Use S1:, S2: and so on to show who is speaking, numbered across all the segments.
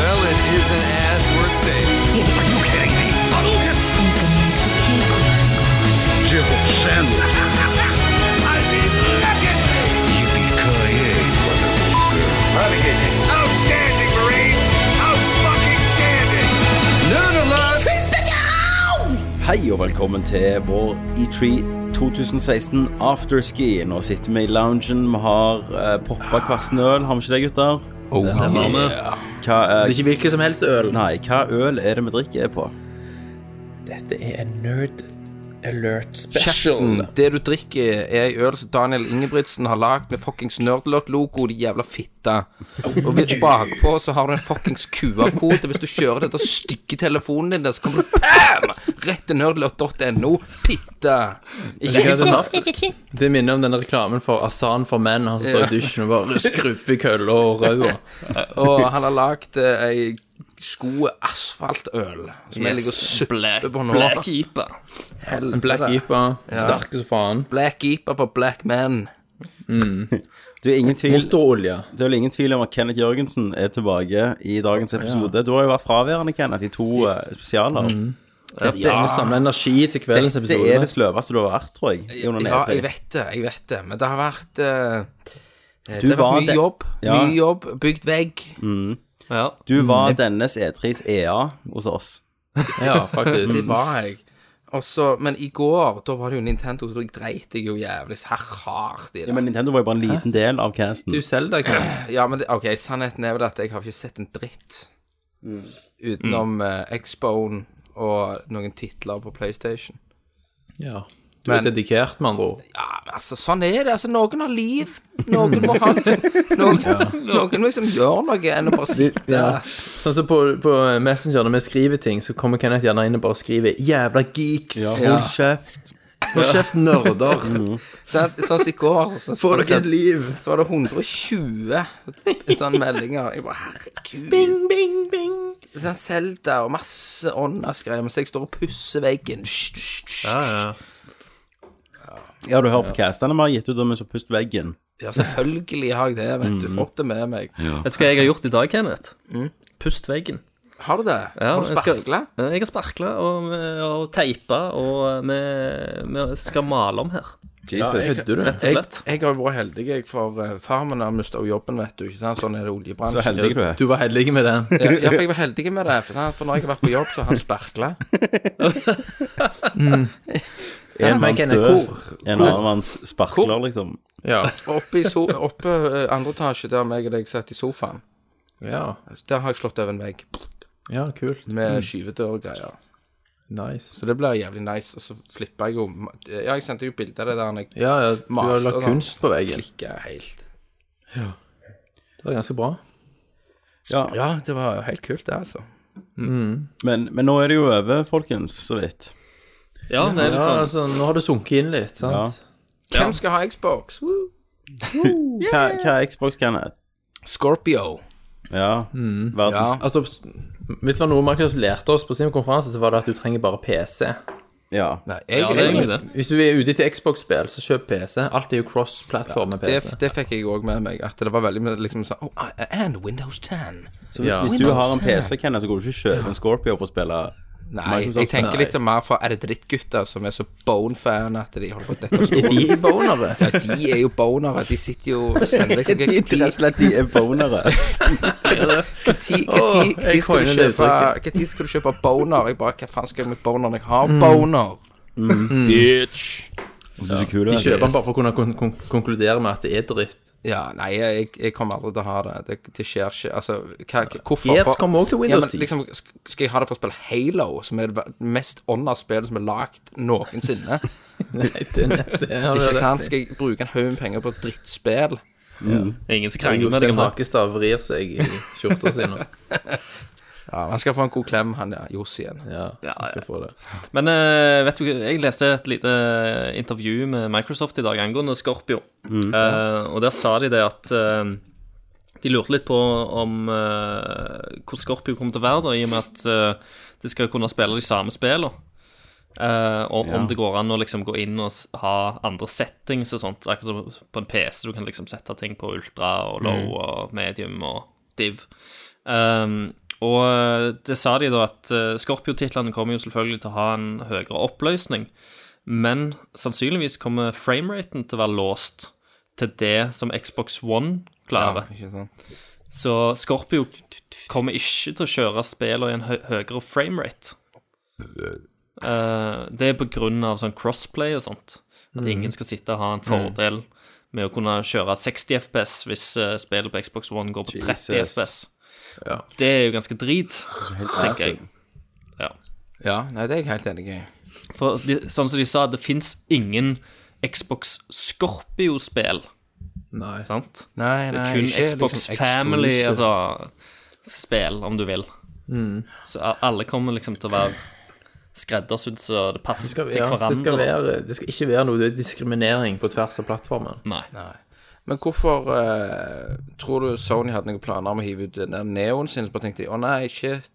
S1: is an ass worth saving.
S2: Are you kidding me? Hadouken! Civil sandwich. I mean, legendary! Yippee-ki-yay, motherfucker. Outstanding, Marine! Out-fucking-standing! Nerd alert!
S3: Hei og velkommen til vår E E3 2016 afterski. Nå sitter vi i loungen, vi har uh, poppa hver sin øl, har vi ikke det, gutter? Hva, eh,
S4: Det er ikke hvilken som helst øl.
S3: nei, hva øl er det vi drikker på?
S4: Dette er en Nerd Alert
S5: Kjeften. Det du drikker, er ei øl som Daniel Ingebrigtsen har lagd med fuckings Nerdlert-logo, de jævla fitte. Og hvis bakpå så har du en fuckings QR-kode. Hvis du kjører den der stygge telefonen din der, så kommer du bam! rett til nerdlert.no. Fitte! Ikke
S4: Det er fantastisk. Det minner om den reklamen for Asan for menn. Han som står i dusjen og bare skrubber kølla og røda.
S5: Og han har lagd eh, ei sko asfaltøl som jeg ligger og supper på nå.
S6: Black Keeper.
S4: En black jeepa. Sterke som faen.
S5: Black Keeper for black men.
S3: Det er ingen tvil, det
S4: Motorolje.
S3: er vel ingen tvil om at Kenneth Jørgensen er tilbake i dagens episode. Du har jo vært fraværende, Kenneth, i to eh, spesialer.
S4: Dette er å samle energi til kveldens
S3: Det er
S4: episode.
S3: det sløveste du har vært, tror jeg. i under E
S5: Ja,
S3: E3.
S5: jeg vet det, jeg vet det. Men det har vært eh, Det har
S3: var
S5: vært mye
S3: det-
S5: jobb.
S3: Ja. Mm.
S5: Mye jobb, bygd vegg.
S6: Ja.
S3: Du var dennes E E3s EA hos oss.
S4: Ja, faktisk.
S5: Det var jeg. Og så- men i går, da var det jo Nintendo, så da dreit jeg jo jævlig hardt i det.
S3: Ja, men Nintendo var jo bare en liten del av casten.
S4: Du selger deg
S5: Ja, men det, ok, sannheten er vel at jeg har ikke sett en dritt
S3: Mm.
S5: utenom eh, Xbone og noen titler på PlayStation.
S4: Ja. Du er
S5: Men-
S4: dedikert, med andre ord.
S5: Ja, men altså, sånn er det. Altså, noen har liv. Noen må ha liksom Noen, noen må liksom gjøre noe enn å bare sitte
S4: Ja. Sånn som på, på Messenger, når vi skriver ting, så kommer Kenneth gjerne inn og bare skriver 'jævla geeks'.
S3: Hold kjeft.
S4: Hold kjeft, nerder.
S6: Mm.
S5: Sånn, sånn som i går. Så,
S4: Få dere et liv.
S5: Så var det 120 sånne meldinger. Jeg bare herregud. Sånn Zelda og masse åndasgreier mens jeg står og pusser veggen. Hysj, hysj, hysj.
S6: Ja, ja.
S3: Ja, du hører på castene vi har gitt ut om vi så pust veggen.
S5: Ja, selvfølgelig har jeg det. Vet
S6: Mm.
S5: du, fått det med meg.
S6: Vet du hva jeg har gjort i dag, Kenneth?
S5: Mm.
S6: Pust veggen.
S5: Har du det?
S6: Ja,
S5: har du
S6: jeg skal-
S5: sparkla?
S6: Eh, Jeg har sparkla og, og teipa, og vi, vi skal male om her.
S3: Jesus.
S4: Kødder du?
S6: Rett og slett.
S5: Jeg har jo vært heldig, jeg, for eh, far min har mista jobben, vet du. ikke sant? Sånn er det i
S3: Så
S5: oljebransjen.
S3: heldig du er.
S4: Du var heldig med den.
S5: Ja, ja, for jeg var heldig med det, for, sant? for når jeg har vært på jobb, så har han sparkla.
S6: Mm.
S3: En manns
S4: Kenneth,
S3: død,
S4: hvor-
S3: en annen manns sparkler, liksom.
S4: Ja.
S5: Og Oppe i so oppe, eh, andre etasje, der meg og deg satt i sofaen, altså,
S4: ja.
S5: der har jeg slått over en vegg
S4: Ja, kult.
S6: Mm.
S5: med skyvedør og greier.
S4: Nice.
S5: Så det blir jævlig nice, og så slipper jeg jo Ja, jeg sendte jo bilde av det der når jeg
S4: Ja, ja, du har
S5: Mas,
S4: lagt
S5: altså.
S4: kunst på veggen.
S5: klikker helt.
S4: Det var ganske bra.
S3: Ja,
S5: Ja, det var jo helt kult, det, altså.
S3: men, men nå er det jo over, folkens, så vidt.
S6: Ja, det er litt
S4: Ja,
S6: sånn.
S4: altså, nå har det sunket inn litt, sant?
S5: Hvem skal ha Xbox? Woo!
S3: Hva, hva er Xbox Kenneth?
S5: Scorpio.
S3: Ja, verdens
S4: Altså, s- vet du hva noe Markus lærte oss på sin konferanse, så var det at du trenger bare PC.
S3: Ja.
S5: Nei, jeg,
S6: Ja, det er egentlig det.
S4: Hvis du er ute etter Xbox-spill, så kjøp PC. Alt er jo cross-plattform med
S5: det,
S6: altså.
S4: PC.
S5: det fikk jeg òg med meg, at det var veldig mye liksom sånn oh, And Windows 10.
S4: Ja.
S3: Hvis du har en PC, Kenneth, så går du ikke og kjøper en Scorpio for å spille
S5: Nei, jeg
S3: Microsoft.
S5: tenker litt mer for er det drittgutter som er så bone-fan at de holder på dette og
S4: Er de bonere?
S5: Ja, de er jo bonere. De sitter jo og sender liksom
S3: De er rett og slett de er bonere.
S4: Åh, jeg
S5: Når
S4: coiner
S5: skal,
S4: det
S5: du kjøpe- hva tid skal du kjøpe boner? Jeg bare, hva faen skal jeg med boner når jeg har
S4: Mm.
S5: boner?
S3: Du er så kul,
S4: De
S3: vet du.
S4: kjøper den bare for å kunne kon kon konkludere med at det er dritt.
S5: Ja, nei, jeg, jeg kommer aldri til å ha det. Det, det skjer ikke. Altså, hva, hva- hvorfor?
S4: Gears
S5: For-
S4: kommer også til Windows
S5: ja, men,
S4: 10.
S5: liksom, sk- Skal jeg ha det for å spille Halo, som er det ver- mest ånda spillet som er lagd noensinne?
S4: Nei, det, det, det har
S5: ikke sant? Skal jeg bruke en haug med penger på et drittspill?
S6: Ingen som krangler med deg
S4: Jostein
S6: om det.
S4: Hakestad vrir seg i skjorta si nå.
S5: Ja, han skal få en god klem, han ja, Josien.
S4: Ja,
S6: Ja,
S4: han skal få det.
S6: Men eh, vet du, hva, jeg leste et lite eh, intervju med Microsoft i dag angående Scorpio. Eh, og der sa de det at eh, De lurte litt på om eh, hvor Scorpio kommer til å være, da, i og med at eh, de skal kunne spille de samme spillene. Eh, og om
S3: Ja.
S6: det går an å liksom gå inn og s- ha andre settings og sånt. Akkurat som på en PC, du kan liksom sette ting på ultra og low og medium og div. Um, Og eh, det sa de da at eh, Scorpio-titlene kommer jo selvfølgelig til å ha en høyere oppløsning, men sannsynligvis kommer frameraten til å være låst til det som Xbox One klarer.
S5: Ikke sant?
S6: Så Scorpio kommer ikke til å kjøre spillene i en hø høyere framerate. Eh, det er på grunn av sånn crossplay og sånt. At
S3: Mm.
S6: ingen skal sitte og ha en fordel med å kunne kjøre 60 FPS hvis eh, spillet på Xbox One går på 30
S3: Jesus.
S6: FPS.
S4: Ja.
S6: Det er jo ganske drit,
S3: Helt
S6: tenker jeg. Ja.
S5: Ja, nei, det er jeg helt enig i.
S6: For de, sånn som de sa, det fins ingen Xbox Scorpio-spill,
S4: Nei.
S6: sant?
S5: Nei,
S6: Det
S5: nei,
S6: er kun
S5: ikke
S6: Xbox
S5: liksom
S6: Family,
S5: exclusive.
S6: altså Spill, om du vil.
S4: Mm.
S6: Så a- alle kommer liksom til å være skreddersydd så det passer
S4: Det skal,
S6: til
S4: ja,
S6: hverandre.
S4: det, skal være, det skal ikke være noe diskriminering på tvers av plattformen.
S6: Nei.
S5: Men hvorfor eh, tror du Sony hadde noen planer om å hive ut den der neoen sin? Så bare tenkte de å nei, shit.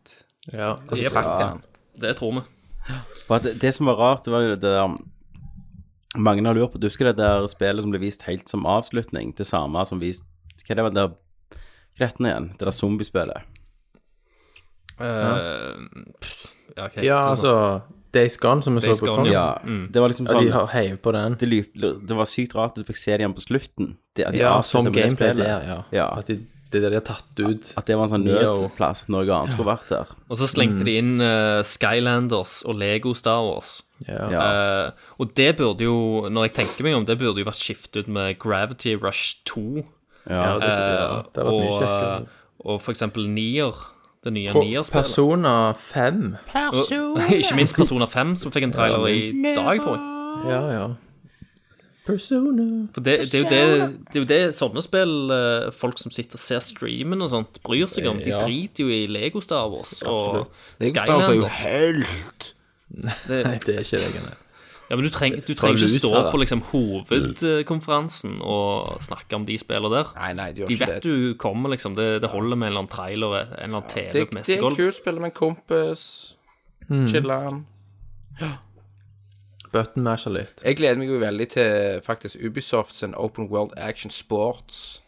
S4: Ja.
S5: Og så trakk de den.
S6: Det tror vi.
S3: For at det, det som var rart, det var jo det der Mange har lurt på Du husker det der spillet som ble vist helt som avslutning? Det samme som vist Hva det var det der Retten igjen? Det der zombiespillet.
S6: Eh, pff, ja, ok.
S4: ja, altså Days Gone, som vi
S6: Sånn
S4: så
S6: Days
S4: på
S6: Gone,
S4: Tonje.
S3: Ja. Det var liksom
S4: Ja,
S3: sånn
S4: de har heiv på den.
S3: det, lyk- det var sykt rart at du fikk se det igjen på slutten. Det, at de
S4: Ja,
S3: avsluttet
S4: som
S3: med sånn det
S4: gameplay
S3: spillet.
S4: der, ja.
S3: Ja.
S4: At de, det der de har tatt ut
S3: At det var en sånn
S4: Neo.
S3: nødplass. At noe annet skulle vært der.
S6: Og så
S4: mm.
S6: slengte de inn eh, Skylanders og Lego Star Wars.
S4: Ja.
S3: Ja.
S6: Eh, og det burde jo, når jeg tenker meg om, det burde jo vært skiftet ut med Gravity Rush 2.
S3: ja.
S4: Ja, det, ja.
S6: eh,
S4: det har vært mye
S6: og,
S4: kjekkere.
S6: og for eksempel Nier. Det nye
S4: På
S6: Nier-spillet.
S4: Persona 5.
S6: Ikke minst Persona 5, som fikk en trailer i dag, tror jeg.
S4: Ja, ja. Persona
S6: For det, det, er jo det, det er jo det sånne spill eh, folk som sitter og ser streamen og sånt, bryr seg om. De
S4: Ja.
S6: driter jo i Lego Star Wars og
S5: Lego Star Wars er jo
S6: Skylanders.
S5: helt
S6: Det,
S4: Nei, det er ikke det. nei.
S6: ja, men du, treng, du trenger ikke
S4: Lusa,
S6: stå
S4: da.
S6: på liksom, hovedkonferansen og snakke om de spillene der.
S5: Nei, nei, de gjør
S6: De
S5: ikke
S6: vet
S5: det.
S6: du kommer, liksom. Det, det holder med en eller annen trailer en eller annen TV på
S5: Det, det er
S6: messegulv.
S5: kult å spille med en kompis. Mm. Chiller'n.
S4: Button masher litt.
S5: Jeg gleder meg jo veldig til faktisk Ubisoft sin Open World Action Sports.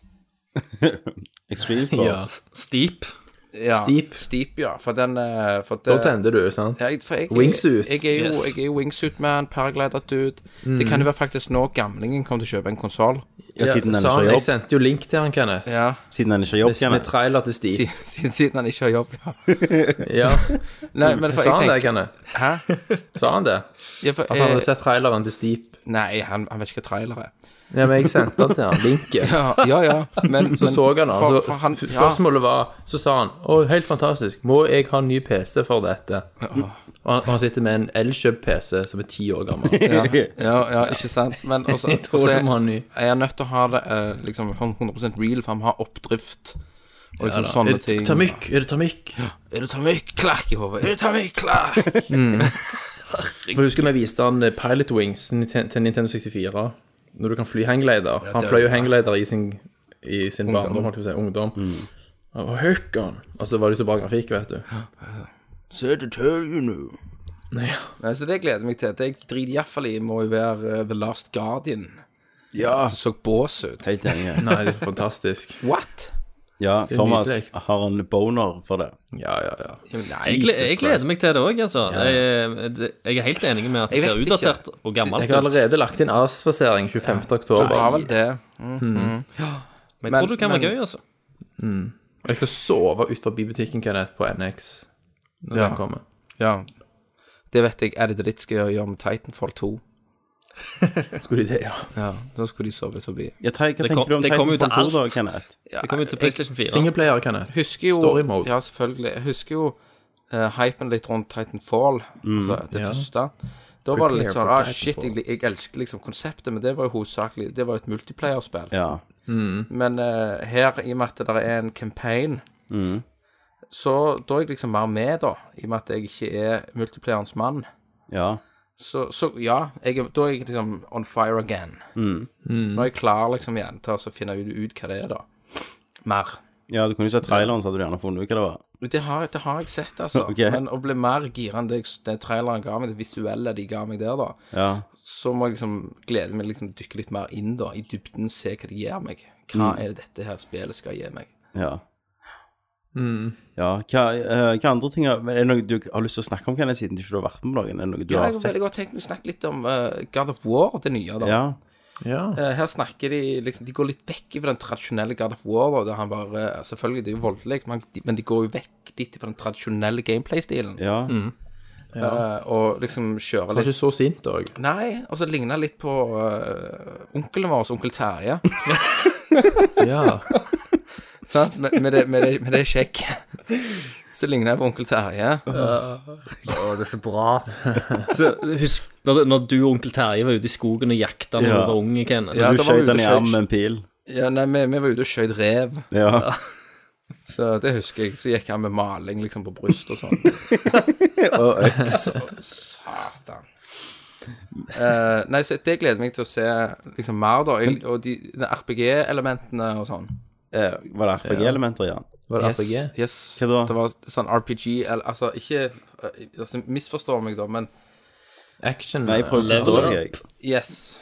S3: Extreme
S4: Ja.
S3: Sports.
S6: Steep.
S5: Ja,
S4: Steep.
S5: Steep, ja. For den eh, for
S4: Da
S5: det-
S4: tender du, sant?
S5: Ja, jeg, for jeg,
S4: Wingsuit.
S5: Jeg, jeg, er jo,
S6: Yes.
S5: jeg er jo wingsuit-man, paraglider-dude. Det
S4: Mm.
S5: kan jo være faktisk nå gamlingen kommer til å kjøpe en konsoll.
S3: Ja, siden den ikke
S4: sa han, liksom-
S3: har
S4: jeg
S3: jobb.
S4: sendte jo link til han, Kenneth.
S5: Ja.
S3: Siden den ikke har jobb,
S4: Med- Med
S3: Kenneth.
S4: trailer til Steep.
S5: Siden, siden han ikke har jobb, ja.
S4: Ja.
S5: Nei, men for
S4: Sa han det,
S5: jeg tenker
S4: Kenneth?
S5: Hæ?
S4: Sa han det?
S5: Ja, for,
S4: At han hadde
S5: eh,
S4: sett traileren til Steep?
S5: nei, han, han vet ikke hva trailer er.
S4: Ja, men jeg sendte den til han, linken.
S5: Ja, ja. ja men,
S4: Så
S5: men,
S4: så han
S5: for,
S4: den.
S5: for
S4: Så
S5: han
S4: f-
S5: ja,
S4: spørsmålet var Så sa han Å, helt fantastisk. Må jeg ha en ny PC for dette? Og han, og han sitter med en elkjøpt PC som er ti år gammel.
S5: ja, ja, ja, ikke sant? Men også,
S4: Jeg tror
S5: også
S4: du må ha en ny.
S5: er jeg nødt til å ha det eh, liksom 100 real, for han må ha oppdrift. Og liksom sånne
S4: Er det
S5: ting.
S4: Tamykk? Er det Tamykk?
S5: Er det tamykk? Klakk i hodet. Er det tamykk? Klakk!
S4: For jeg husker vi viste han eh, Pilot Wings til til Nintendo 64, når du kan fly hangglider. han
S5: det
S4: fløy jo
S5: var-
S4: hangglider i sin, i sin barndom, holdt jeg på å si, ungdom.
S5: Mm.
S4: Han var høkken. Og så var det jo så bra grafikk, vet du.
S5: Så det tør jo nå.
S4: Nei, ja.
S5: Nei, så det gleder jeg meg til. Det jeg driter iallfall i, må jo være eh, The Last Guardian.
S3: Ja.
S5: Som så bås ut.
S3: Helt enig. ja.
S4: Nei, det er fantastisk.
S5: What?
S3: Ja, Thomas
S4: nydelig.
S3: har en boner for det.
S4: Ja, ja, ja.
S5: Ja, men Nei,
S6: Jeg, gle- jeg gleder meg til det òg, altså. Jeg, det- jeg er helt enig med at det
S5: Jeg
S6: ser
S5: vet ikke.
S6: utdatert og gammelt
S4: Jeg
S6: ut.
S4: har allerede lagt inn avspasering 25. oktober.
S5: Det var vel det.
S6: Men jeg
S5: men-
S6: tror det kan være gøy, altså.
S4: Og Jeg skal sove ut forbi butikken, Kenneth, på NX når
S5: Ja.
S4: den kommer.
S5: Ja. Det vet jeg. Er det dritt skal jeg gjøre med Titanfall 2?
S4: Skulle de det, ja.
S5: Ja, Da skulle de sove forbi.
S3: Ja, ta, hva tenker
S6: kom-
S3: du om
S6: det kom jo til
S3: Titanfall 2 da,
S6: alt.
S3: Kenneth?
S6: Det kommer jo til PlayStation 4.
S4: Singleplayer, Kenneth.
S5: Husker jo
S4: Story mode.
S5: Ja, selvfølgelig. Jeg husker jo eh, hypen litt rundt Titanfall, altså det første. Da var det litt
S4: Mm, Prepare
S5: sånn
S4: for
S5: ah, Shit, jeg, jeg elsket liksom konseptet, men det var jo hovedsakelig Det var jo et multiplayerspill.
S3: Ja.
S5: Men eh, her, i og med at det er en campaign, så da er jeg liksom mer med, da. I og med at jeg ikke er multiplayerens mann.
S3: ja.
S5: Så, så ja, jeg, er- da er jeg liksom on fire again. Nå er jeg klar liksom igjen til å finne ut, ut hva det er, da. Mer.
S3: Ja, du kunne jo sett traileren, så hadde du gjerne funnet ut hva det var.
S5: Det har, det har jeg sett, altså.
S3: Ok.
S5: Men å bli mer gira enn det, jeg- det traileren ga meg, det visuelle de ga meg der, da,
S3: Ja.
S5: så må jeg liksom glede meg liksom dykke litt mer inn, da. I dybden, se hva det gir meg. Hva er det dette her spillet skal gi meg?
S3: ja.
S4: Mm.
S3: Ja, hva, eh, hva andre ting er, men er det noe du har lyst til å snakke om, Kenneth, siden du ikke har vært med på noen? Er det noe du
S5: Ja,
S3: har
S5: jeg har
S3: sett?
S5: veldig godt tenkt å snakke litt om eh, God of War, det nye. da.
S3: Ja,
S4: Ja.
S5: Eh, her snakker de liksom, De går litt vekk fra den tradisjonelle God of War. Da, der han bare, selvfølgelig, det er jo voldelig, men, de- men de går jo vekk litt fra den tradisjonelle gameplay-stilen.
S3: ja.
S4: Mm.
S5: eh, og liksom kjører
S4: Han er
S5: litt
S4: ikke så sint òg.
S5: Nei, og så ligner litt på eh, onkelen vår, onkel Terje.
S4: Ja.
S5: sant? Med, med, det, med, det, med det skjegget. Så ligner jeg på onkel Terje.
S6: Å, det er så bra. Så husk når, når du og onkel Terje var ute i skogen og jakta når
S3: Ja.
S6: du var ung, Kenneth.
S5: Ja,
S3: Du
S5: det var
S3: skjøt
S5: ute
S3: den i
S5: og
S3: armen
S5: skjøt-
S3: med en pil.
S5: Ja, nei, vi, vi var ute og skjøt rev,
S3: Ja.
S5: så det husker jeg. Så gikk han med maling liksom på brystet og sånn.
S3: Og øks.
S5: Å, Satan. Eh, nei, så det gleder jeg meg til å se liksom mer, da. Jeg- Og de, de RPG-elementene og sånn.
S3: Eh, Var det RPG-elementer i den?
S4: Var det RPG?
S5: Yes, yes.
S3: Hva da?
S5: Det var sånn RPG eller, Altså, ikke eh, altså, Misforstå meg, da, men
S4: Action?
S3: Nei, jeg prøver å forstå
S6: Level
S3: deg,
S6: up.
S3: jeg.
S5: yes.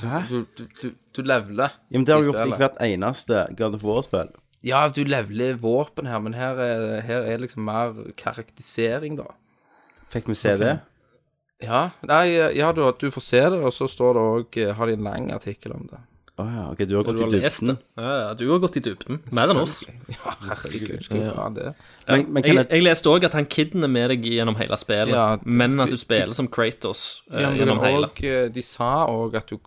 S3: Hæ?
S5: Du, du, du, du leveler.
S3: Ja, men det har jeg gjort i
S5: spillet.
S3: hvert eneste God of War-spill.
S5: Ja, du leveler våpen her, men her er, her er liksom mer karakterisering, da.
S3: Fikk vi se det?
S5: Ja, nei, ja du, du får se det, og så står det òg Har de en lang artikkel om det?
S3: Å ja, ok, du har
S6: Du
S3: gått i
S6: har lest det.
S3: dybden.
S6: Ja, ja, du har gått i dybden. Mer enn oss.
S5: Ja, herregud, skal jeg faen det?
S3: Men, men
S6: Jeg,
S3: Kenneth,
S6: jeg leste òg at han kidner med deg gjennom hele spillet,
S5: Ja,
S6: men at du spiller som Kratos eh,
S5: Ja, men
S6: gjennom hele.
S5: og, eh, de sa òg at du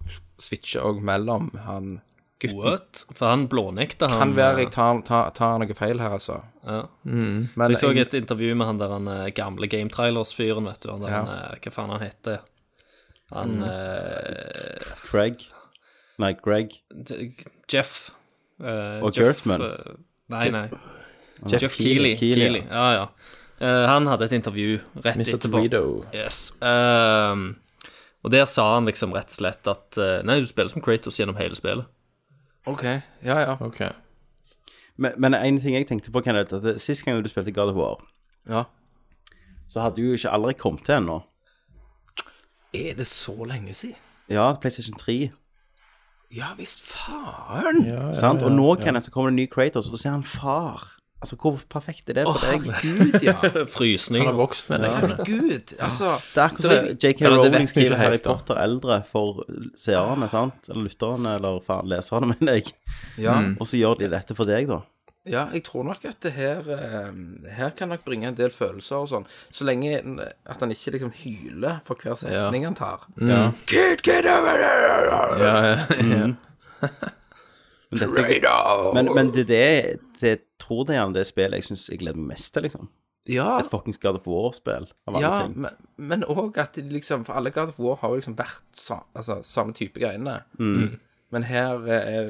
S5: switcher òg mellom han gutten.
S6: What? For han blånekta han.
S5: Kan være jeg tar, tar, tar noe feil her, altså.
S6: Ja.
S5: Men
S6: Jeg så et intervju med han der han eh, gamle Game Trailers-fyren, vet du. Han der,
S5: Ja. Mm.
S6: han, eh, hva faen han heter. Han eh,
S3: Craig Nei, Greg.
S6: D- Jeff. eh,
S3: Og
S6: Jeff,
S3: Kurtzman.
S6: eh, nei, nei.
S4: Jeff
S6: Jeff Keeley. Keeley.
S3: Keighley,
S6: Ja, ja. Eh, han hadde et intervju rett
S4: Mr.
S6: etterpå.
S4: Dorito.
S6: Yes. Ehm, og der sa han liksom rett og slett at eh, Nei, du spiller som Kratos gjennom hele spillet.
S5: OK. Ja, ja.
S4: Ok.
S3: Men, men en ting jeg tenkte på, Kenneth, at det- sist gang du spilte God of War,
S5: ja.
S3: så hadde jo ikke aldri kommet til ennå.
S5: Er det så lenge siden?
S3: Ja, PlayStation 3.
S5: Ja visst, faen!
S4: Ja, ja.
S3: sant? Og nå, Kenneth, så kommer det en ny Kratos, og så er han far. Altså, hvor perfekt er det
S5: Å,
S3: for deg?
S5: herregud, ja.
S4: Han har
S6: Frysninger.
S4: vokst med deg.
S5: Herregud. Altså
S3: Det er akkurat som JK
S4: Ja, det vet
S3: Rowling
S4: vi ikke
S3: skriver Harry
S4: helt, da.
S3: Potter eldre for seerne, sant? Eller lytterne, eller faen, leserne, mener jeg.
S5: Ja.
S3: Og så gjør de dette for deg, da.
S5: Ja, jeg tror nok at det her eh, Her kan nok bringe en del følelser og sånn. Så lenge en- at han ikke liksom hyler for hver setning han tar.
S4: Ja.
S5: Kid, kid over there!
S4: Ja, ja.
S3: Men, dette,
S5: Radar!
S3: men, men det er det, det tror jeg gjerne det spillet jeg syns jeg gleder meg mest til, liksom.
S5: ja,
S3: Et fuckings God of War-spill, av alle
S5: ja,
S3: ting.
S5: men- men òg at de liksom For alle God of War har jo liksom vært sa, altså, samme type greiene.
S3: Mm.
S5: Men her eh,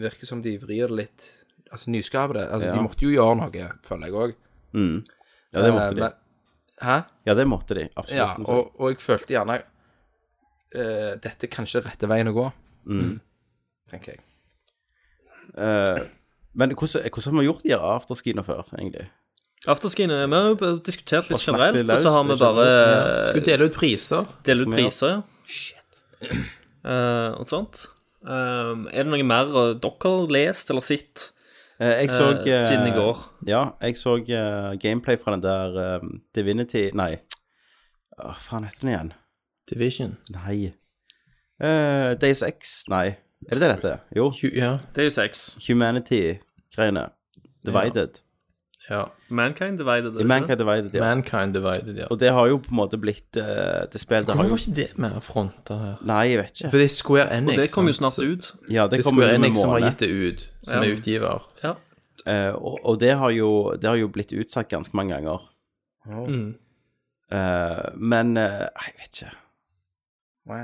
S5: virker som de vrir det litt Altså nyskaper det. Altså,
S3: Ja.
S5: De måtte jo gjøre noe, føler jeg òg.
S3: Ja, det måtte de.
S5: Hæ?
S3: Ja, det måtte de. Absolutt.
S5: eh, Ja,
S3: synes jeg.
S5: og, og jeg følte gjerne eh, Dette er kanskje rette veien å gå.
S3: Mm.
S5: Tenker jeg.
S3: Eh, men hvordan, eh, hvordan har vi gjort de her afterskiene før, egentlig?
S6: Afterskien eh, vi har jo diskutert litt
S3: Og snakket
S6: generelt, og
S3: løst,
S6: så har vi
S3: det er
S6: bare
S4: Skulle dele ut priser.
S6: delt
S3: skal
S6: ut
S3: vi
S6: priser. Eh, og sånt. Um, er det noe mer eh, dere har lest eller sett
S3: Eh, jeg så
S6: eh, siden i
S3: eh,
S6: går?
S3: Ja, jeg så eh, gameplay fra den der eh, Divinity Nei, hva faen heter den igjen?
S4: Division.
S3: Nei. Eh, Days X Nei, er det det dette? er? Jo,
S4: Tju- Ja.
S6: Det er jo sex.
S3: Humanity-greiene. Divided.
S4: ja.
S6: Mankind divided. er det ikke det?
S3: Mankind Divided, ja.
S4: Mankind divided, ja.
S3: Og det har jo på en måte blitt eh, Det spillet har
S4: Hvorfor
S3: jo
S4: var ikke det mer fronta her?
S3: Nei, jeg vet ikke.
S4: For det er Square Enix.
S6: Det kom jo
S4: sant?
S6: snart ut.
S3: Ja, det
S4: Det er
S3: kommer
S4: Square
S3: jo med
S4: Enix som har
S3: måned.
S4: gitt det ut, som
S6: Ja.
S4: er utgiver.
S6: Ja.
S3: Eh, og, og det har jo Det har jo blitt utsatt ganske mange ganger.
S6: Mm.
S3: Eh, men eh, jeg vet ikke hva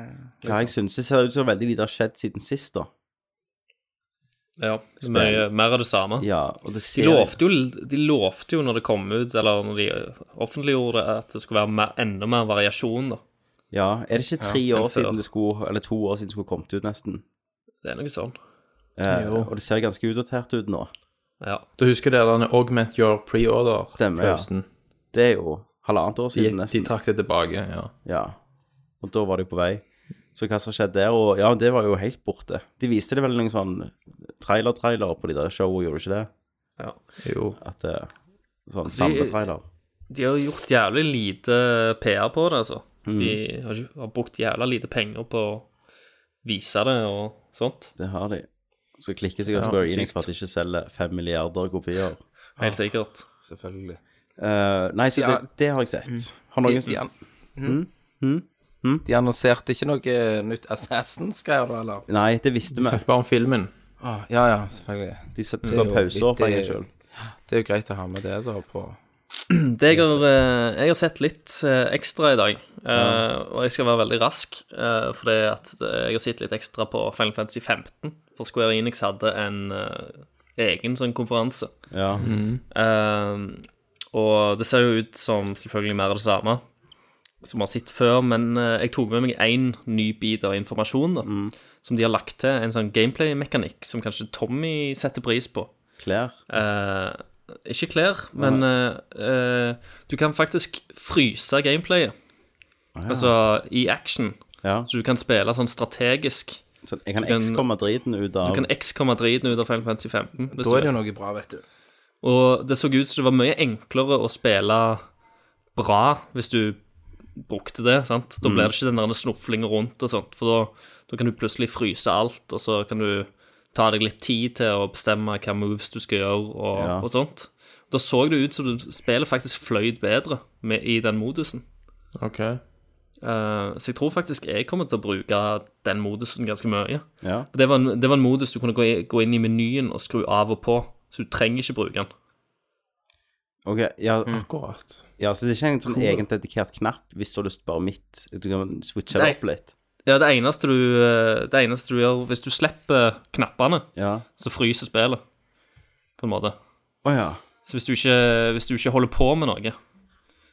S3: jeg syns. Det ser ut som veldig lite har skjedd siden sist, da.
S6: ja. Mye, mer av det samme.
S3: Ja, og det
S6: De
S3: ser
S6: lovte, jo, de lovte jo når det kom ut, eller når de offentliggjorde det, at det skulle være mer, enda mer variasjon, da.
S3: Ja, er det ikke tre år
S6: enn før.
S3: siden det skulle Eller to år siden det skulle kommet ut, nesten?
S6: Det er noe sånn.
S3: Eh,
S4: Jo.
S3: og det ser ganske utdatert ut nå.
S6: Ja.
S4: Da husker dere den Augment Your Pre-Order?
S3: Stemmer, ja.
S4: Flausen.
S3: Det er jo halvannet år
S4: De,
S3: siden,
S4: de
S3: nesten.
S4: trakk det tilbake, ja.
S3: Ja. Og da var de på vei. Så hva som skjedde der? Og ja, det var jo helt borte. De viste det vel noen sånn trailer-trailer på de der showene, gjorde de ikke det?
S6: Ja.
S4: Jo.
S3: At eh, Sånn
S6: vi-
S3: samletrailer.
S6: De har gjort jævlig lite PR på det, altså. De har, ikke- har brukt jævla lite penger på å vise det og sånt.
S3: Det har de. Så klikker sikkert
S4: Ja,
S3: Square
S4: så
S3: Enix for at
S4: sykt.
S3: de ikke selger fem milliarder kopier.
S6: Helt sikkert.
S5: Selvfølgelig.
S3: Eh, nei, så
S5: Ja.
S3: det, det har jeg sett. Har
S5: De,
S3: noen Mm.
S5: de, an Mm. de annonserte ikke noe eh, nytt Assassins-greier, da, eller?
S3: Nei, det visste vi.
S4: Snakket bare om filmen.
S5: Ah, ja, ja, selvfølgelig.
S3: De setter
S5: Det er
S3: bare
S5: jo
S3: pauser
S5: litt-
S3: for en
S5: det-
S3: sjøl.
S5: Det er jo greit å ha med det, da, på
S6: Det jeg har, eh, jeg har sett litt eh, ekstra i dag, eh, og jeg skal være veldig rask, eh, for det at eh, jeg har sett litt ekstra på Final Fantasy 15, for Square Enix hadde en eh, egen sånn konferanse.
S3: Ja.
S6: Eh, og det ser jo ut som selvfølgelig mer av det samme som vi har sett før, men eh, jeg tok med meg én ny bit av informasjon da, som de har lagt til, en sånn gameplay-mekanikk som kanskje Tommy setter pris på.
S3: Klær.
S6: Eh, ikke klær, men eh, eh, du kan faktisk fryse gameplayet. Altså i action.
S3: Ja.
S6: Så du kan spille sånn strategisk.
S3: Så jeg kan
S6: kan-
S3: X-komme driten ut av
S6: Du kan X komme driten ut av Final Fantasy 15. hvis
S5: Da
S6: du
S5: er
S6: vil.
S5: det jo noe bra, vet du.
S6: Og det så ut som det var mye enklere å spille bra hvis du brukte det. sant? Da blir det ikke den der snufling rundt og sånt, for da, da kan du plutselig fryse alt, og så kan du ta deg litt tid til å bestemme hva moves du skal gjøre, og,
S3: Ja.
S6: og sånt. Da så det ut som du spillet faktisk fløyd bedre med, i den modusen.
S4: Ok.
S6: Eh, så jeg tror faktisk jeg kommer til å bruke den modusen ganske mye.
S3: Ja.
S6: For Det var en, det var en modus du kunne gå, i, gå inn i menyen og skru av og på, så du trenger ikke bruke den.
S3: Ok, ja,
S4: Akkurat.
S3: ja, så det er ikke en sånn egen dedikert knapp hvis du har lyst bare midt. Du kan switche det
S6: Nei.
S3: opp litt.
S6: Ja, det eneste, du, eh, det eneste du gjør Hvis du slipper knappene,
S3: Ja.
S6: så fryser spillet, på en måte.
S3: Å ja.
S6: Så hvis du ikke, hvis du ikke holder på med noe,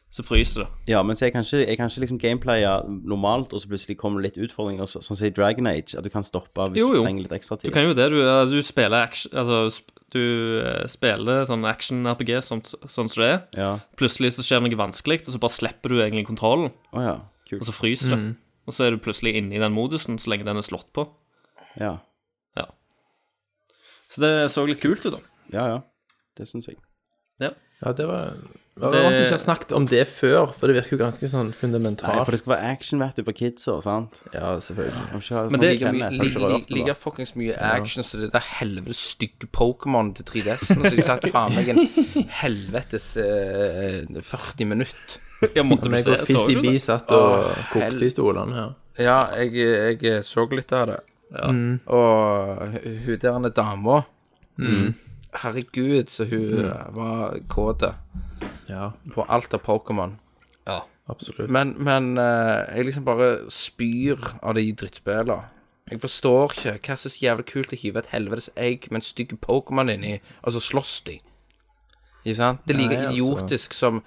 S6: så fryser det.
S3: Ja, men så jeg kan ikke, jeg kan ikke liksom gameplaye normalt, og så plutselig kommer det litt utfordringer, så, sånn som i Dragon Age, at du kan stoppe hvis
S6: Jo, jo.
S3: du trenger litt ekstra
S6: Du
S3: tid.
S6: kan jo det. Du, du spiller action Altså, sp- du eh, spiller sånn action-RPG sånn, sånn som det er.
S3: Ja.
S6: Plutselig så skjer det noe vanskelig, og så bare slipper du egentlig kontrollen,
S3: Å ja. Kult.
S6: og så fryser det. Og så er du plutselig inne i den modusen så lenge den er slått på.
S3: Ja.
S6: Ja. Så det så litt kult ut, da.
S3: ja, ja. Det syns jeg.
S4: Ja, det var det var Rart du ikke har snakket om det før, for det virker jo ganske sånn fundamentalt.
S3: Nei, for det skal være action, vet du, for kidsa, sant?
S4: Ja, selvfølgelig.
S3: Men det,
S6: det-
S5: Like mye- li- li- Like fuckings mye action som det der helvetes stygge Pokémon til 3DS-en. Så jeg satt faen meg en helvetes eh, 40 minutt.
S6: Jeg måtte du
S4: Men jeg
S6: se,
S4: og
S6: så du
S4: Fizzy
S6: det?
S4: satt og
S5: Åh,
S4: kokte
S5: hel-
S4: i stolene her.
S5: Ja, jeg, jeg så litt av det. Og hun der ene dama Herregud, så hun eh, var kåt
S4: Ja,
S5: på alt av Pokémon.
S4: absolutt.
S5: Men, men eh, jeg liksom bare spyr av de drittspillene. Jeg forstår ikke hva som er så jævlig kult å hive et helvetes egg med en stygg Pokémon inni, og så slåss de. Ikke sant? Det er like
S4: Nei, altså.
S5: idiotisk som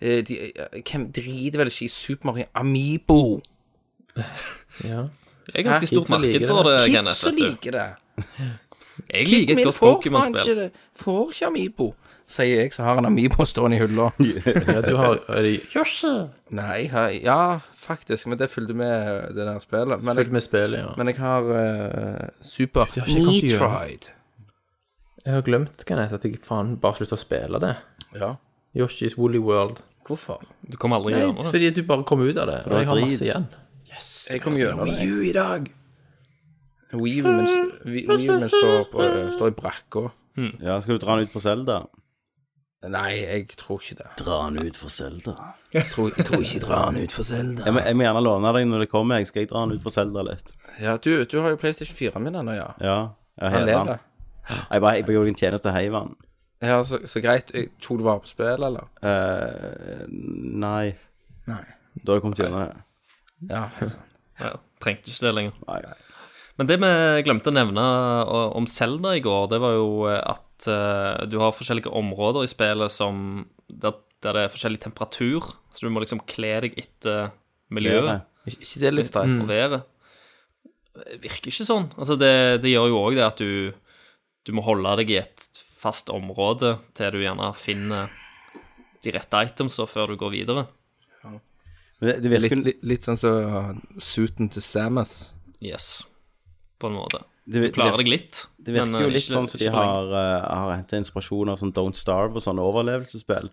S5: eh, de, eh, Hvem driter vel ikke i Super Mario Amibo?
S4: Ja.
S6: Det er ganske
S4: Hæ?
S6: stort
S4: Kidsa
S6: marked
S4: liker
S6: for det,
S5: Kids
S6: Kenneth.
S5: som
S6: vet du.
S5: liker det.
S6: Jeg liker et
S5: Min
S6: godt
S5: får faen
S6: Pokémon-spill.
S5: ikke det. Får ikke Amibo, sier jeg som har en Amibo stående i hylla.
S4: ja, du har er de
S5: Nei, jeg har- ja, faktisk, men det fulgte med det der spillet. Men jeg
S4: fulgt med spillet, ja.
S5: Men jeg har eh, Super
S4: har ikke kommet til å gjøre
S5: Metroid.
S4: Jeg har glemt, Kenneth, at jeg faen bare slutta å spille det.
S5: Ja.
S4: Yoshi's Woolly World.
S5: Hvorfor?
S6: Du kommer aldri
S4: Nei,
S6: gjennom det.
S4: fordi du bare kom ut av det, og jeg har
S3: drit.
S4: masse igjen.
S5: Jeg kom gjennom det.
S4: U i dag!
S5: Weaven min- Vi- Weaven min står, på, eh, står i brakka.
S3: Ja, skal du dra den ut for Selda?
S5: Nei, jeg tror ikke det.
S3: Dra den ut for Selda.
S5: Jeg tror, jeg tror ikke jeg drar den ut for Zelda.
S3: Jeg, må- jeg må gjerne låne deg når det kommer, jeg skal jeg dra den ut for Selda litt.
S5: Ja, du, du har jo PlayStation 4 min ennå, ja.
S3: Ja. Jeg
S5: Han
S3: hever den.
S5: lever.
S3: Jeg bare jeg bare gjorde en tjeneste og heiv den.
S5: Ja, så, så greit. Jeg tror du var på spill, eller?
S3: Eh, nei.
S5: Nei.
S3: Da har jeg kommet gjennom det.
S5: Ja, helt sant.
S6: Ja, trengte ikke det lenger.
S3: Nei.
S6: Men det vi glemte å nevne eh, om Zelda i går, det var jo eh, at eh, du har forskjellige områder i spillet som der, der det er forskjellig temperatur, så du må liksom kle deg etter miljøet
S5: Ik- Ikke det litt stress?
S6: og været. Det virker ikke sånn. Altså, det, det gjør jo òg det at du, du må holde deg i et fast område til du gjerne finner de rette itemsa før du går videre.
S3: Men det, det
S5: Litt, uh,
S3: virker
S5: litt, litt sånn som så, suiten til Samus.
S6: Yes, på en måte.
S3: Det, det,
S6: Klarer
S3: virker,
S6: deg litt.
S3: det virker
S6: men,
S3: jo
S6: eh,
S3: litt
S6: ikke-
S3: sånn som de
S6: ikke for lenge.
S3: har, uh, har hentet inspirasjon av sånn Don't Starve og sånne overlevelsesspill.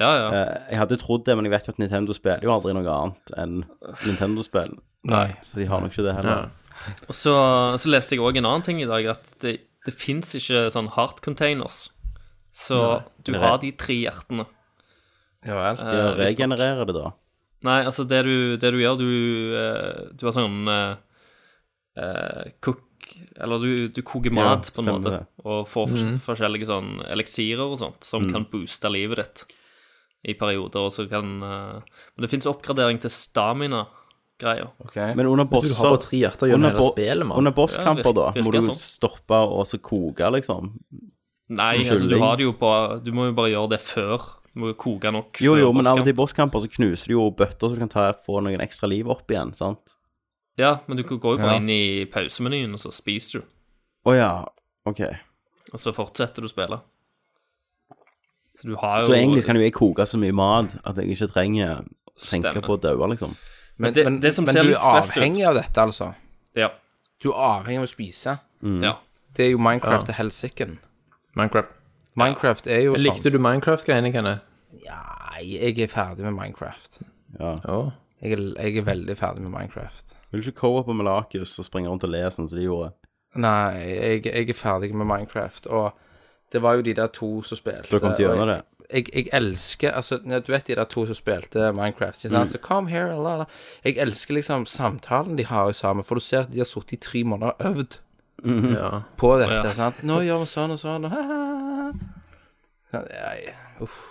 S6: Ja, ja.
S3: Eh, jeg hadde trodd det, men jeg vet jo at Nintendo spiller jo aldri noe annet enn Nintendo-spill.
S5: Nei.
S3: Så de har nok ikke det heller.
S6: Og så, så leste jeg òg en annen ting i dag, at det, det fins ikke sånn hard containers. Så du
S3: det er-
S6: har de tre hjertene.
S5: Ja vel.
S3: De
S6: eh, visstnok.
S3: regenererer det, da.
S6: Nei, altså det du, det du gjør, du, eh, du har sånn eh, eh, cook Eller du, du koker
S3: Ja,
S6: mat, på en
S3: stemmer
S6: måte,
S3: det. Mhm. Mm.
S6: og får fors- forskjellige sånn eliksirer og sånt, som kan booste livet ditt i perioder, og så kan eh, Men det fins oppgradering til stamina-greier.
S5: Ok.
S3: Men under
S4: Du har
S3: bosser
S4: bare tre hjerter gjennom
S3: under,
S4: hele
S3: bo
S4: spillet, mann.
S3: under bosskamper, da,
S6: Ja, virker-
S3: må du
S6: virker sånn.
S3: stoppe og så koke, liksom.
S6: Nei,
S3: Skylling.
S6: altså du har det jo på Du må jo bare gjøre det før. Du må jo koke nok.
S3: Jo,
S6: før
S3: jo, men av og
S6: bosskamp.
S3: til i bosskamper så knuser du jo bøtter, så du kan ta, få noen ekstra liv opp igjen, sant?
S6: Ja, men du går jo bare
S5: Ja.
S6: inn i pausemenyen, og så spiser du.
S3: Å ja, ok.
S6: Og så fortsetter du å spille. Så du har jo
S3: Så egentlig kan jo jeg koke så mye mat at jeg ikke trenger tenke
S6: Stemmer.
S3: på å daue, liksom.
S5: Men,
S6: det-
S5: men,
S6: det som
S5: men
S6: ser
S5: du
S6: litt
S5: er
S6: stress ut.
S5: avhengig av dette, altså.
S6: Ja.
S5: Du er avhengig av å spise.
S3: Mm.
S6: ja.
S5: Det er jo Minecraft til helsiken.
S4: Minecraft.
S5: Minecraft er jo
S4: Likte
S5: sånn.
S4: du Minecraft-greiene, Kenneth?
S5: Nei, jeg er ferdig med Minecraft.
S4: Ja.
S5: Jeg er, jeg er veldig ferdig med Minecraft.
S3: Vil du ikke co-ope med Lakus og springe rundt og le sånn som de gjorde?
S5: Nei, jeg, jeg er ferdig med Minecraft. Og det var jo de der to som spilte.
S3: Da kom de
S5: og jeg-
S6: Eh,
S3: gjennom det.
S5: jeg, jeg elsker altså, ja, Du vet de der to som spilte Minecraft? Ikke
S6: Mm.
S5: sant? Så come here, la, la. Jeg elsker liksom samtalen de har jo sammen. For du ser at de har sittet i tre måneder og øvd
S4: Ja.
S5: på dette.
S6: Mhm. Å, ja.
S5: sant? 'Nå gjør vi sånn og sånn' og ha-ha. Sånn, nei, uff.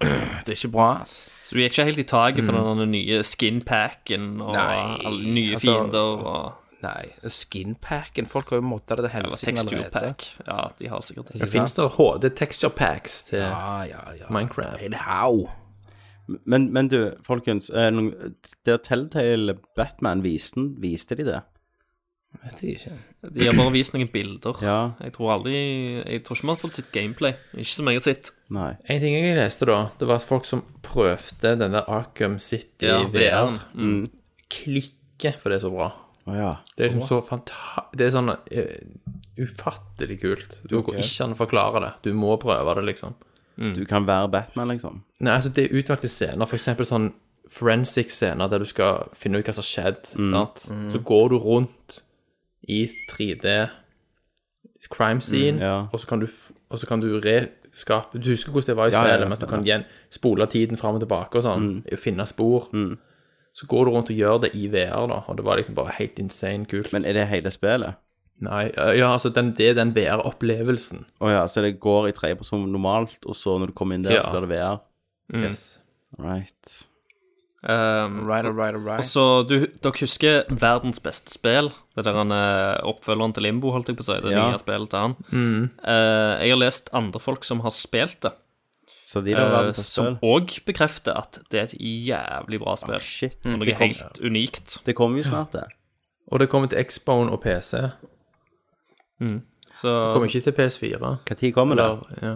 S5: Det er ikke bra, ass.
S6: Så du gikk ikke helt i taket for den nye skinpacken og
S5: Mm. Nei,
S6: alle nye
S5: altså-
S6: fiender og
S5: Nei. Skinpacken Folk har jo modda det til
S6: eller
S5: helsike allerede.
S6: teksturpack. Ja, de har sikkert det.
S4: Det finnes det HD texture packs til
S5: Ja, ja, ja.
S4: Minecraft.
S5: Anyhow.
S3: Men, men du, folkens, eh, noen- der Telltale Batman viste, viste de det?
S5: Vet jeg ikke.
S6: De har bare vist noen bilder.
S3: Ja.
S6: Jeg tror aldri Jeg tror ikke vi har fått sitt gameplay. Ikke som jeg har sett.
S3: Nei.
S4: En ting jeg leste, da, det var at folk som prøvde den der Arkham City
S6: Ja,
S4: VR,
S6: VR.
S4: klikker, for det er så bra.
S3: Å ja.
S4: Det er liksom så fanta... Det er sånn eh, ufattelig kult. Du går ikke an å forklare det. Du må prøve det, liksom.
S6: Mm.
S3: Du kan være Batman, liksom.
S4: Nei, altså, det er utvalgte scener, for eksempel sånn forensic-scener der du skal finne ut hva som har skjedd,
S3: Mm.
S4: sant? Så går du rundt i 3D crime scene,
S3: Mm, ja.
S4: og, så kan du, f- og så kan du reskape Du husker hvordan det var i
S3: ja,
S4: spillet,
S3: ja,
S4: men at du
S3: stemmer. Mm.
S4: kan igjen spole tiden fram og tilbake og sånn, og finne spor. Så går du rundt og gjør det i VR, da, og det var liksom bare helt insane kult.
S3: Men er det hele spillet?
S4: Nei, ja, altså, den, det er den VR-opplevelsen.
S3: Å ja, så det går i tredjeperson normalt, og så når du kommer inn der,
S4: Ja.
S3: så blir det VR?
S4: Yes.
S3: Right.
S6: Um,
S5: Right, all right, all right.
S6: Og så, du, dere husker verdens beste spill? Det der han eh, oppfølgeren til Limbo, holdt jeg på å si. Det
S3: Ja. Mm.
S6: nye spillet til han. Eh, jeg har lest andre folk som har spilt det,
S3: Så de der
S6: eh,
S3: var det på
S6: som
S3: spill?
S6: òg bekrefter at det er et jævlig bra spill.
S3: Ah, Shit.
S6: og
S3: Det
S6: noe
S3: kom-
S6: helt unikt.
S3: Det kommer jo snart, det.
S4: Mm. Og det kommer til Xbone og PC.
S6: Så
S4: Kommer ikke til PS4.
S3: Når kommer det?
S4: Eller, ja.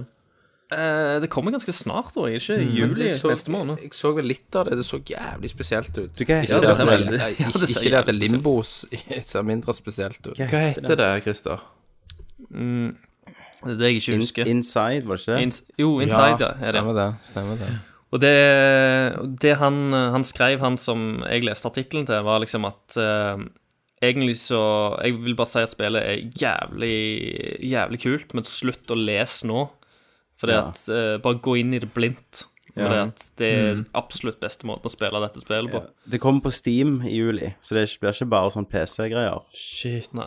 S6: eh, det kommer ganske snart, da. Ikke
S3: Mm.
S6: i
S5: Men
S6: juli
S5: det så-
S6: neste måned.
S5: Jeg så vel litt av det. Det så jævlig spesielt ut.
S3: Du, hva heter
S5: Ikke
S3: det?
S5: det at
S4: veldig-
S5: det, nei,
S6: Ja, det
S5: ikke
S6: ser
S5: ikke det at det
S6: jævlig
S5: limbos ser mindre spesielt ut.
S4: Hva heter det, Christer?
S6: Det er det jeg ikke husker.
S3: Inside, var det ikke det?
S6: Ins- jo, Inside, ja. er det.
S5: stemmer det. Stemmer det.
S6: Og det, det han, han skrev, han som jeg leste artikkelen til, var liksom at eh, Egentlig så Jeg vil bare si at spillet er jævlig, jævlig kult, men slutt å lese nå. For det
S3: Ja.
S6: at eh, Bare gå inn i det blindt. For det at det er absolutt beste måten å spille dette spillet på.
S3: Det kommer på Steam i juli, så det er ikke- blir ikke bare sånn PC-greier.
S4: Shit.
S6: Nei.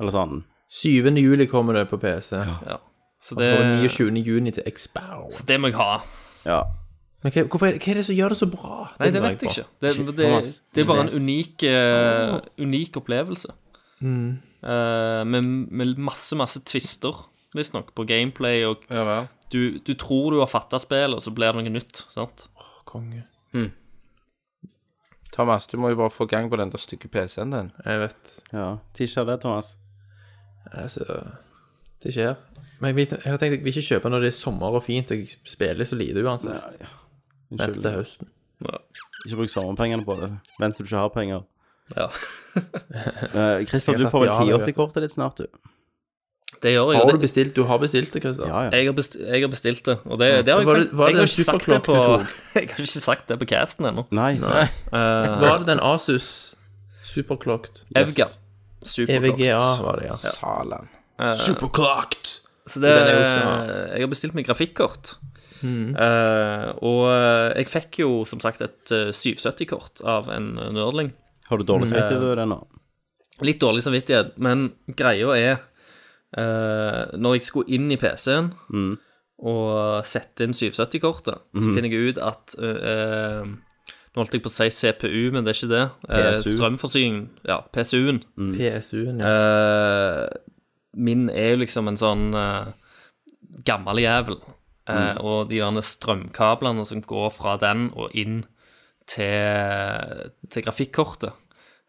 S3: Eller sånn.
S4: 7. juli kommer det på PC.
S6: Ja. Så
S4: Det
S6: det,
S4: er 29. juni til Xbound.
S6: så det må jeg ha.
S3: Ja.
S4: Men hva, hvorfor er det, hva er det som gjør det så bra?
S6: Nei, det
S4: lurer
S6: vet jeg
S4: på.
S6: ikke. Det,
S3: Shit,
S6: det, det,
S3: Thomas.
S6: er bare en unik, eh, unik opplevelse.
S3: Mm.
S6: Eh, med, med masse, masse twister, visstnok, på gameplay. Og
S5: Ja vel.
S6: du, du tror du har fatta spillet, og så blir det noe nytt. sant?
S4: Åh, Konge.
S5: Thomas, du må jo bare få gang på den der stygge PC-en din.
S4: Jeg vet.
S3: ja. Tisha det, Thomas.
S4: Altså, det skjer. Men jeg, vil, jeg har tenkt jeg vil ikke kjøpe når det er sommer og fint. Jeg spiller så lite uansett.
S3: Unnskyld.
S4: Vent til høsten.
S3: Ikke bruk sommerpengene på det. Vent til du ikke har penger.
S6: Ja.
S3: Eh, Christer,
S4: Jeg
S3: du
S4: har
S3: får vel
S4: sagt ja,
S3: 10 til kortet ditt snart, du.
S6: Det gjør jeg.
S4: Har
S6: og
S4: du
S6: det-
S4: bestilt? Du har bestilt det, Christer.
S3: Ja, ja.
S6: Jeg har, bestilt, jeg har bestilt det, og det, det har jeg
S4: Var det-
S6: faktisk
S4: var
S6: jeg har
S4: det
S6: ikke sagt det
S4: superklokk
S6: på,
S4: du
S6: Jeg har ikke sagt det på casten ennå.
S3: Nei.
S6: Uh,
S4: Var det den Asus Superclocked? E
S6: Evga.
S4: EVGA
S6: Superklokk.
S4: var det, ja.
S5: Salan.
S4: Superclocked!
S6: Så det,
S4: Det er den jeg Mm. også skal
S6: jeg har bestilt meg grafikkort. Eh, og eh, jeg fikk jo som sagt et eh, 770-kort av en eh, nerdling.
S3: Har du dårlig samvittighet over det nå?
S6: Litt dårlig samvittighet, men greia er eh, Når jeg skulle inn i PC-en og sette inn 770-kortet, så finner jeg ut at eh, eh, Nå holdt jeg på å si CPU, men det er ikke det. Eh,
S3: PSU.
S6: strømforsyningen, ja, PCU-en.
S4: PSU-en, ja.
S6: Eh, min er jo liksom en sånn eh, gammel jævel.
S5: Mm.
S6: Eh, Og de der strømkablene som går fra den og inn til, til grafikkortet,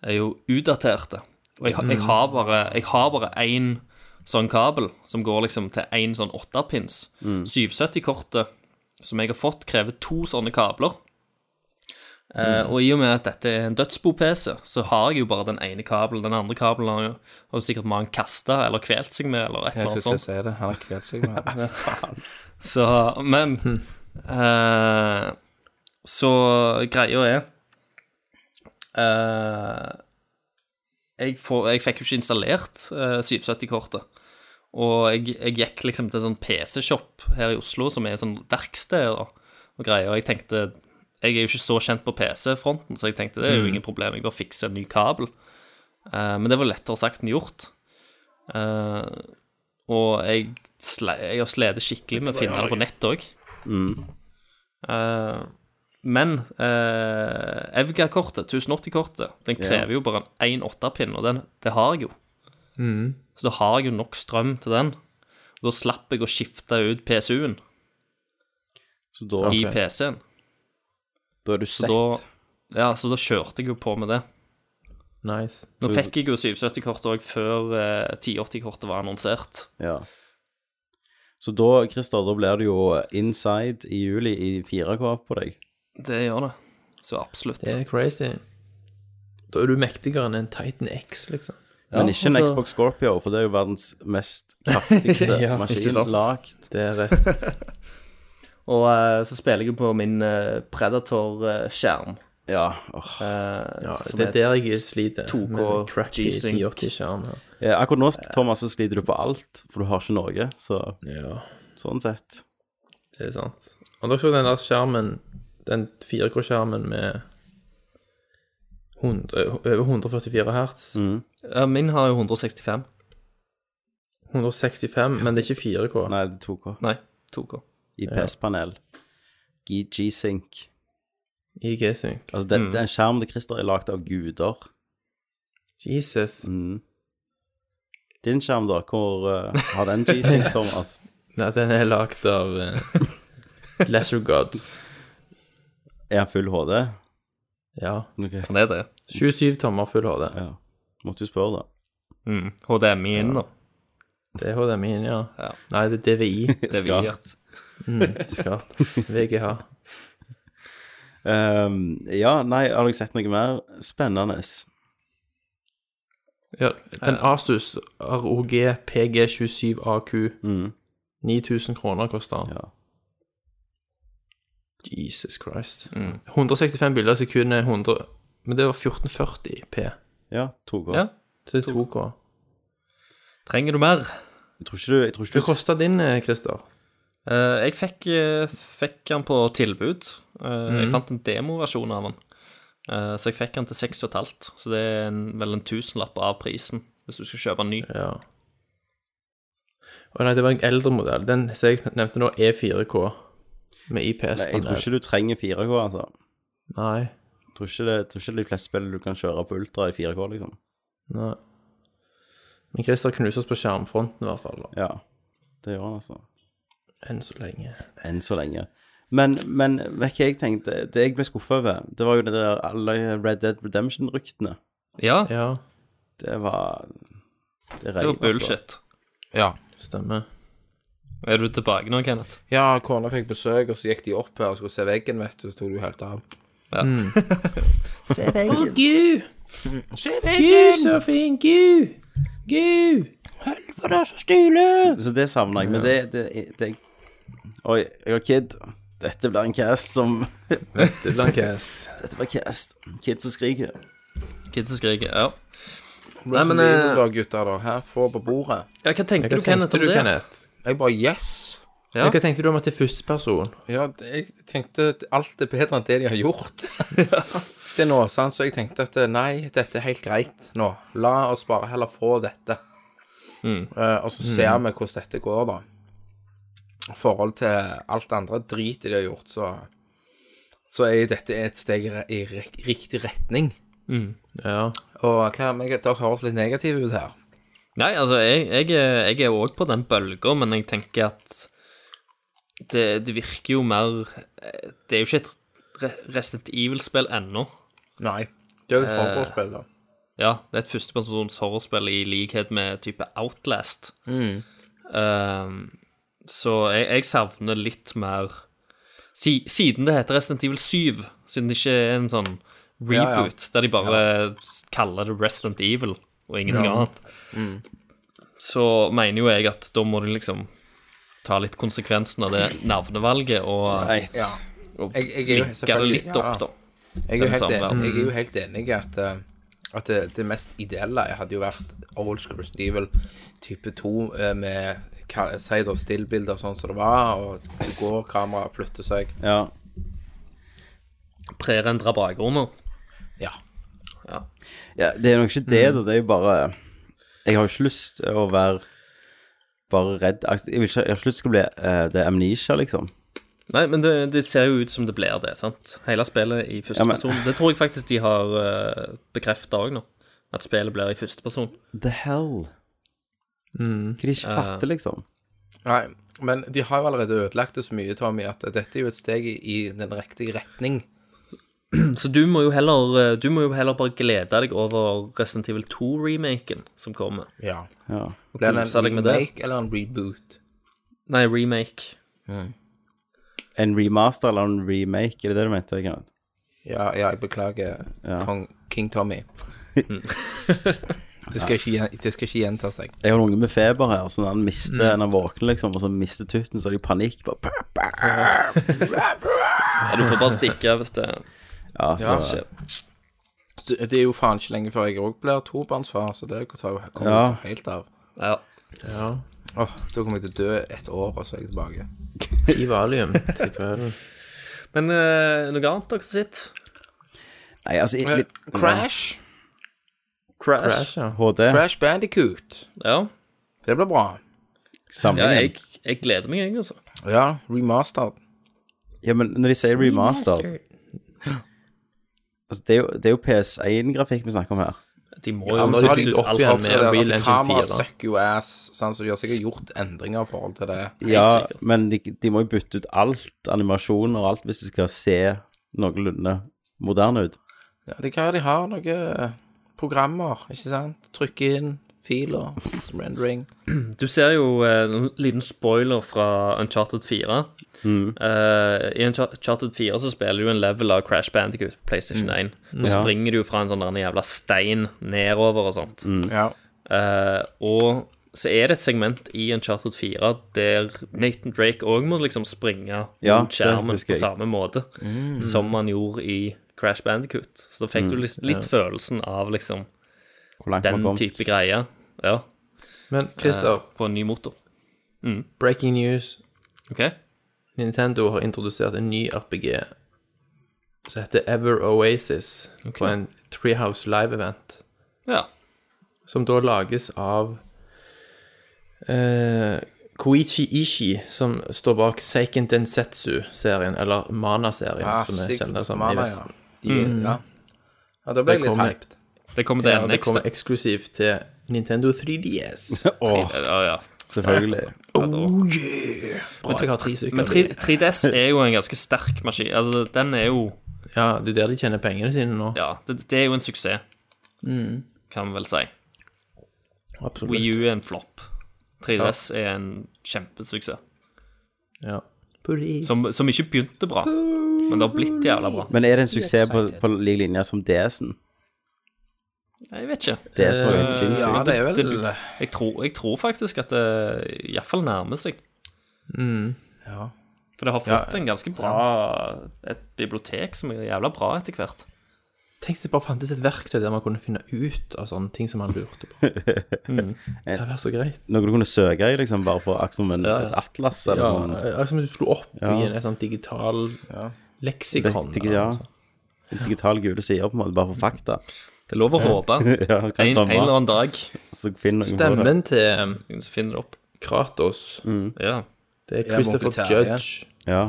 S6: er jo utdaterte. Og jeg,
S5: Mm.
S6: jeg har bare Jeg har bare én sånn kabel som går liksom til én sånn åttepins.
S5: Mm.
S6: 770-kortet som jeg har fått, krever to sånne kabler. Eh,
S5: Mm.
S6: og i og med at dette er en dødsbo-PC, så har jeg jo bare den ene kabelen. Den andre kabelen har jo, har jo sikkert mange kasta eller kvelt seg med, eller et
S5: Jeg
S6: eller
S5: skulle
S6: annet
S5: til å
S6: sånt.
S5: si det. Han har kvelt seg med det.
S6: Så, men eh, Så greia er eh, jeg, får, jeg fikk jo ikke installert eh, 770-kortet. Og jeg, jeg gikk liksom til en sånn PC-shop her i Oslo, som er et sånn verksted og, og greier. Og jeg tenkte Jeg er jo ikke så kjent på PC-fronten, så jeg tenkte det er jo ingen problem, jeg bare fikser en ny kabel. Eh, men det var lettere sagt enn gjort. Eh, og jeg, sle, jeg har slitt skikkelig med å finne det på nett òg. men eh, Evga-kortet, 1080-kortet, den krever jo bare en 1,8-pinn, og den, det har jeg jo.
S4: Mm.
S6: Så da har jeg jo nok strøm til den. Da slapp jeg å skifte ut PSU-en
S3: Så da,
S6: i PC-en.
S3: da er du
S6: Så
S3: sett.
S6: da, ja, så da kjørte jeg jo på med det.
S4: Nice.
S6: Nå fikk jeg jo 770-kortet òg før eh, 1080-kortet var annonsert.
S3: Ja. Så da, Christer, da blir det jo inside i juli i 4K på deg.
S6: Det gjør det. Så absolutt.
S4: Det er crazy. Da er du mektigere enn en Titan X, liksom.
S3: Men ikke en
S4: altså-
S3: Xbox Scorpio, for det er jo verdens mest kraftigste
S4: Ja, ikke
S3: maskin
S4: sant?
S3: lagd.
S4: Det er rett.
S6: Og eh, så spiller jeg jo på min eh, Predator-skjerm. eh,
S3: Ja. åh.
S4: Eh. Ja,
S6: som
S4: det er
S6: er-
S4: der jeg sliter.
S6: 2K
S4: med crappy
S6: G-Sync.
S4: 1080-skjerm her.
S3: Eh, Akkurat nå, Thomas, så sliter du på alt, for du har ikke noe. Så
S4: Ja,
S3: sånn sett.
S4: det er sant. Og da så den der skjermen, den 4K-skjermen med 100, over 144 hertz.
S3: Mm.
S6: Ja, min har jo 165.
S4: 165, men det er ikke 4K.
S3: Nei, det tok henne.
S6: Nei, 2K.
S3: IPS-panel. G-Sync.
S4: I G-Sync.
S3: Altså, det, det er en skjerm til Christer er lagd av guder. Mm.
S4: Jesus.
S3: Din skjerm, da? Hvor eh, har den G-Sync, Thomas?
S4: Nei, den er lagd av eh, Lesser Gods.
S3: Er han full HD?
S4: Ja.
S3: Ok,
S6: Han er det.
S4: 27 tommer full HD.
S3: ja. Måtte jo spørre, da.
S6: Mm. HDMI inn, da.
S4: Det er HDMI-en, ja.
S6: Ja.
S4: Nei, det er DVI.
S6: Det vil jeg.
S3: Skarpt.
S4: Skart. VGH.
S3: Ehm, ja, nei, har dere sett noe mer spennende?
S4: Ja, en Asus ROG PG27AQ.
S3: Mm.
S4: 9000 kroner koster den.
S3: Ja.
S4: Jesus Christ. 165 bilder i sekundet, 100 Men det var 1440P.
S3: Ja, 2K.
S6: Ja.
S4: Så det er 2K.
S6: Trenger du mer?
S3: Jeg tror ikke du, jeg tror ikke
S4: Hva
S3: du
S4: kosta din, eh, Christer?
S6: Eh, jeg fikk, eh, fikk han på tilbud. Eh, Jeg fant en demoversjon av han. Eh, så jeg fikk han til 6,5. Så det er en, vel en tusenlapp av prisen hvis du skal kjøpe en ny.
S4: Ja. Å nei, det var en eldre modell. Den som jeg nevnte nå, er 4K med
S3: Nei, jeg tror
S4: IPS-panel.
S3: ikke du trenger 4K, altså.
S4: Nei.
S3: Jeg tror ikke det, jeg tror ikke de fleste spill du kan kjøre på ultra i 4K, liksom.
S4: Nei. Men Christer knuses på skjermfronten, i hvert fall. da.
S3: Ja, det gjør han, altså.
S4: Enn så lenge.
S3: Enn så lenge. Men, men vet du hva jeg tenkte? Det jeg ble skuffa over, det var jo det der alle Red Dead Redemption-ryktene.
S6: Ja, altså.
S4: Ja,
S3: Det var Det, altså.
S6: det var bullshit.
S5: Ja.
S4: stemmer.
S6: Er du tilbake nå, Kenneth?
S5: ja, kona fikk besøk, og så gikk de opp her og skulle se veggen, vet du. Så tok du helt av.
S6: Ja.
S5: Se veggen.
S3: Så det savner jeg. Men det, det, det Oi, jeg har kid. Dette blir en cast som
S4: Det blir en cast.
S3: Dette blir cast. Kid som skriker.
S6: Kids som skriker. Ja.
S5: Nei,
S6: men,
S5: men
S6: eh,
S5: da, gutter, da. Her får på bordet.
S6: ja, hva tenkte
S4: Hva
S6: du, Kenneth,
S4: tenkte
S6: om
S4: du,
S6: det?
S4: Kenneth?
S5: Jeg bare Yes!
S6: Ja.
S4: Hva tenkte du om at det er førsteperson?
S5: Ja, det- jeg tenkte at alt er bedre enn det de har gjort. det nå, sant? Så jeg tenkte at eh, nei, dette er helt greit nå. La oss bare heller få dette.
S6: Mm.
S5: Eh, og så ser vi hvordan dette går, da. I forhold til alt det andre drit de har gjort, så så er jo dette et steg i, re- i re- riktig retning.
S4: Ja.
S5: Og hva, men jeg- dere høres litt negative ut her.
S6: Nei, altså, jeg, jeg, er- jeg er òg på den bølga, men jeg tenker at det, det virker jo mer eh, Det er jo ikke et Re- Resident Evil-spill ennå.
S5: Nei. Det er jo et
S6: Eh,
S5: forbeholdsspill, da.
S6: Ja, det er et førstepersons horrorspill i likhet med type Outlast.
S5: Mm.
S6: Ehm, så jeg, jeg savner litt mer si, Siden det heter Resident Evil 7, siden det ikke er en sånn
S5: Ja, ja.
S6: reboot der de bare s- kaller det Resident Evil og ingenting annet,
S5: Mm.
S6: så mener jo jeg at da må du liksom ta litt konsekvensen av det navnevalget og,
S3: Right.
S5: Ja.
S6: og
S5: Jeg- jeg er jo
S6: linke det
S5: selvfølgelig-
S6: litt opp,
S5: ja.
S6: da.
S5: Jeg er, jo
S6: Den
S5: helt
S6: samme
S5: enig,
S6: verden.
S5: jeg er jo helt enig i at, eh, at det, det mest ideelle hadde jo vært Old School Resident Evil type 2 eh, med ka- si da stillbilder sånn som det var, og det går, kameraet flytter seg.
S3: Ja.
S6: Prerendra bakgrunner.
S5: Ja.
S3: ja. Det er nok ikke det, da. Det er jo bare Jeg har jo ikke lyst til å være bare redd. Altså, Jeg, vil ikke, jeg har ikke lyst til å bli eh, det er amnesia, liksom.
S6: Nei, men det, det ser jo ut som det blir det, sant? Hele spillet i første
S3: Ja, men-
S6: person. Det tror jeg faktisk de har uh, bekrefta òg nå. At spillet blir i første person.
S3: The hell.
S5: Mm.
S3: Hva de ikke fatter, liksom.
S5: Nei, men de har jo allerede ødelagt det så mye, Tommy, at dette er jo et steg i, i den riktige retning.
S6: Så du må jo heller, eh, du må jo heller bare glede deg over Resident Evil 2-remaken som kommer.
S5: Ja.
S3: Ja.
S5: Blir det
S6: Koser
S5: en
S6: deg med det.
S5: remake eller en reboot?
S6: Nei, remake.
S3: En remaster eller en remake, er det det du mente? Kenneth?
S5: Ja, ja jeg beklager, Kong, King Tommy. det, skal ikke, gjen- det skal ikke gjenta seg.
S3: Jeg har noen med feber her, så når han mister
S5: Mm.
S3: Når han våkner, liksom, og så mister tutten, så har de panikk. Bare, bah, bah.
S6: Ja, du får bare stikke hvis det
S3: Ja, så, ja.
S6: skjer.
S5: Det, det er jo faen ikke lenge før jeg òg blir tobarnsfar, så det tar jo kommer
S3: Ja.
S5: jo helt av.
S6: Ja.
S5: Åh, Da kommer jeg til å dø et år, og så er jeg tilbake.
S4: I valium til kvelden.
S6: Men eh, noe annet dere sitt?
S3: Nei, altså i- litt,
S5: Eh, Crash.
S6: Crash.
S4: Crash, ja.
S3: HD.
S5: Crash Bandicoot.
S6: Ja.
S5: Det blir bra.
S6: ja,
S3: Samlingen. Ja,
S6: jeg, jeg gleder meg, jeg, altså.
S5: Ja, remastered.
S3: men når de sier remastered altså, det, er jo, det er jo PS1-grafikk vi snakker om her.
S6: De må jo
S5: Ja, men så har de
S6: legge ut
S5: opp
S6: alt
S5: i alt
S6: sammen
S5: det
S6: med
S5: der,
S6: Real
S5: altså, kamera
S6: Engine 4.
S5: sucker jo ass, sant, så de har sikkert gjort endringer i forhold til det.
S3: Ja,
S6: sikkert.
S3: men de, de må jo bytte ut alt, animasjon og alt, hvis de skal se noenlunde moderne ut.
S5: Ja, det kan være de har noen programmer, ikke sant? Trykke inn filer, rendering.
S6: Du ser jo eh, en liten spoiler fra Uncharted 4.
S3: Mm.
S6: Eh, I Uncha- Uncharted 4 så spiller du en level av Crash Bandicoot på PlayStation 1. Nå
S3: Ja.
S6: springer du jo fra en sånn der jævla stein nedover og sånt.
S3: Mm.
S5: Ja.
S6: Eh, og så er det et segment i Uncharted 4 der Nathan Drake òg må liksom springe
S3: Ja,
S6: rundt skjermen
S3: det husker
S6: på
S3: jeg.
S6: samme måte som han gjorde i Crash Bandicoot. Så da fikk
S3: Mm.
S6: du litt, litt følelsen av liksom
S3: Hvor langt man
S6: den
S3: har kommet.
S6: type greie. Ja,
S4: Men Christer,
S6: på en ny motor.
S4: breaking news.
S6: OK?
S4: Nintendo har introdusert en ny RPG som heter Ever Oasis på en Treehouse Live-event,
S6: Ja.
S4: som da lages av eh, Koichi Ishi, som står bak Seiken Densetsu-serien, eller Mana-serien,
S5: Ah,
S4: som vi kjenner
S5: sikkert.
S4: det som i
S5: Mana, ja.
S4: Vesten.
S5: De, ja. ja, da ble
S4: Det
S5: jeg litt
S4: kommer-
S5: hyped.
S6: Det kommer til
S4: Og
S6: NX.
S4: det kommer eksklusivt til Nintendo 3DS.
S3: Åh,
S6: Ja, ja.
S3: selvfølgelig.
S4: Bra, jeg har tre stykker.
S6: Men 3, 3DS er jo en ganske sterk maskin. Altså, den er jo
S4: Ja, det er der de tjener pengene sine nå.
S6: Ja, det, det er jo en suksess, kan vi vel si.
S4: Absolutt.
S6: Wii U er en flopp. 3DS er en kjempesuksess.
S4: Ja.
S6: Som, som ikke begynte bra, men det har blitt jævla bra.
S3: Men er det en suksess på, på lik linje som DS-en?
S6: Jeg vet ikke.
S3: Det som er helt
S5: Ja,
S3: sinnssykt.
S5: det er vel
S6: Det- Jeg tror, jeg tror faktisk at eh, det iallfall nærmer seg. Mm.
S5: Ja.
S6: For det har fått en ganske bra Et bibliotek som er jævla bra etter hvert.
S4: Tenk hvis det bare fantes et verktøy der man kunne finne ut av sånne ting som man lurte på. Mm. Det hadde vært så greit.
S3: Noe du kunne søke i, liksom, bare på akkurat som en, et atlas eller
S4: Ja,
S3: noe.
S4: eh, Som om du slo opp i en et sånt digital leksikon.
S3: Riktig,
S4: eller
S3: ja.
S4: noe sånt.
S3: En Digital gule sider, på en måte, bare for fakta.
S6: Det er lov å håpe.
S3: Ja, kan
S6: En, en
S3: drømme,
S6: eller annen dag
S3: så finn noen på det.
S4: Stemmen til um,
S6: så finner det opp.
S4: Kratos,
S6: Ja.
S4: det
S5: Mm.
S4: er
S5: Ja,
S4: Christopher
S5: Mobilitær, ja.
S4: Judge.
S3: Ja.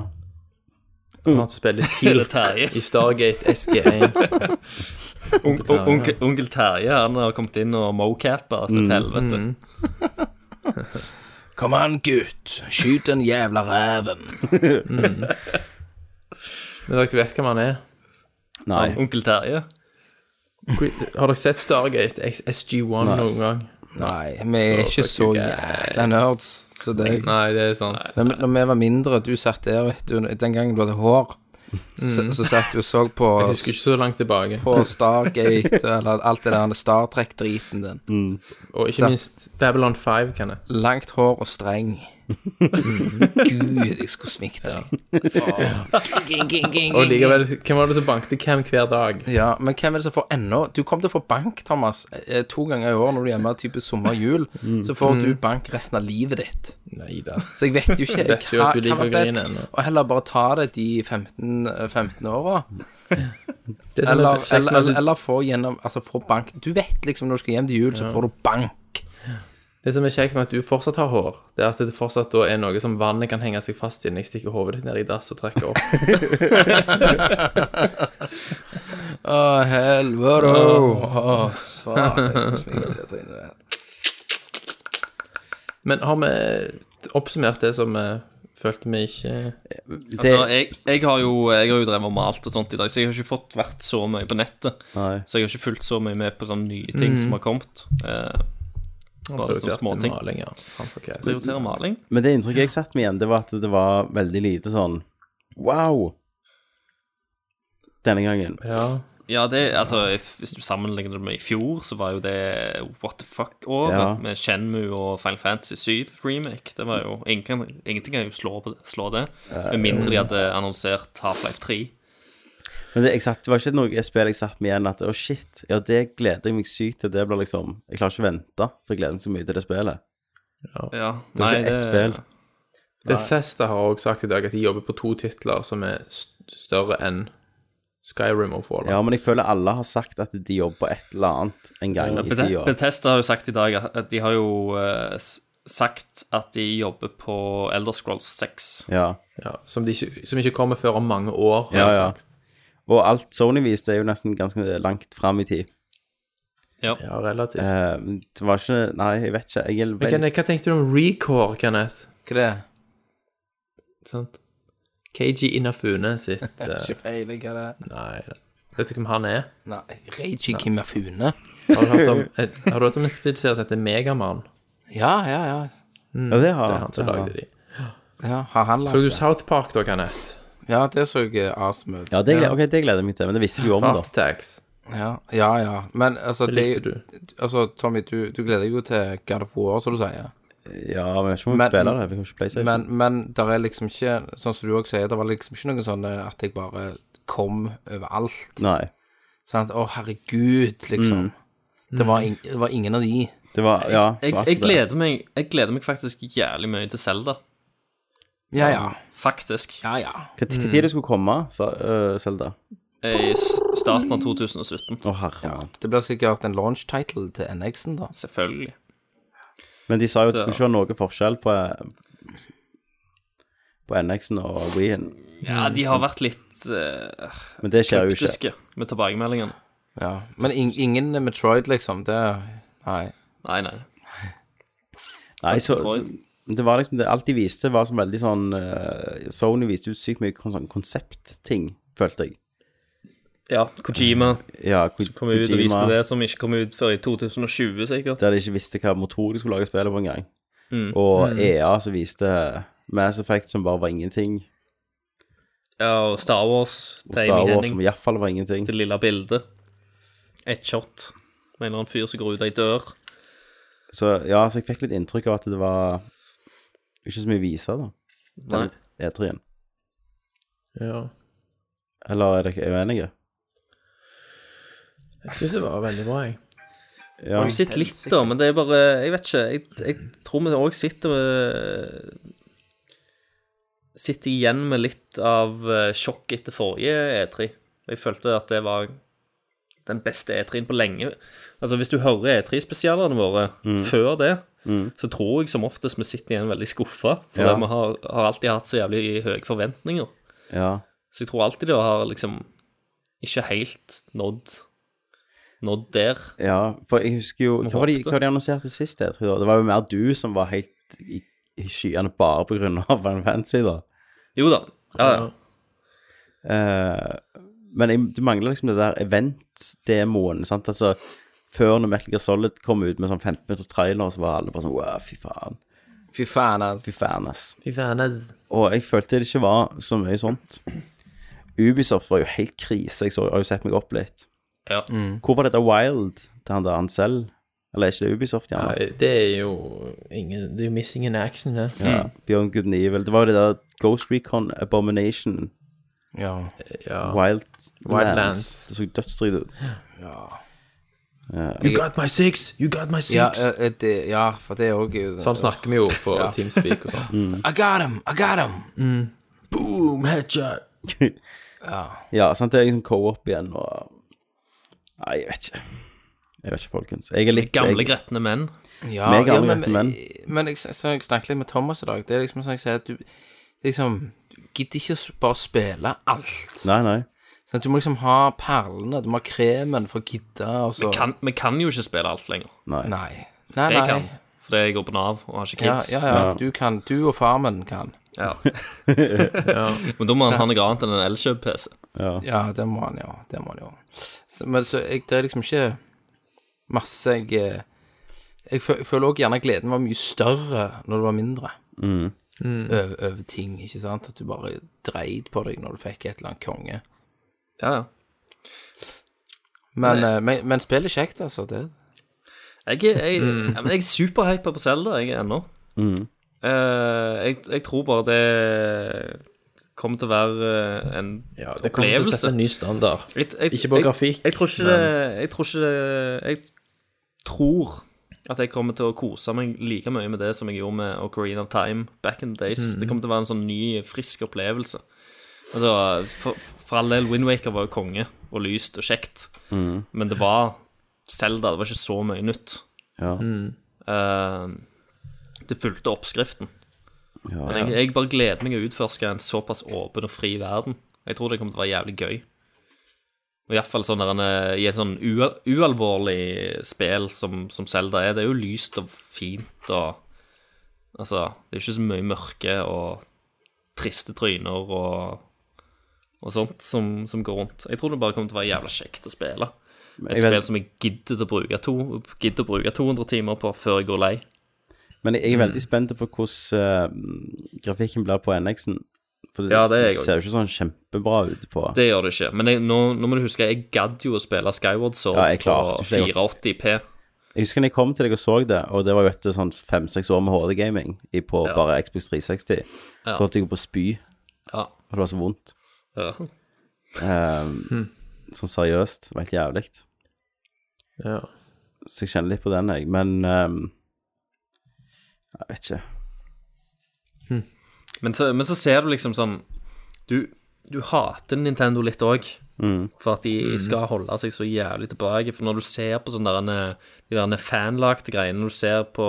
S4: Han spiller TIL
S6: Eller Terje.
S4: i Stargate SG1.
S6: Onkel, onkel, onkel Terje han har kommet inn og mocappa så til helvete.
S5: Kom an, gutt. Skyt den jævla reven.
S4: Men dere vet hvem han er.
S3: Nei.
S6: Onkel Terje.
S4: Har dere sett Stargate X- SG1 noen gang?
S5: Nei, vi er ikke så jævla nerds. Så det
S4: Nei, det er sant.
S5: Når, når vi var mindre, du satt der, vet du, den gangen du hadde hår, så, så satt du og så på,
S4: Jeg husker ikke så langt tilbake.
S5: på Stargate, eller alt det der Star Trek-driten din.
S4: Og ikke minst Babylon 5, kan jeg.
S5: Langt hår og streng. Mm. Gud, jeg skulle svikte deg. Åh. Ging, ging, ging,
S4: Og
S5: ging,
S4: likevel, hvem var det som banket hvem hver dag?
S5: ging. Ja, men hvem er det som får ennå Du kommer til å få bank, Thomas, eh, to ganger i år når du er hjemme, type sommer og jul. Så får du bank resten av livet ditt.
S4: Nei da.
S5: Så jeg vet jo ikke
S4: Vet jo at du liker
S5: hva var best.
S4: å grine ennå.
S5: Og heller bare ta det de 15, eh, 15 åra.
S4: Det som er
S5: Eller,
S4: kjekt
S5: eller,
S4: med
S5: eller,
S4: at-
S5: eller få gjennom Altså få bank Du vet liksom når du skal hjem til jul, så får du bank.
S4: det som er kjekt med at du fortsatt har hår, det er at det fortsatt da er noe som vannet kan henge seg fast i når jeg stikker hodet ditt ned i dass og trekker opp.
S5: Å, helvete. Å, svart. Jeg skulle svikte det trynet der.
S4: Men har vi oppsummert det som vi følte vi ikke
S3: Det,
S6: Altså, jeg, jeg, har jo, jeg har jo drevet og malt og sånt i dag, så jeg har ikke fått vært så mye på nettet.
S3: nei.
S6: Så jeg har ikke fulgt så mye med på sånne nye ting som har kommet. Eh,
S5: sånn
S6: bare sånne småting.
S4: maling, ja, framfor hva jeg-
S6: Prioritere maling.
S3: Men det inntrykket jeg satt med igjen, det var at det var veldig lite sånn Wow! Denne gangen.
S4: Ja.
S6: Ja, det, altså, if- hvis du sammenligner det med i fjor, så var jo det what the fuck-året
S3: Ja.
S6: med Shenmue og Final Fantasy 7 remake. Det var jo, ingen, kan- ingenting kan jo slå, på det, slå det, med mindre de hadde annonsert Half-Life 3.
S3: Men det, jeg satt, det var ikke noe spill jeg satt med igjen at Å, shit. Ja, det gleder jeg meg sykt til. Det blir liksom Jeg klarer ikke å vente, for jeg gleder meg så mye til det spillet.
S6: Ja,
S3: Det var ikke ett spill.
S4: Bethesda har også sagt i dag at de jobber på to titler som er st- større enn Skyrim og Fallout.
S3: Ja, men jeg føler alle har sagt at de jobber på et eller annet en gang i
S6: Beth-
S3: tida.
S6: Bethesda har jo sagt i dag at- at de har jo eh, s- sagt at de jobber på Elder Scrolls 6.
S3: Ja.
S4: Ja, som, de ikke, som ikke kommer før om mange år. har
S3: Ja,
S4: jeg
S3: ja.
S4: sagt.
S3: Og alt Sony viste, er jo nesten ganske langt fram i tid.
S6: Ja.
S4: ja relativt.
S3: Eh, det var ikke Nei, jeg vet ikke. Jeg er
S4: Men
S3: veldig
S4: Kenneth, hva tenkte du om Recore, Kenneth?
S5: Hva er det?
S4: Sant? KG Inafune sitt eh,
S5: Ikke feil, hva er det?
S4: Nei, da. vet du hvem han er?
S5: Nei, Reiji Kimafune.
S4: Har du hørt om, et, har du hørt om en spillserie som heter Megaman?
S5: Ja, ja, ja.
S3: Ja, det har
S4: Det er han som
S3: det har-
S4: lagde de.
S5: ja. Har han
S4: Så
S5: lagd
S4: du
S5: det?
S4: South Park da, Kenneth?
S5: Ja, det så jeg eh, awesome ut.
S3: Ja, det gleder, ok, det gleder jeg meg til, men det visste vi jo om, da.
S4: Fart Tax.
S5: Ja, ja. ja. Men altså,
S4: Det
S5: det,
S4: likte du.
S5: altså Tommy, du, du gleder deg jo til God of War, som du sier.
S3: Ja, men jeg vet ikke om
S5: Men-
S3: jeg spiller det. Vi kan ikke PlayStation.
S5: Men, men der er liksom ikke Sånn som du også sier, det var liksom ikke noe sånn eh, at jeg bare kom overalt.
S3: Nei.
S5: Sant? Å, herregud, liksom.
S4: Mm.
S5: Det, var ing- det var ingen av de.
S3: Det var Ja. det
S6: Jeg,
S3: var
S6: jeg,
S3: akkurat det.
S6: gleder meg, jeg gleder meg faktisk jævlig mye til Zelda.
S5: Ja, ja.
S6: Faktisk.
S5: Ja, ja.
S3: Hva hva tid det skulle komme, sa øh, Zelda?
S6: I s- starten av 2017.
S3: Å, herre mann.
S5: Det blir sikkert en launch title til NX-en, da.
S6: Selvfølgelig.
S3: Men de sa jo at det
S6: Så-
S3: skulle ikke være noe forskjell på På NX-en og Wii-en.
S6: Ja, de har vært litt eh,
S3: Men det skjer jo ikke.
S6: kryptiske med tilbakemeldingene.
S5: Ja. Men ing-
S4: Sånn.
S5: ingen Metroid, liksom. Det Nei.
S6: Nei, nei.
S3: Nei, så, så
S6: Detroit.
S3: det var liksom det, Alt de viste, var som veldig sånn øh, Sony viste ut sykt mye kon- sånn konseptting, følte jeg.
S6: Ja, Kojima
S3: Ja, Ko-
S6: kom ut og viste
S3: Kojima,
S6: det som ikke kom ut før i 2020, sikkert.
S3: Der de ikke visste hva motor de skulle lage spillet på engang.
S6: Mm.
S3: Og EA som viste Mass Effect som bare var ingenting.
S6: Ja, og Star Wars,
S3: Star
S6: Taming
S3: Wars som
S6: Henning,
S3: iallfall var ingenting.
S6: det lille bildet. Ett shot. med en eller annen fyr som går ut ei dør.
S3: Så ja, så jeg fikk litt inntrykk av at det var ikke så mye viser, da. E
S6: Nei.
S3: Den E3-en.
S4: Ja.
S3: Eller er dere uenige?
S4: Jeg syns det var veldig bra, jeg.
S3: Ja.
S6: Vi sitter litt, da, men det er bare Jeg vet ikke. Jeg, jeg tror vi òg sitter med Sitter igjen med litt av eh, sjokk etter forrige E3. Jeg følte at det var den beste E3-en på lenge. Altså, hvis du hører E3-spesialene våre før det, så tror jeg som oftest vi sitter igjen veldig skuffa. For
S3: Ja.
S6: vi har, har alltid hatt så jævlig høye forventninger.
S3: ja.
S6: Så jeg tror alltid det har liksom ikke helt nådd Nådd der.
S3: Ja, for jeg husker jo
S6: Må
S3: Hva var de,
S6: håpe det.
S3: hva de annonserte sist? Jeg tror, da? det var jo mer du som var helt i, i skyene bare på grunn av Final Fantasy, da.
S6: Jo da. Ja, ja.
S3: Eh, men jeg, du mangler liksom det der event-demoen, sant? Altså, før når Metal Gear Solid kom ut med sånn 15 minutters trailer, så var alle bare sånn wow, fy faen.
S5: Fy faen, altså.
S3: Fy faen, ass.
S4: Fy faen,
S3: Og jeg følte det ikke var så mye sånt. Ubisoft var jo helt krise. Jeg så, har jo sett meg opp litt.
S6: Ja.
S5: Mm.
S3: Hvor var dette Wild til han der han selv? Eller er ikke det Ubisoft? Gjerne?
S4: Det er jo ingen Det er jo missing in action, det.
S3: Ja. Beyond Good and Evil. Det var jo det der Ghost Recon Abomination.
S5: Ja.
S4: Ja.
S3: Wild
S4: Wildlands.
S3: Wildlands. Det så dødsdrit ut.
S4: You got my six! You got my six!
S5: Ja, eh, eh, det, ja, for det er òg
S4: sånn snakker vi jo på Teamspeak og sånn.
S5: I got him! I got him!
S4: Boom, headshot!
S3: Ja, sant? det er liksom co-op igjen og Nei, jeg vet ikke. Jeg vet ikke, folkens. Jeg er litt
S6: Gamle,
S3: jeg-
S6: gretne menn.
S5: Ja,
S3: Meg
S5: ja,
S3: alle
S5: men,
S3: rette menn.
S5: men jeg, så jeg snakket litt med Thomas i dag. Det er liksom sånn jeg sier at du liksom du gidder ikke å s- bare spille alt.
S3: Nei, nei.
S5: Sånn, at du må liksom ha perlene, du må ha kremen for å gidde. og så-
S6: Kan, vi kan jo ikke spille alt lenger.
S3: nei.
S5: Nei. Nei,
S6: Jeg
S5: nei.
S6: kan, fordi jeg går på Nav og har ikke
S5: Ja,
S6: kids.
S5: ja, ja, du kan. Du og farmen kan.
S6: Ja. Men da må han ha noe annet enn en Elkjøp-PC.
S5: Ja, det må han jo. Det må han jo. Så, men så jeg, det er liksom ikke masse jeg eh, Jeg fø- jeg føler òg gjerne at gleden var mye større når du var mindre.
S4: Mm.
S5: Over, over ting, ikke sant. At du bare dreit på deg når du fikk et eller annet konge.
S6: Ja, ja.
S5: Men, eh, men, men spill er kjekt, altså. Det.
S6: Jeg, er- jeg,
S5: Mm.
S6: ja, men jeg er superhypa på Zelda, jeg ennå. Eh, jeg, jeg tror bare det kommer til å være eh, en
S4: Ja, det kommer til å sette en ny standard.
S6: Jeg- jeg-
S4: Ikke på
S6: jeg-
S4: grafikk,
S6: Jeg tror ikke det Jeg tror ikke det Jeg tror at jeg kommer til å kose meg like mye med det som jeg gjorde med Ocarina of Time back in the
S4: Mm.
S6: days. Det kommer til å være en sånn ny, frisk opplevelse. Altså, for, for all del, Windwaker var jo konge og lyst og kjekt,
S4: Mm.
S6: men det var Zelda, det var ikke så mye nytt.
S3: Ja.
S6: Mm, Eh, det fulgte oppskriften.
S3: Ja.
S6: Men jeg, jeg bare gleder meg å utforske en såpass åpen og fri verden. Jeg tror det kommer til å være jævlig gøy. Og Iallfall sånn der en, eh, i et sånn ua- ualvorlig spill som, som Zelda er. Det er jo lyst og fint og Altså, det er ikke så mye mørke og triste tryner og, og sånt som, som går rundt. Jeg tror det bare kommer til å være jævla kjekt å spille. Et
S3: jeg vet-
S6: spill som jeg gidder til å bruke, to, gidder å bruke 200 timer på før jeg går lei.
S3: Men jeg er veldig
S6: Mm.
S3: spent på hvordan eh, grafikken blir på NX-en. For det,
S6: Ja, det er jeg
S3: ser jo ikke sånn kjempebra ut på
S6: Det gjør det ikke. Men jeg, nå, nå må du huske, jeg gadd jo å spille Skyward Sword
S3: Ja, jeg klarte
S6: på
S3: ikke det.
S6: 480p.
S3: Jeg husker da jeg kom til deg og så det, og det var jo etter sånn fem-seks år med HD-gaming i- på bare Xbox 360. Så holdt jeg på å spy,
S6: Ja.
S3: og det var så vondt.
S6: ja.
S3: Sånn seriøst. Det var helt jævlig.
S4: Ja.
S3: Så jeg kjenner litt på den, jeg. Men ehm, Jeg vet ikke.
S6: Men, så, men så ser du liksom sånn Du, du hater Nintendo litt òg. For at
S4: Mm.
S6: de skal holde seg så jævlig tilbake. For når du ser på sånne der, de der fanlagte greiene, når du ser på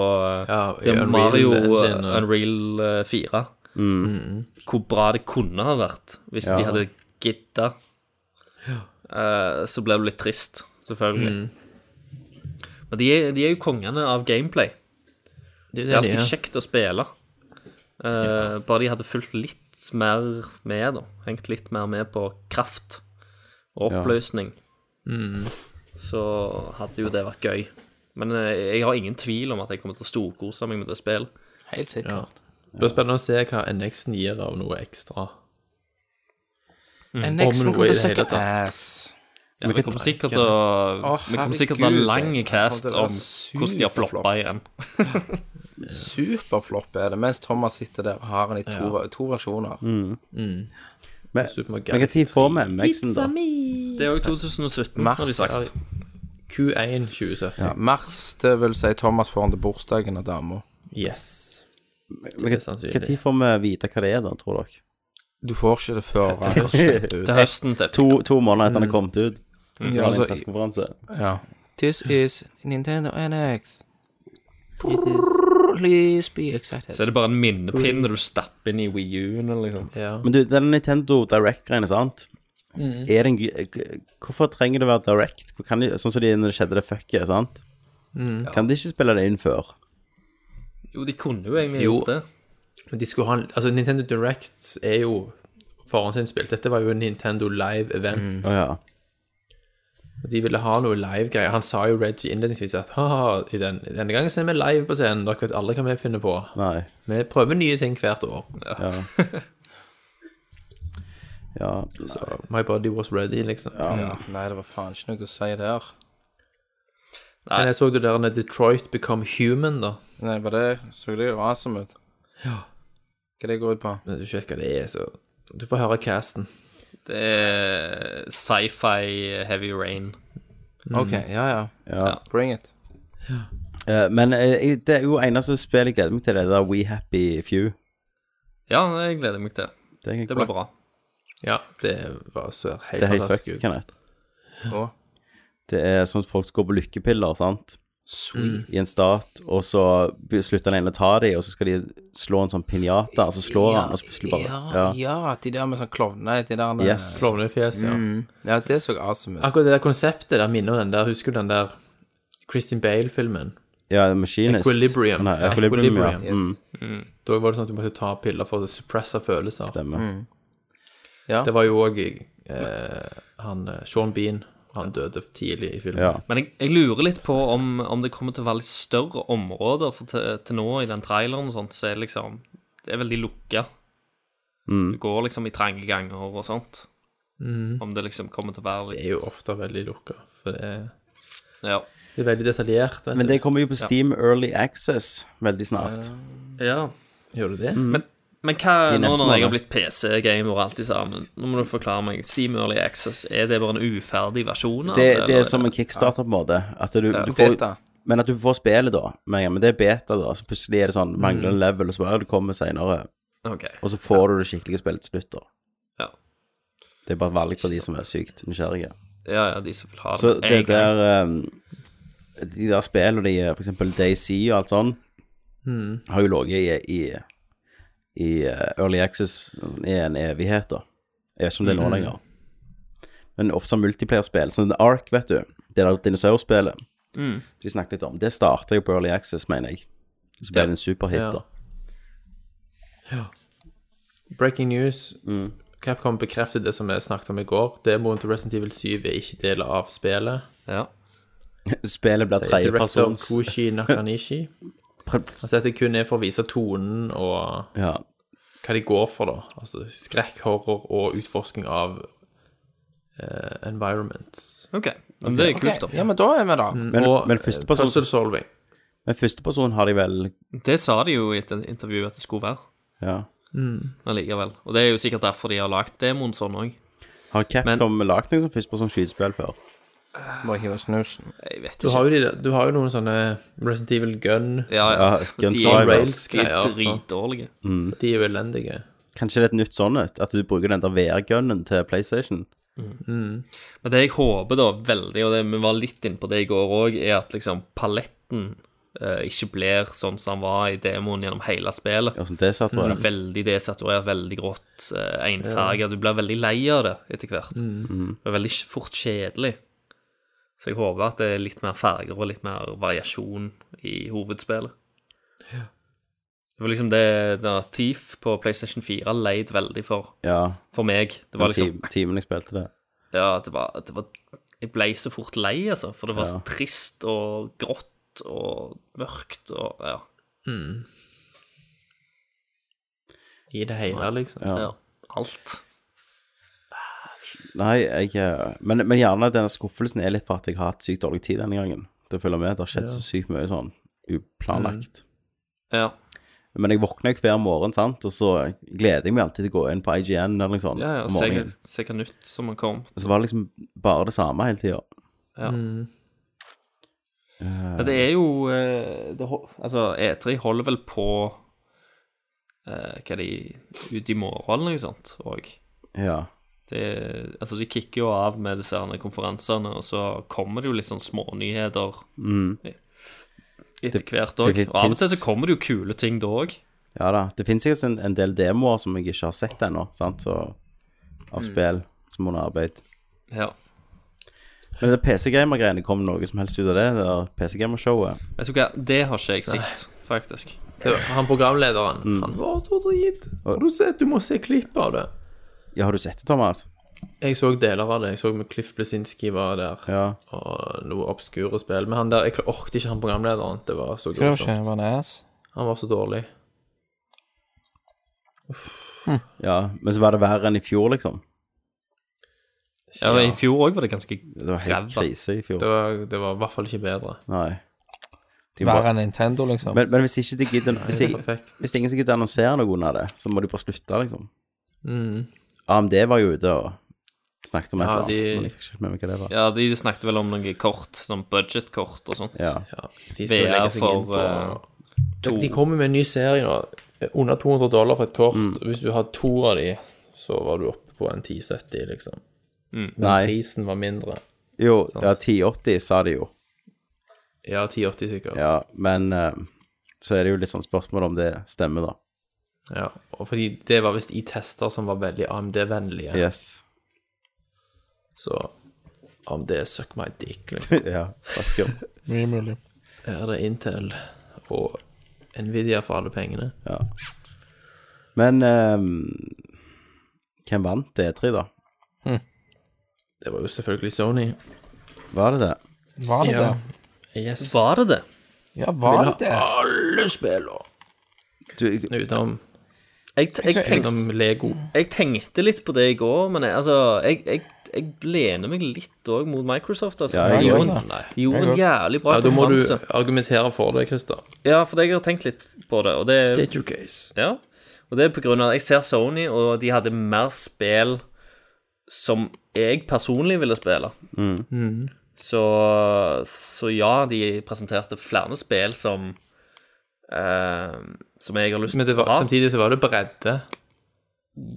S6: eh,
S4: Ja,
S6: det
S4: Unreal
S6: Mario
S4: Engine,
S6: eh,
S4: og- Mm.
S6: Unreal eh, 4 Hvor bra det kunne ha vært hvis de hadde gidda. Eh, så ble du litt trist, selvfølgelig.
S4: Mm.
S6: Men de er, de er jo kongene av gameplay.
S4: Det
S6: Det er
S4: er det de
S6: alltid
S4: er.
S6: kjekt å spille. Eh, Bare de hadde fulgt litt mer med, da. Hengt litt mer med på kraft og
S3: Ja.
S6: oppløsning. Mm. Så hadde jo det vært gøy. Men eh, jeg har ingen tvil om at jeg kommer til å storkose meg med det spillet.
S5: Helt sikkert.
S4: Ja. Det blir spennende å se hva NX-en gir av noe ekstra.
S5: NX-en
S4: Om
S5: kommer til
S4: noe Mm. i
S5: å
S4: det
S5: søke
S4: hele tatt.
S5: ass.
S6: Ja, vi kommer sikkert til
S5: Å,
S6: å Vi kommer sikkert til å ha en lang
S5: herregud, jeg-
S6: cast
S5: det var
S6: om hvordan de har
S5: superflopp.
S6: floppa igjen.
S5: Superflopp er det, mens Thomas sitter der og har den i to, to versjoner.
S4: Mm.
S3: Men
S4: Super Mario
S3: hvilken tid får vi MX-en, da?
S6: Det er òg 2017,
S5: Mars.
S6: har de sagt.
S4: Q1 2017.
S5: Ja, mars, det vil si Thomas får den til bursdagen av dama.
S4: Yes.
S3: Hvilken
S4: sannsynlig.
S3: hvilken tid får vi vite hva det er, da, tror dere?
S5: Du får ikke det før han har sendt ut.
S6: Til høsten, tipper
S3: To, to måneder etter den har kommet ut?
S5: Ja, altså,
S3: Altså, pressekonferanse.
S5: Also, ja. This is Nintendo NX. Please be excited.
S6: Så er det bare en minnepinne du stapper inn i Wii U-en, eller liksom.
S4: Ja.
S3: Men du, den Nintendo Direct-greiene, sant? Er det en, gy- g- hvorfor trenger det å være direct? Hvor Kan de, sånn som de, når det skjedde det fucket, sant? Kan de ikke spille det inn før?
S6: Jo, de kunne jo egentlig
S4: Jo.
S6: gjort det.
S4: Men de skulle ha en, Altså, Nintendo Direct er jo forhåndsinnspilt. Dette var jo en Nintendo Live-event.
S3: Å ja.
S4: Og De ville ha noe live-greier. Han sa jo Reggie innledningsvis at haha, i den, denne gangen så er vi live på scenen. Dere vet aldri hva vi finner på.
S3: Nei.
S4: Vi prøver nye ting hvert år.
S3: Ja. ja.
S4: My body was ready, liksom.
S5: Ja. Nei, det var faen ikke noe å si der.
S4: Men jeg så det der når Detroit Become Human, da.
S5: Nei, var det Så det jo awesome ut? Ja. Hva det går ut på?
S4: Men du vet ikke hva det er, så Du får høre casten.
S6: Det er sci-fi heavy rain.
S5: OK, Mhm. ja, ja.
S3: Ja.
S5: Bring it.
S3: Eh, Men eh, det er jo eneste spill jeg gleder meg til, det er det der We Happy Few.
S6: Ja, det gleder jeg meg til.
S3: Det,
S6: Det blir bra.
S4: Ja, det var så helt
S3: det er helt
S4: fantastisk.
S3: fucked,
S4: ut.
S3: Kenneth.
S5: Og
S3: Det er sånn at folk skal på lykkepiller, sant? I en stat, og så be- slutter den ene å ta dem, og så skal de slå en sånn pinjata, og så slår han, og så plutselig bare
S5: ja, ja, de der med sånn klovne De der med-
S3: Yes.
S4: Klovnefjes,
S3: Mm.
S4: ja.
S5: Ja, det så awesome ut.
S4: Akkurat det der konseptet der minner om den der Husker du den der Christian Bale-filmen?
S3: Ja, Machinist.
S4: Equilibrium.
S3: Nei,
S4: Ja,
S3: Equilibrium,
S4: Equilibrium,
S3: ja.
S5: Yes.
S3: Mm,
S4: Da var det sånn at du måtte ta piller for å suppresse følelser.
S3: stemmer.
S5: Mm. Ja.
S4: Det var jo òg eh, han eh, Sean Bean. Han døde for tidlig i filmen.
S3: Ja.
S6: Men jeg, jeg lurer litt på om, om det kommer til å være litt større områder, for til, til nå i den traileren og sånt, så er det liksom Det er veldig lukka.
S3: Mm.
S6: Du går liksom i trange ganger og sånt. Om det liksom kommer til å være
S4: Det
S6: litt
S4: er jo ofte veldig lukka, for det er,
S6: Ja.
S4: det er veldig detaljert. Vet
S3: Men det
S4: du.
S3: kommer jo på Steam Early Access veldig snart.
S6: ja.
S4: Gjør du det?
S6: Men, men hva
S3: I
S6: nå når
S3: neste
S6: jeg
S3: måned.
S6: har blitt PC-gamer og alt i sammen? Nå må du forklare meg. Steam Early Access, er det bare en uferdig versjon? av
S3: Det, det
S6: eller
S3: er som en kickstarter, på en måte. At du, du får,
S5: Beta.
S3: men at du får spillet, da. Men, men det er beta, da. Så plutselig er det sånn mangler en level, og så bare ja, det kommer seinere.
S6: Ok.
S3: Og så får du det skikkelige spillet til slutt, da.
S6: Ja.
S3: Det er bare et valg for de som er sykt nysgjerrige.
S6: ja, ja, de som vil ha det.
S3: Så
S6: en
S3: det
S6: gang.
S3: der um, De der spillene, de, eh, for eksempel DayZ og alt sånn,
S4: Hmm.
S3: har jo ligget i, i, i uh, Early Access i en evighet, da. Jeg vet ikke om det er nå
S4: Hmm.
S3: lenger. Men ofte som multiplayerspill. Sånn The Ark, vet du. Det der dinosaurspillet
S4: Hmm.
S3: de snakket litt om. Det starta jo på Early Access, mener jeg. Så ble det en superhit,
S4: Ja.
S3: da. Mm.
S4: Breaking news. Capcom bekreftet det som vi snakket om i går. Demoen til Resident Evil 7 er ikke del av spillet.
S6: Ja.
S3: Spillet blir
S4: Director
S3: tredjepersons
S4: Koshi Nakanishi. Altså dette kun er for å vise tonen og
S3: Ja.
S4: hva de går for, da. Altså skrekk, horror og utforsking av eh, environments.
S6: OK. Men det er kult, da.
S5: Ok, Ja, men da er vi da.
S3: Men,
S4: og
S3: men
S4: eh,
S3: førsteperson
S4: puzzle solving.
S3: men førsteperson har de vel
S6: Det sa de jo i et intervju at det skulle være.
S3: Ja.
S6: Men likevel. Og det er jo sikkert derfor de har lagt demoen sånn òg.
S3: Har Capcom lagd noe som førsteperson skytespill før?
S5: Bare hive snusen.
S6: Jeg vet
S4: Du
S6: ikke.
S4: har, jo de, du har jo noen sånne Resident Evil Gun.
S6: Ja,
S3: Ja, Guns
S6: de
S3: N'
S6: er,
S4: Roses
S6: de er
S4: greier,
S6: dritdårlige.
S4: De er jo elendige.
S3: Kanskje det er et nytt sånn et? At du bruker den der VR-gunnen til PlayStation?
S6: Men det jeg håper da veldig, og det vi var litt inne på det i går òg, er at liksom paletten eh, ikke blir sånn som den var i demoen gjennom hele spillet.
S3: Og sånn det sa,
S6: Mm,
S3: tror jeg.
S6: Veldig desaturert, veldig grått, eh, enfarga. Du blir veldig lei av det etter hvert. Det er veldig fort kjedelig. Så jeg håper at det er litt mer farger og litt mer variasjon i hovedspillet. Det var liksom det, det var Thief på PlayStation 4 leid veldig for,
S3: Ja.
S6: for meg. Det
S3: Den
S6: var liksom
S3: ti- timen jeg spilte det.
S6: Ja, det var, det var Jeg ble så fort lei, altså. For det var så trist og grått og mørkt og Ja.
S4: I det hele, liksom.
S6: ja. Alt.
S3: Nei, jeg eh, men, men gjerne denne skuffelsen er litt for at jeg har hatt sykt dårlig tid denne gangen. Det følger med. Det har skjedd så sykt mye sånn
S6: Mm.
S3: uplanlagt.
S6: Ja.
S3: Men jeg våkner jo hver morgen, sant, og så gleder jeg meg alltid til å gå inn på IGN eller noe sånt.
S6: Ja, ja,
S3: om
S6: se,
S3: morgenen.
S6: se hva nytt som har kommet.
S3: Og så var det liksom bare det samme hele tida.
S6: Ja.
S3: Eh.
S6: Men det er jo eh, det, hol- Altså, E3 holder vel på eh, Hva er de Ut i morgen eller noe sånt òg.
S3: Ja.
S6: Altså, de kicker jo av med disse herne konferansene, og så kommer det jo litt sånn smånyheter etter
S3: Mm. Det-
S6: hvert
S3: det
S6: òg.
S3: fin-
S6: Og av og til
S3: finnes-
S6: så kommer det jo kule ting da òg.
S3: ja da. Det finnes sikkert en, en del demoer som jeg ikke har sett ennå, sant, så,
S6: Mm.
S3: av spill som under arbeid.
S6: Ja.
S3: Men det PC-gamer-greiene kom noe som helst ut av det, det der PC-gamer-showet.
S6: Vet du hva, det har ikke jeg sett, faktisk.
S4: Det var- Han programlederen,
S3: Mm.
S4: han var så drit. Har du sett? Du må se klipp av det.
S3: Ja, har du sett det, Thomas?
S4: Jeg så deler av det. Jeg så med Cliff Blesinski var der,
S3: Ja.
S4: og noe obskure spill. Men han der, jeg orket ikke han programlederen. Det var så
S5: Det var ikke
S4: grusomt.
S5: det var en ass.
S4: Han var så dårlig.
S3: Ja, men så var det verre enn i fjor, liksom.
S6: Ja, I fjor òg var det ganske
S3: Det var helt
S6: Ræva.
S3: krise i fjor.
S4: Det var, det var i hvert fall ikke bedre.
S3: Nei. De bare-
S5: Verre enn Nintendo, liksom.
S3: Men, men hvis ikke de gidder hvis, ikke,
S4: Perfekt.
S3: hvis ingen som gidder annonsere noen av det, så må de bare slutte, liksom.
S4: Mm.
S3: AMD var jo ute og snakket om et
S4: Ja,
S3: eller annet,
S4: de-
S3: men jeg fikk ikke med meg hva det var.
S6: Ja, de snakket vel om noen kort, sånn budgetkort og sånt.
S3: Ja.
S4: Ja, de skal jo
S6: VR
S4: legge seg inn
S6: for,
S4: på
S6: eh,
S4: De- De kommer med en ny serie nå. Under 200 dollar for et kort. Hvis du har to av de, så var du oppe på en 1070, liksom. Men
S3: Nei.
S4: prisen var mindre.
S3: Jo, ja, 1080 sa de jo.
S4: Ja, 1080 sikkert. Ja.
S3: Ja, men eh, så er det jo litt sånn spørsmål om det stemmer, da.
S4: Og fordi det var visst i tester som var veldig AMD-vennlige,
S3: Yes.
S4: så AMD suck my dick, liksom.
S3: ja, takk jo.
S5: Mye mulig.
S4: Her er det Intel og Nvidia for alle pengene.
S3: Ja. Men eh, hvem vant D3, da?
S4: Det var jo selvfølgelig Sony.
S3: Var det det?
S5: Var det
S4: Ja.
S5: det?
S4: Yes.
S6: Var det det?
S5: Ja, var det det?
S4: Alle spiller!
S3: Du,
S4: Utenom,
S6: Jeg, t- jeg, tenkte,
S4: utenom Lego.
S6: jeg tenkte litt på det i går, men jeg, altså, jeg, jeg, jeg lener meg litt òg mot Microsoft. Altså.
S3: Ja, jeg
S6: de
S5: gjør
S6: gjorde,
S5: det.
S6: en- de gjorde
S5: Jeg
S6: en jævlig bra
S4: Ja, da må du
S6: konkurranse.
S4: argumentere for det, Christer.
S6: Ja, for jeg har tenkt litt på det. Og det,
S4: State your case.
S6: ja. og det er på grunn av at jeg ser Sony, og de hadde mer spill som jeg personlig ville spille. Så, så ja, de presenterte flere spill som eh, Som jeg har lyst
S4: Men det
S6: til å
S4: var,
S6: ha.
S4: samtidig så var det bredde.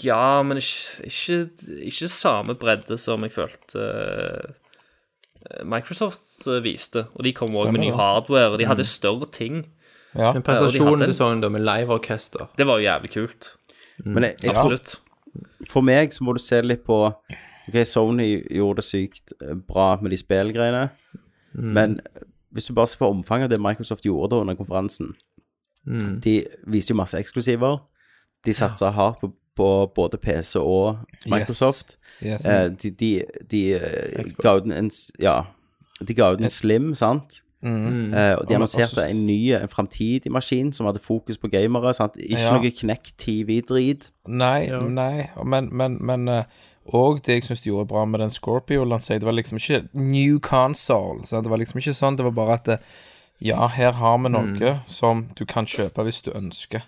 S6: Ja, men ikke, ikke, ikke samme bredde som jeg følte eh, Microsoft eh, viste. Og de kom òg med ny
S5: det.
S6: hardware, og de
S4: Mm.
S6: hadde større ting.
S5: Ja.
S4: Men prestasjonen
S6: hadde en-
S4: til Sogn da, med liveorkester
S6: Det var jo jævlig kult.
S3: men jeg, jeg,
S6: Absolutt.
S3: for meg så må du se litt på Ok, Sony gjorde det sykt eh, bra med de spillgreiene, men hvis du bare ser på omfanget av det Microsoft gjorde da under konferansen De viste jo masse eksklusiver. De satsa hardt på, på både PC og Microsoft.
S5: Yes.
S3: Eh, de de, de eh, ga ut en- en s- Ja. De ga ut en Slim, sant?
S5: Mm.
S4: Mm.
S3: Eh, og de annonserte en ny, en framtidig maskin som hadde fokus på gamere. sant? Ikke
S5: Ja.
S3: noe Knect-TV-drit.
S5: Nei, nei, men, men, men eh, og det jeg syns de gjorde bra med den Scorpio-lanseringen, det var liksom ikke new console. Sant? Det var liksom ikke sånn, det var bare at det, ja, her har vi noe som du kan kjøpe hvis du ønsker.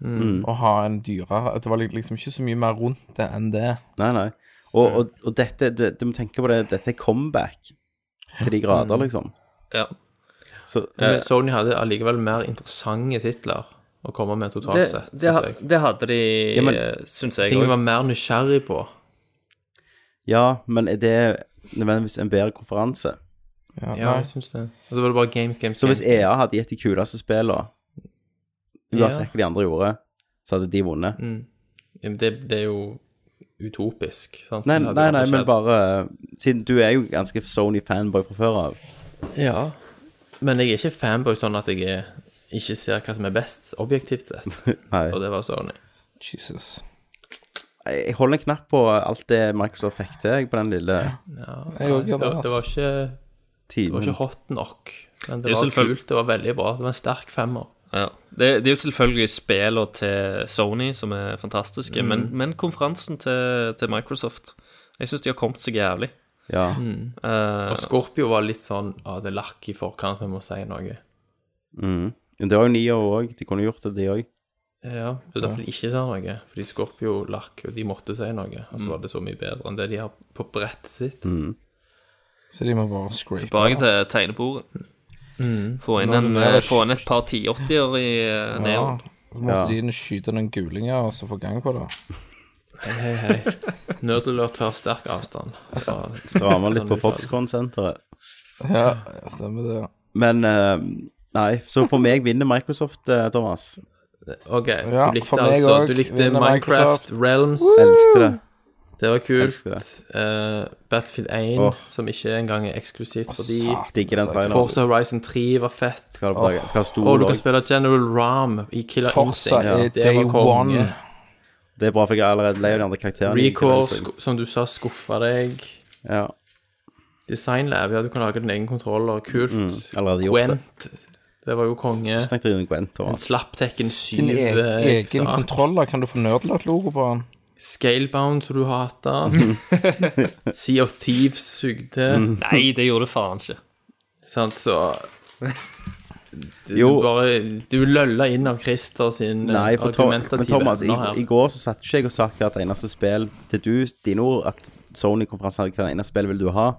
S4: Mm.
S3: Mm.
S5: Å ha en dyrere Det var li- liksom ikke så mye mer rundt det enn det.
S3: Nei, nei.
S4: Mm.
S3: Og, og, og dette, du, du må tenke på det, dette er comeback til de
S4: Mm.
S3: grader, liksom.
S6: Ja.
S3: Så,
S4: Men Eh, Sony hadde allikevel mer interessante titler å komme med totalt
S6: Det,
S4: sett,
S6: det,
S4: synes jeg.
S6: det hadde de,
S3: Ja, men-
S6: eh, syns jeg
S4: Ting vi
S6: òg.
S4: var mer nysgjerrig på.
S3: ja, men er det nødvendigvis en bedre konferanse?
S5: Ja,
S4: Ja,
S5: nei.
S4: jeg synes det. Og så var det bare games, games,
S3: Så hvis E
S4: games. games.
S3: EA hadde gitt de kuleste spillene, uansett hva de andre gjorde, så hadde de vunnet.
S4: Ja, men Det, det er jo utopisk, sant?
S3: Nei,
S4: Det hadde
S3: nei,
S4: jo
S3: nei,
S4: aldri
S3: men
S4: skjedd.
S3: bare eh, Siden du er jo ganske Sony-fanboy fra før av.
S4: Ja. Men jeg er ikke fanboy sånn at jeg er, ikke ser hva som er best, objektivt sett.
S3: Nei.
S4: Og det var Sony.
S5: Jesus.
S3: Jeg holder en knapp på alt det Microsoft fikk til jeg, på den lille
S5: Jeg òg gjør
S4: Det
S5: det.
S4: var, det
S5: Altså.
S4: var ikke Det var
S3: timen. Mm.
S4: ikke hot nok, men det
S6: Det er
S4: var
S6: selvfølgelig-
S4: kult. Det var veldig bra. Det var en sterk femmer.
S6: Ja. Det, det er jo selvfølgelig spillene til Sony som er fantastiske,
S4: Mm.
S6: men, men konferansen til, til Microsoft Jeg syns de har kommet seg jævlig.
S3: Ja.
S4: Mm.
S6: Eh,
S4: Og Scorpio var litt sånn ah, det er lakk i forkant, vi må si noe.
S3: Mm. Men det var jo Nio òg. De kunne gjort det, de òg.
S4: Ja, det er derfor de ikke sa noe. Fordi Scorpio lakk, og de måtte si noe. Og
S3: Mm.
S4: så var det så mye bedre enn det de har på brettet sitt.
S1: Så de må bare scrape.
S6: Tilbake til tegnebordet. Få, inn
S1: Nå er
S6: en,
S1: det mer-
S6: eh, få inn et par 1080-er i eh,
S1: Ja.
S5: Ah.
S6: neon.
S1: Så måtte de inn og skyte noen gulinger og så få gang på det.
S4: Hei, hei, hei. Nødelør tar sterk avstand. Så,
S3: Drama litt
S4: Sånn
S3: på
S4: uttale.
S3: Foxconn-senteret.
S1: Ja, stemmer det.
S3: Men eh, nei, så for meg vinner Microsoft, eh, Thomas.
S4: OK,
S1: Ja,
S4: du
S1: for
S4: likte
S1: meg
S4: altså
S1: også.
S4: Du likte
S1: Vinner
S4: Minecraft,
S1: Microsoft.
S4: Realms,
S3: Elsker det.
S4: det var kult.
S3: Elsker
S4: Eh, Battlefield 1,
S3: Åh.
S4: som ikke engang er eksklusivt fordi
S1: Satan,
S3: Digger den
S1: altså.
S3: traileren.
S4: Forza Horizon 3 var fett.
S3: Skal, ha- skal ha stor
S4: Og du kan
S3: også.
S4: spille General Ram i Killer
S1: Forza
S4: Instinct.
S1: er
S4: Det var
S1: day
S4: konge.
S1: one.
S3: Det er bra, for jeg er allerede lei av de andre karakterene.
S4: Recore, sku- som du sa, skuffa deg.
S3: Ja,
S4: Designlab, ja, du kan lage din egen kontroller. Kult.
S3: allerede gjort det.
S4: Gwent, det var jo konge.
S3: Mm. Snakk til Gwent, Thomas.
S4: Slapptekken 7
S1: Din e
S4: eh,
S1: egen
S4: XR.
S1: kontroller, kan du få Nerdlert-logo på den?
S4: Scalebound, som du
S3: Mm.
S4: hata. sea of Thieves sugde.
S6: Nei, det gjorde det faen ikke.
S4: Sant, så du,
S3: Jo.
S4: du bare Du lølla inn av Christer sin eh,
S3: Nei, for Tom, men
S4: argumentative
S3: Thomas, i,
S4: evner her.
S3: i går så satt ikke jeg og sa hvert eneste spill til du, dine ord, at Sony-konferansen hadde hvert eneste spill vil du ha.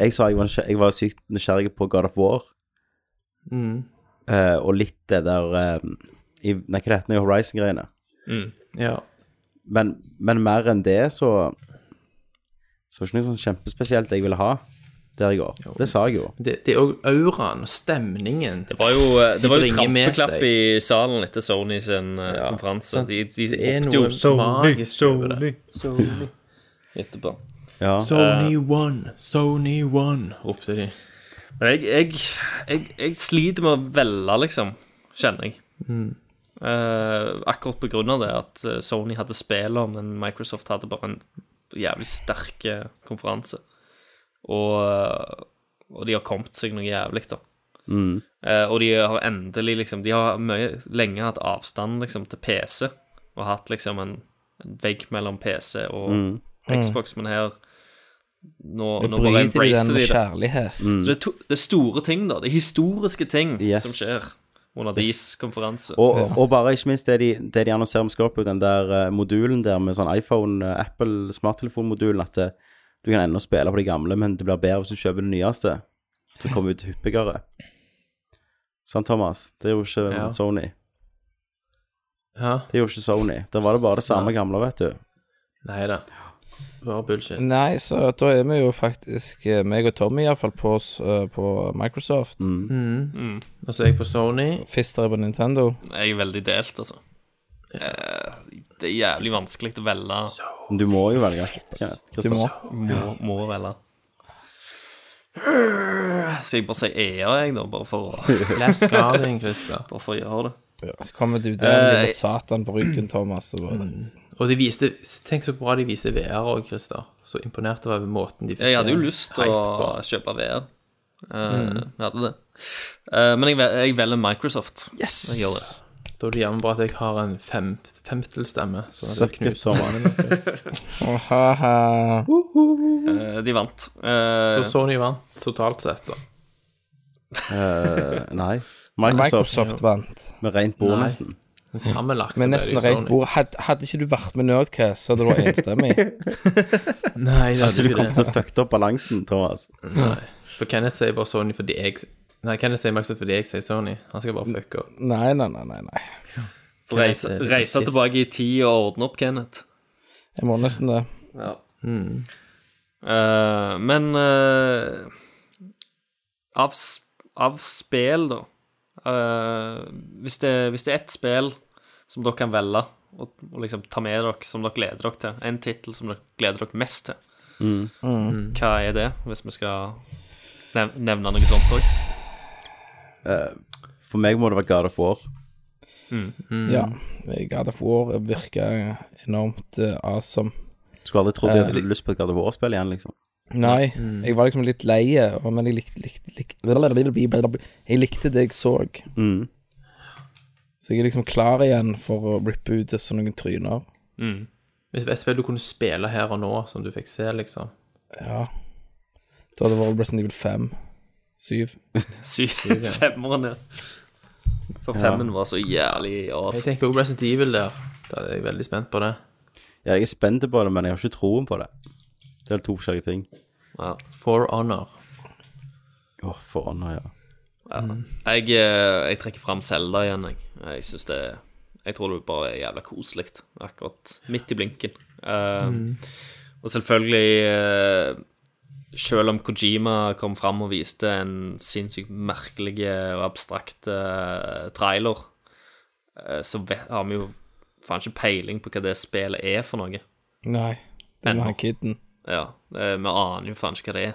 S3: Jeg sa jeg var, nysgjer- jeg var sykt nysgjerrig på God of War, eh, og litt det der eh, i, Nei, hva det heter det, Horizon-greiene.
S4: ja.
S3: Men, men mer enn det, så Så var det ikke noe sånn kjempespesielt jeg ville ha der i går. Det sa jeg jo.
S4: Det, det er òg auraen og stemningen.
S6: Det var jo, eh, det var jo
S4: bringer med
S6: trampeklapp
S4: seg.
S6: i salen etter Sony sin eh, konferanse.
S4: sant.
S6: De, de
S4: Det er
S6: ropte
S4: noe
S6: jo Sony,
S4: magisk over
S6: Sony,
S4: det.
S6: Sony etterpå.
S3: Ja.
S4: Sony One, Sony One, ropte de.
S6: Men jeg, jeg, jeg, jeg sliter med å velge, liksom, kjenner jeg.
S1: Mm.
S6: Eh, akkurat på grunn av det at eh, Sony hadde spillene, men Microsoft hadde bare en jævlig sterk eh, konferanse. Og, eh, og de har kommet seg noe jævlig, da.
S1: Mm.
S6: Eh, og de har endelig liksom De har mye, lenge hatt avstand liksom, til PC, og hatt liksom en, en vegg mellom PC og
S1: Mm.
S6: Xbox, men her Nå, nå bare
S1: Bryter de den
S6: embracer
S1: med
S6: de det.
S1: kjærlighet?
S6: Så det er, to, det er store ting, da. Det er historiske ting
S3: Yes.
S6: som skjer under deres konferanse.
S3: Og, og bare ikke minst det de, det de annonserer med Scorpio, den der eh, modulen der med sånn iPhone, eh, Apple smarttelefonmodulen, at det, du kan ennå spille på de gamle, men det blir bedre hvis du kjøper det nyeste, som kommer ut hyppigere. Sant, Thomas? Det er jo ikke
S4: Ja.
S3: Sony.
S4: Hæ?
S3: Det er jo ikke Sony. Der var det bare det samme gamle, vet du.
S4: Nei da. Bare bullshit.
S1: Nei, så da er vi jo faktisk, eh, meg og Tommy iallfall, på, oss, eh, på Microsoft.
S4: Og så er jeg på Sony.
S1: Fister er på Nintendo.
S6: Jeg er veldig delt, altså. Eh, Det er jævlig vanskelig å velge.
S3: Men du må jo velge. Ja,
S1: Du må.
S6: Må, må velge. Så jeg bare sier EA, jeg, da, bare for, å,
S4: Last Guardian, Christer.
S6: bare for å gjøre det.
S1: Så kommer du der
S6: Eh,
S1: med satan på ryggen, Thomas. Og bare,
S4: Og de viste Tenk så bra de viste VR òg, Christer. Så imponert over måten de fikk
S6: Jeg hadde jo
S4: det.
S6: lyst til
S4: hype
S6: å kjøpe VR. Eh, Jeg hadde det. Eh, Men jeg, vel- jeg velger Microsoft. Yes! Jeg gjør det.
S4: Da er det jammen bra at jeg har en fem, femtelstemme. Så det
S3: Suck it,
S4: knuser
S3: Thomas.
S1: Å, haha.
S6: Eh, De vant. Eh,
S4: Så Sony vant totalt sett, da.
S3: Eh, nei. Microsoft,
S1: Microsoft vant.
S3: med rent bord,
S4: Nei.
S3: nesten.
S4: Men Sammenlagt så
S1: Men
S4: ble
S1: nesten
S4: det sånn- jo
S1: rent
S4: Sony.
S1: bord. Hadde, hadde ikke du vært med Nerdcast, så hadde du vært enstemmig.
S4: Nei, det
S3: Så
S4: hadde
S3: du
S4: ikke
S3: kommer til
S4: det.
S3: å fucke opp balansen, Thomas.
S4: Nei. For Kenneth sier bare Sony fordi jeg Nei, Kenneth sier Microsoft fordi jeg sier Sony. Han skal bare fucke opp.
S1: Nei, nei, nei, nei. nei.
S6: Få reise,
S4: Kenneth er
S6: reise
S4: liksom
S6: tilbake i tid og ordne opp, Kenneth.
S1: Jeg må nesten det.
S6: Eh, men eh, av, s- av spill, da eh, hvis, det, hvis det er ett spill som dere kan velge og, og liksom ta med dere, som dere gleder dere til, en tittel som dere gleder dere mest til, hva er det, hvis vi skal nev nevne noe sånt òg?
S3: For meg må det være God of War.
S1: Ja. God of War virker enormt eh, awesome.
S3: Skulle aldri
S1: Eh,
S3: trodd jeg hadde lyst på et God of War-spill igjen, liksom.
S1: Nei,
S3: Mm.
S1: jeg var liksom litt
S3: Mm.
S1: lei, og- men jeg likte, likte, likte Jeg likte det jeg så.
S5: Så jeg er liksom klar igjen for å rippe ut sånne noen tryner.
S4: Hvis et spill du kunne spille her og nå, som du fikk se, liksom.
S5: Ja. Da hadde det vært Resident Evil 5. 7.
S6: Syv femmerne. For femmen var så jævlig
S4: Jeg
S6: awesome.
S4: tenker også Resident Evil der. Da er jeg veldig spent på det.
S3: Ja, jeg er spent på det, men jeg har ikke troen på det. Det er helt to forskjellige ting.
S4: For Honor.
S3: Åh, foran her, ja.
S5: Mm.
S6: Jeg, eh, jeg trekker fram Selda igjen, jeg. Jeg synes det Jeg tror det bare er jævla koselig. Akkurat midt i blinken. Eh,
S5: Mm.
S6: Og selvfølgelig eh, Selv om Kojima kom fram og viste en sinnssykt merkelig og abstrakt eh, trailer, eh, så vet, har vi jo faen ikke peiling på hva det spillet er for noe.
S5: Nei, det
S6: Ennå.
S5: var han kiden.
S6: Ja, eh, Vi aner jo faen ikke hva det er.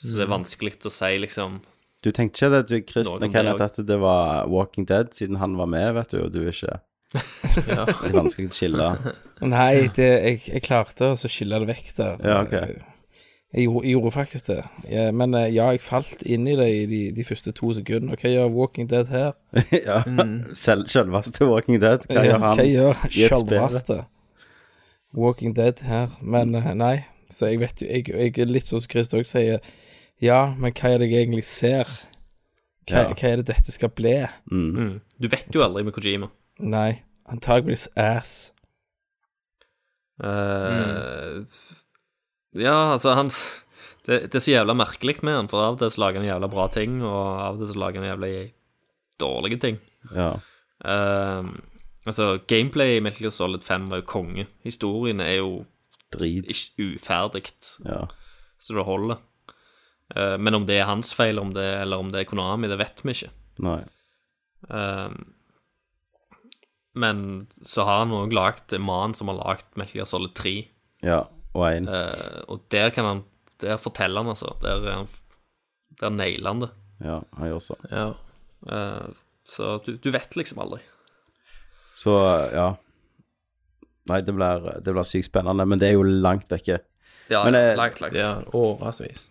S6: Så det er
S5: Mm.
S6: vanskelig å si, liksom.
S3: Du tenkte ikke det, du, Kristen,
S6: Noen
S3: Kenneth,
S6: det
S3: at det var Walking Dead, siden han var med, vet du, og du er ikke Det er vanskelig å skille.
S5: Nei, det, jeg, jeg klarte å så skille det vekk der.
S3: Ja, ok.
S5: jeg, gjorde- jeg gjorde faktisk det. Ja, men eh, ja, jeg falt inn i det i de, de første to sekundene. Hva gjør Walking Dead her?
S3: ja. Selv, selveste Walking Dead, hva
S5: Mm. Ja,
S3: gjør han?
S5: Hva gjør
S3: i et spill?
S5: sjølveste Walking Dead her? Men eh, nei, så jeg vet jo Jeg, jeg er litt sånn som Christer òg sier. Ja, men hva er det jeg egentlig ser? Hva,
S3: Ja.
S5: hva er det dette skal bli?
S3: Mm.
S6: Mm. Du vet jo aldri med Kojima.
S5: Nei, antageligvis ass.
S6: Eh, f- Ja, altså han s- det, det er så jævla merkelig med han, for av og til så lager han jævla bra ting, og av og til så lager han jævla dårlige ting.
S3: Ja.
S6: Eh, altså, gameplay i Metal Gear Solid 5 var jo konge. Historien er jo
S3: Drit.
S6: ikke uferdig,
S3: Ja.
S6: så det holder. Eh, men om det er hans feil, om det, eller om det er Konami, det vet vi ikke.
S3: Nei.
S6: Um, men så har han òg lagd mannen som har lagd Metal Gear Solid 3,
S3: Ja. Og én.
S6: eh, og der kan han Der forteller han, altså. Der, er han, der nailer han det.
S3: Ja, han gjør så.
S4: Ja.
S6: Eh, så du, du vet liksom aldri.
S3: Så, ja. Nei, det blir, det blir sykt spennende, men det er jo langt vekke.
S6: Ja,
S3: Men, eh,
S6: langt, langt.
S4: Det er årevis.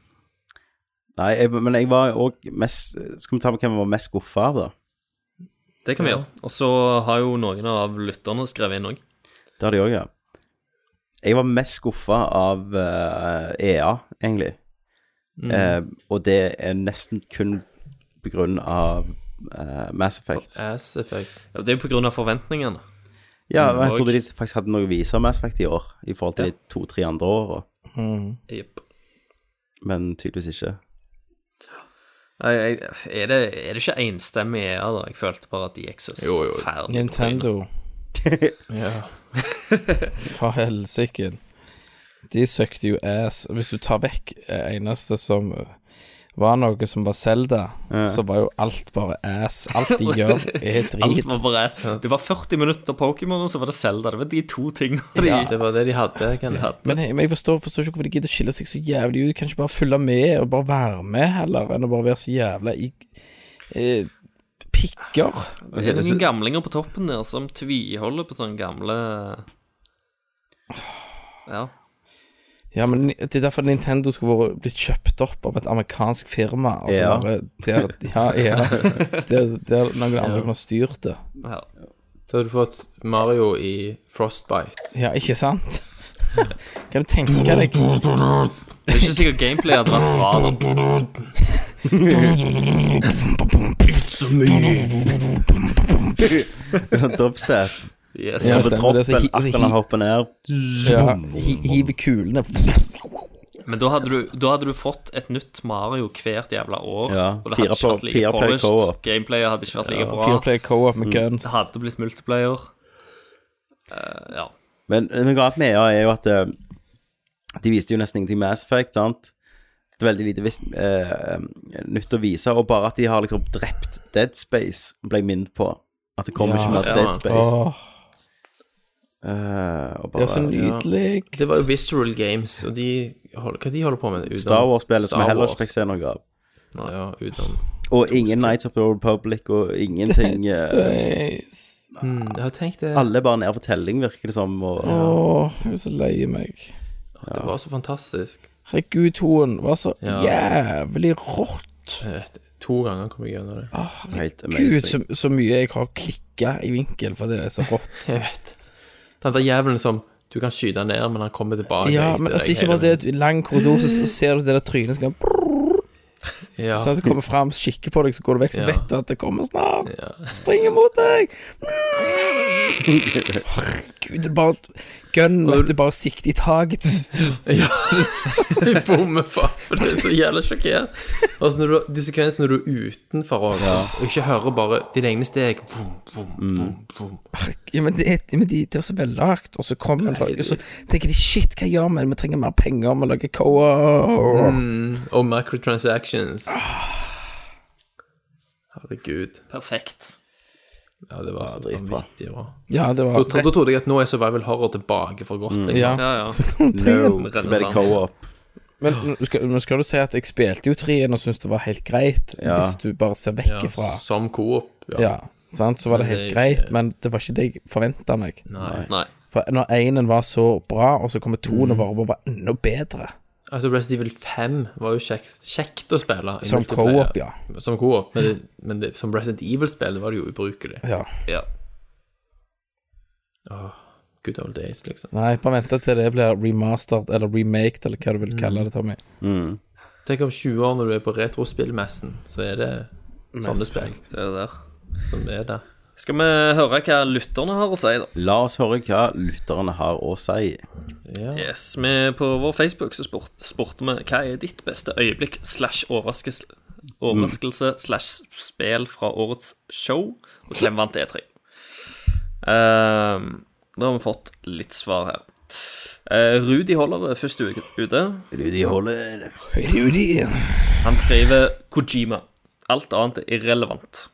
S3: Nei, jeg, men jeg var òg mest Skal vi ta med hvem vi var mest skuffa av, da?
S6: Det kan vi gjøre. Og så har jo noen av lytterne skrevet inn òg.
S3: Det har de òg, ja. Jeg var mest skuffa av eh, EA, egentlig. Eh, og det er nesten kun på grunn av eh, Mass Effect.
S4: Ass Effect.
S6: Ja, det er jo på grunn av forventningene.
S3: Ja, og jeg
S6: og-
S3: trodde de faktisk hadde noe å vise av Mass Effect i år, i forhold til de to-tre andre åra,
S6: Jepp.
S3: men tydeligvis ikke.
S6: Nei, jeg- Er, det, er det ikke enstemmig EA, da? Jeg følte bare at de gikk så
S4: Jo, jo.
S6: forferdelig på trynet.
S5: Nintendo. For helsike. De søkte jo ass. Hvis du tar vekk eh, eneste som eh, var noe som var Selda, så var jo alt bare ass. Alt de gjør, er
S6: Alt
S5: drit.
S6: var bare Det var 40 minutter Pokémon, og så var det Zelda. Det var de to tingene de
S4: Ja. Det var det de hadde, Kenneth.
S5: Men, jeg- men jeg forstår, forstår ikke hvorfor de gidder å skille seg så jævlig ut. Kan ikke bare følge med og bare være med, heller, enn å bare være så jævla i eh, pikker.
S6: Det er noen gamlinger på toppen der som tviholder på sånne gamle Ja.
S5: Ja, men ni- Det er derfor Nintendo skulle vært blitt kjøpt opp av et amerikansk firma. Altså
S3: Ja.
S5: bare der, ja, ja. Der, der noen andre kunne ha styrt det.
S6: ja.
S4: Så hadde du fått Mario i Frostbite.
S5: Ja, ikke sant? Kan du tenke deg
S6: Det er ikke sikkert gameplay hadde vært bra. da.
S3: Sånn Dubstep.
S6: Yes.
S5: Ja,
S3: Ja,
S5: stemmer,
S3: troppen,
S5: det er så hi-
S3: akkurat når han hopper ned.
S5: ja, hi- Hive kulene
S6: Men da hadde, du, da hadde du fått et nytt Mario hvert jævla år.
S3: Ja,
S6: Og det hadde ikke
S3: fire
S6: vært like
S3: player
S6: polished.
S3: co-op.
S6: Gameplayet hadde ikke vært like bra.
S5: Fireplay co-op
S3: Mm.
S5: med guns.
S6: Det hadde blitt multiplayer. Eh, ja.
S3: Men noe annet med EA er jo at eh, de viste jo nesten ingenting Mass Effect, sant? Det er veldig lite vis, eh, nytt å vise, og bare at de har liksom drept Dead Space, ble jeg minnet på. At det kommer
S5: Ja.
S3: ikke mer
S6: Ja.
S3: Dead Space.
S5: Åh,
S3: Eh, og
S5: det
S3: bare
S5: er så nydelig.
S4: Det var jo Visceral Games, og de hold, Hva de holder på med? Utenom
S3: Star Wars-spillet som
S4: Star
S3: jeg heller
S4: Wars.
S3: ikke fikk se noe av.
S4: Ja, utenom
S3: Og ingen Nights of the Old Public, og ingenting eh,
S5: Space.
S4: mm, Jeg har tenkt det.
S3: Alle bare ned for telling, virker det som. Og,
S5: Åh, jeg er så lei meg.
S4: Det var så fantastisk.
S5: Herregud, toen var så
S4: Ja.
S5: jævlig rått.
S4: Jeg vet- To ganger kom jeg gjennom det.
S3: Helt
S5: Gud,
S3: amazing.
S5: så, så mye jeg har klikka i vinkel, for det er så rått.
S4: Jeg vet. Den der jævelen som du kan skyte ned, men han kommer tilbake.
S5: Ja,
S4: til
S5: men
S4: deg
S5: altså, ikke
S4: hele
S5: bare det at du i lang korridor, så, så ser du det der trynet som kan
S4: veien. Ja.
S5: Sånn at du kommer fram, kikker på deg, så går du vekk, så
S4: Ja.
S5: vet du at det kommer snart.
S4: Ja.
S5: Springer mot deg! Herregud, det er bare Gun, vet du, bare sikte i taket.
S4: Jeg bommer faen, for det er så jævlig sjokkert. Og så når du, de sekvensene når du er utenfor og, og ikke hører bare dine egne steg Boom, boom, boom,
S5: Mm.
S4: boom.
S5: Ja, men det, men de, det var så vellagt, og så kommer det og så tenker de shit, hva gjør vi? Vi trenger mer penger, vi lager co-op.
S4: Og microtransactions. Herregud.
S6: Perfekt.
S4: Ja, det var så vanvittig bra.
S5: Ja, det
S4: Da,
S5: var
S4: tro- da trodde jeg at nå er survival horror tilbake for godt. Liksom.
S5: Mm.
S6: Ja, ja.
S5: ja.
S3: No, så ble det
S6: Renaissance.
S3: co-op.
S5: Men nå skal, nå skal du si at jeg spilte jo treen og syntes det var helt greit,
S3: Ja.
S5: hvis du bare ser vekk
S4: Ja,
S5: ifra.
S4: Som coop. Ja.
S5: Ja, sant? Så var det
S4: Men det
S5: helt
S4: er jo
S5: greit,
S4: ikke-
S5: men det var ikke det jeg forventa meg.
S4: Nei.
S6: Nei.
S5: For når énen var så bra, og så kommer
S4: Mm.
S5: toen og bare og var enda bedre
S4: Altså Resident Evil 5 var jo kjekt, kjekt å spille. i
S5: Som
S4: multiplayer.
S5: co-op, ja.
S4: Som co-op, men, det, men det, som Resident Evil-spill var det jo ubrukelig.
S5: Ja.
S6: Ja.
S4: Good old days, liksom.
S5: Nei, bare vente til det blir remastered, eller remaked, eller hva du
S4: Mm.
S5: vil kalle det, Tommy.
S4: Tenk om 20 år når du er på retrospillmessen, så er det sånne spill
S6: Så er det der.
S4: som er der.
S6: Skal vi høre hva lytterne har å si, da?
S3: La oss høre hva lytterne har å si.
S4: Ja.
S6: Yes, vi På vår Facebook så spurt, spurte vi hva er ditt beste øyeblikk slash overraskes- overraskelse slash spill fra årets show, og hvem vant E3? Ehm, da har vi fått litt svar her. Eh, Rudi Holler er først u- ute.
S3: Rudi holder.
S6: Han skriver Kojima. Alt annet er irrelevant.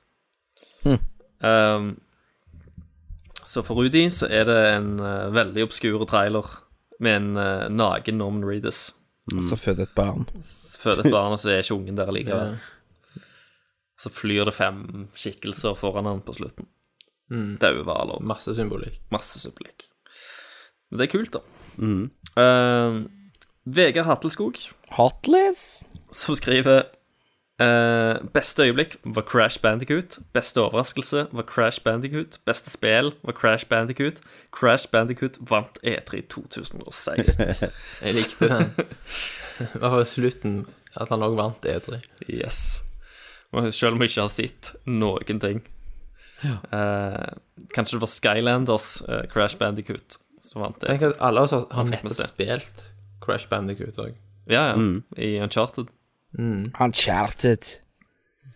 S6: Um, så for Rudi så er det en eh, veldig obskur trailer med en eh, naken Norman Reedus.
S5: Så fødte et barn.
S6: Føder et barn, og så er ikke ungen der likevel. Så flyr det fem skikkelser foran han på slutten. Mm. Daue hvaler.
S4: Masse symbolikk.
S6: Masse supplikk. Men det er kult, da. Eh, Vegard Hattelskog
S5: Hotless?
S6: som skriver eh, Beste øyeblikk var Crash Bandicoot. Beste overraskelse var Crash Bandicoot. Beste spill var Crash Bandicoot. Crash Bandicoot vant E3 2016.
S4: Jeg likte den. I hvert fall slutten, at han òg vant E E3.
S6: Yes. Og Selv om jeg ikke har sett noen ting. Eh, kanskje det var Skylanders eh, Crash Bandicoot som vant det.
S4: Tenk at alle oss har- har
S6: fikk vi
S4: nettopp
S6: se.
S4: spilt Crash Bandicoot òg.
S6: Ja, ja. I Uncharted.
S5: Uncharted.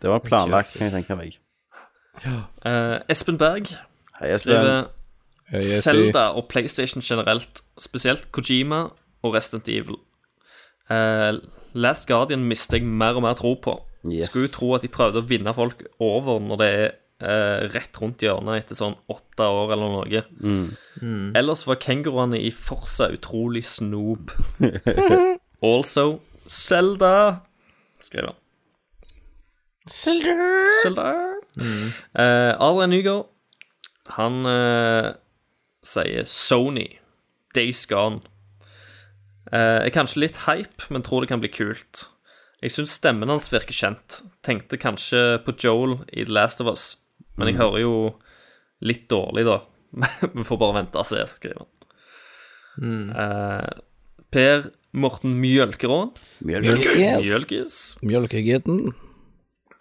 S3: Det var planlagt, kan jeg tenke meg.
S6: Eh, Espen Berg
S3: Hei, Espen.
S6: skriver Zelda og PlayStation generelt, spesielt Kojima og Resident Evil. Eh, Last Guardian mister jeg mer og mer tro på.
S3: Yes.
S6: Skulle jo tro at de prøvde å vinne folk over når det er eh, rett rundt hjørnet etter sånn åtte år eller noe. Ellers var kenguruene i Forsa utrolig snob. also Zelda, skriver han. Zelda. Eh, Adrian Nygaard, han eh, sier Sony, Days Gone. Eh, er kanskje litt hype, men tror det kan bli kult. Jeg syns stemmen hans virker kjent. Tenkte kanskje på Joel i The Last of Us, men jeg hører jo litt dårlig, da. Vi får bare vente og se, skriver han. Eh, per Morten Mjølkeråen,
S3: Mjølk.
S5: Yes.
S6: Mjølkes,
S5: Mjølkegutten.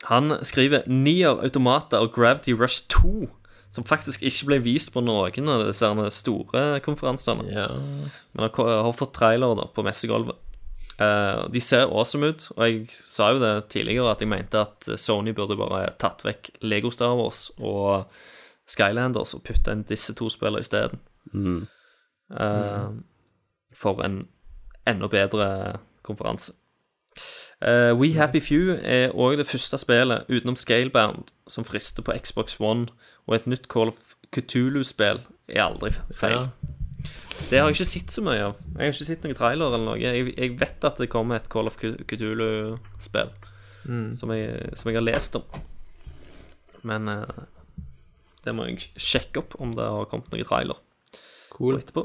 S6: han skriver Nier Automata og Gravity Rush 2, som faktisk ikke ble vist på noen av disse her store konferansene,
S4: Ja.
S6: men har, har fått trailer da, på messegulvet. Eh, de ser awesome ut, og jeg sa jo det tidligere at jeg mente at Sony burde bare tatt vekk Lego Star Wars og Skylanders og putta inn disse to spillene isteden. Eh, for en enda bedre konferanse. Eh, We Happy Few er òg det første spillet utenom Scalebound som frister på Xbox One, og et nytt Call of Cthulhu-spill er aldri feil.
S4: Ja.
S6: Det har jeg ikke sett så mye av. Jeg har ikke sett noen trailer eller noe. Jeg, jeg vet at det kommer et Call of Cthulhu-spill
S4: Mm.
S6: som, jeg, som jeg har lest om. Men eh, det må jeg sjekke opp om det har kommet noen trailer på
S4: Cool.
S6: etterpå.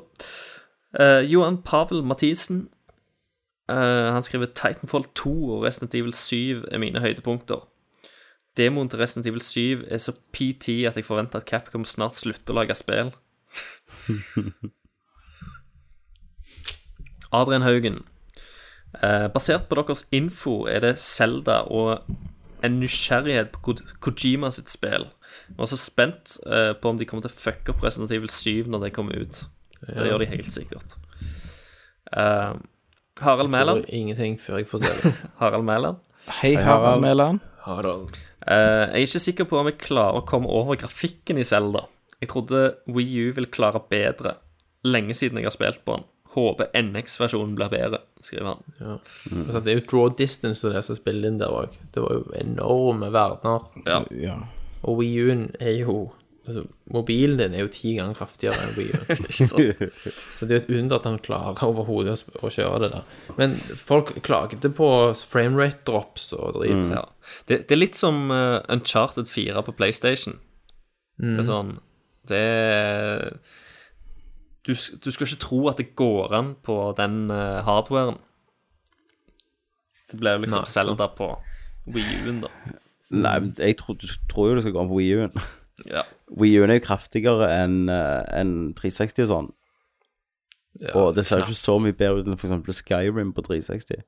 S6: Eh, Johan Pavel Mathisen eh, Han skriver Titanfall 2 og Resident Evil 7 er mine høydepunkter. Demoen til Resident Evil 7 er så PT at jeg forventer at Capcom snart slutter å lage spill. Adrian Haugen. Eh, basert på deres info er det Selda og en nysgjerrighet på Ko- Kojima sitt spill. Jeg var så spent eh, på om de kommer til å fucke opp Resident Evil 7 når det kommer ut. Det gjør de helt sikkert. Eh, Harald
S4: Eller?
S6: Mæland.
S4: Ingenting før jeg får se det.
S6: Harald Mæland.
S5: Hei, Harald Mæland.
S4: Harald.
S6: Eh, jeg er ikke sikker på om jeg klarer å komme over grafikken i Zelda. Jeg trodde Wii U ville klare bedre. Lenge siden jeg har spilt på den. Håper NX-versjonen blir bedre, skriver han.
S4: Ja. Altså, det er jo Draw Distance og det som spiller inn der òg. Det var jo enorme verdener.
S5: Ja.
S4: Og WiiU-en er jo altså, Mobilen din er jo ti ganger kraftigere enn WiiU-en. så det er jo et under at han klarer overhodet å sp- å kjøre det der. Men folk klagde på framerate drops og drit.
S6: Ja. Det, det er litt som eh, Uncharted 4 på PlayStation. Det
S4: Mm.
S6: er sånn Det er du, s- du skal ikke tro at det går an på den eh, hardwaren. Det ble jo
S4: Nei,
S6: liksom
S4: sant.
S6: Zelda på Wii U-en, da.
S3: Nei, men jeg tror, tror jo det skal gå an på Wii U-en.
S6: Ja.
S3: Wii U-en er jo kraftigere enn eh, enn 360 og sånn.
S4: Ja,
S3: Og det ser jo
S4: knapt.
S3: ikke så mye bedre ut enn f.eks. Skyrim på 360.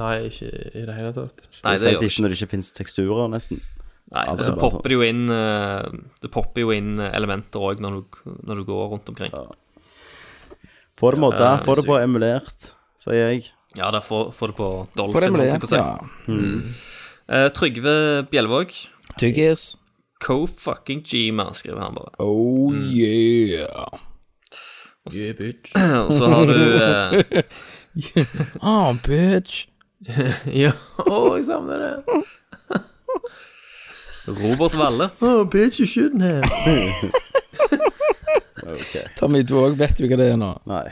S4: Nei, ikke i det hele tatt.
S6: Nei, det
S3: Spesielt
S6: gjør det
S3: ikke når det ikke finnes teksturer, nesten.
S6: Nei,
S3: Ja,
S6: og
S3: det
S6: så
S3: er bare
S6: popper det jo inn eh, Det popper jo inn elementer òg når, du- når du går rundt omkring.
S3: Få det modda,
S6: det er
S3: få det på emulert, sier jeg.
S6: Ja, da får får du på
S5: For det
S6: Dolphin.
S5: ble
S6: holdt jeg på å si.
S5: ja.
S6: Eh, Trygve Bjelvåg.
S5: Tyggis.
S6: Co-fucking-Gima, skriver han bare.
S5: Oh
S4: Mm.
S5: yeah.
S6: Og så har du eh,
S5: Ah, bitch.
S4: Ja, å, jeg savner det.
S6: Robert Valle.
S4: Oh, bitch, you shouldn't have.
S5: Tommy, du òg vet jo hva det er nå.
S3: Nei.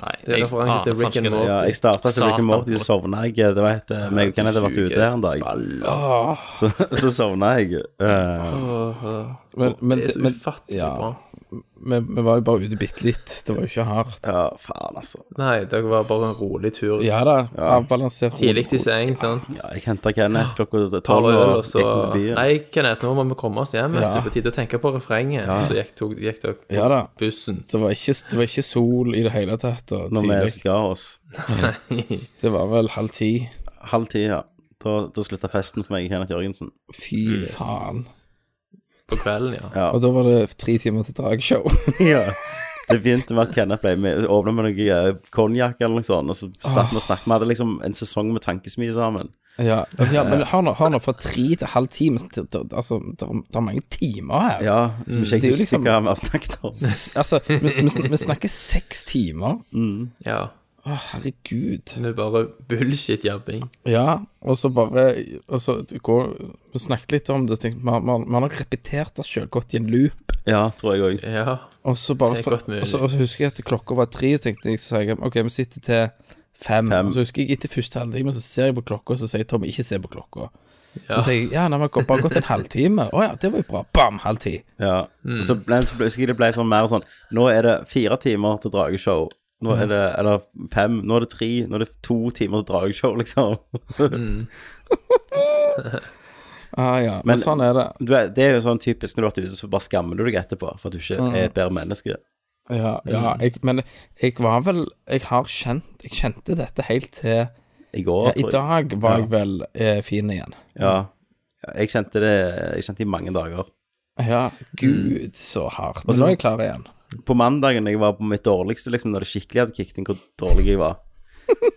S6: Nei,
S4: Det er
S6: jeg
S4: referanse
S6: aner
S4: til Rick
S6: faktisk
S4: and
S6: ikke det.
S3: Ja, jeg starta til Rick
S6: Satan,
S3: and Morty,
S6: folk.
S3: så sovna jeg. Det vet jeg. Meg og Kenneth har vært ute her en dag,
S4: Baller.
S3: så, så sovna jeg. Eh,
S5: Men, men,
S4: Det er så
S5: men,
S4: ufattelig
S5: ja.
S4: bra.
S5: men vi var jo bare ute bitte litt. Det var jo ikke hardt.
S3: ja, faen, altså.
S4: Nei, det var bare en rolig tur.
S5: Ja da, avbalansert.
S4: Tidlig i seng, sant.
S3: Ja, jeg henta Kenneth klokka
S4: Tar
S3: tolv og
S4: øl, og
S3: gikk
S4: så
S3: til byen.
S4: Nei, Kenneth, nå må vi komme oss hjem.
S5: Ja.
S4: Ja. På tide å tenke på refrenget. Så gikk, tok, gikk dere på
S5: Ja da.
S4: bussen.
S5: Det var, ikke, det var ikke sol i det hele tatt. Og
S3: Når vi
S5: tidlig.
S3: ga oss
S5: Det var vel halv ti.
S3: halv ti, ja. Da, da slutta festen for meg og Kenneth Jørgensen.
S5: Fy faen.
S4: På kvelden, ja.
S3: Ja.
S5: Og da var det tre timer til dragshow.
S3: Ja. Det begynte med at Kenneth ble med, åpna med noe eh, konjakk eller noe sånt, og så satt vi og snakket. Vi hadde liksom en sesong med tankesmie sammen.
S5: ja. ja, men har nå, har nå fra tre til halv ti men det- det- Altså, det er- det er mange timer her.
S3: Ja, som ikke
S5: Det er
S3: jeg
S5: jo
S3: husker
S5: liksom-
S3: hva vi har snakket om.
S5: S- Altså, vi, vi, sn- vi snakker seks timer.
S4: ja.
S5: Å, herregud.
S4: Det er bare bullshit-jabbing.
S5: Ja, og så bare og så går, Vi snakket litt om det. så tenkte jeg, Man man- man har nok repetert det sjøl, gått i en loop.
S3: Ja, tror jeg òg.
S4: Ja.
S5: Og så bare
S4: Det er
S5: for,
S4: godt mulig.
S5: og så, og så husker jeg at klokka var tre, så tenkte jeg, så sa jeg OK, vi sitter til fem.
S3: Fem.
S5: Og så husker jeg etter første halvtime, så ser jeg på klokka, og så sier Tommy ikke se på klokka.
S4: Ja.
S5: Så sier jeg ja, nei, vi har bare gått en halvtime. Å ja, det var jo bra. Bam, halv ti.
S3: Ja. Så, ble, så ble- husker jeg det ble sånn mer sånn Nå er det fire timer til drageshow. Nå
S5: Mm.
S3: er det Eller fem. Nå er det tre. Nå er det to timer til drageshow, liksom.
S5: Ah, ja. Men,
S3: Men-
S5: sånn er det.
S3: Du er, det er jo sånn typisk når du har vært ute, så bare skammer du deg etterpå for at du ikke
S5: Mm.
S3: er et bedre menneske.
S5: Ja, ja jeg, men jeg var vel Jeg har kjent Jeg kjente dette helt til
S3: I går,
S5: ja, I
S3: tror jeg.
S5: dag var
S3: Ja.
S5: jeg vel eh, fin igjen.
S3: Ja. Ja, Jeg kjente det Jeg kjente det i mange dager.
S5: Ja, gud, så hardt. Men
S3: så-
S5: nå er jeg klar igjen.
S3: på mandagen jeg var på mitt dårligste, liksom, når det skikkelig hadde kicket inn hvor dårlig jeg var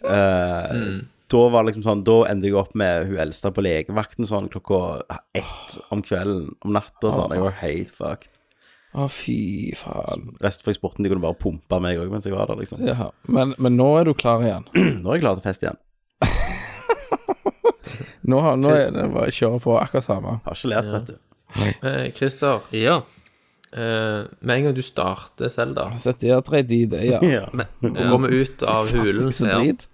S3: eh, Da var det liksom sånn, da endte jeg opp med hun eldste på legevakten sånn klokka ett om kvelden, om natta og sånn. Jeg var helt fucked.
S5: Å, fy faen.
S3: Resten fra sporten, de kunne bare pumpe meg òg mens jeg var der, liksom.
S5: Ja, men, men nå er du klar igjen.
S3: Nå er jeg klar til fest igjen.
S5: Nå, har- nå er det bare å kjøre på akkurat samme.
S3: Har ikke lært, vet du.
S4: Eh, Christer,
S6: Ja.
S4: eh, med en gang du starter Selda,
S5: Sett der, tre de det, ja.
S3: Ja.
S4: og kommer ut av hulen,
S5: Så
S4: ja,
S5: drit.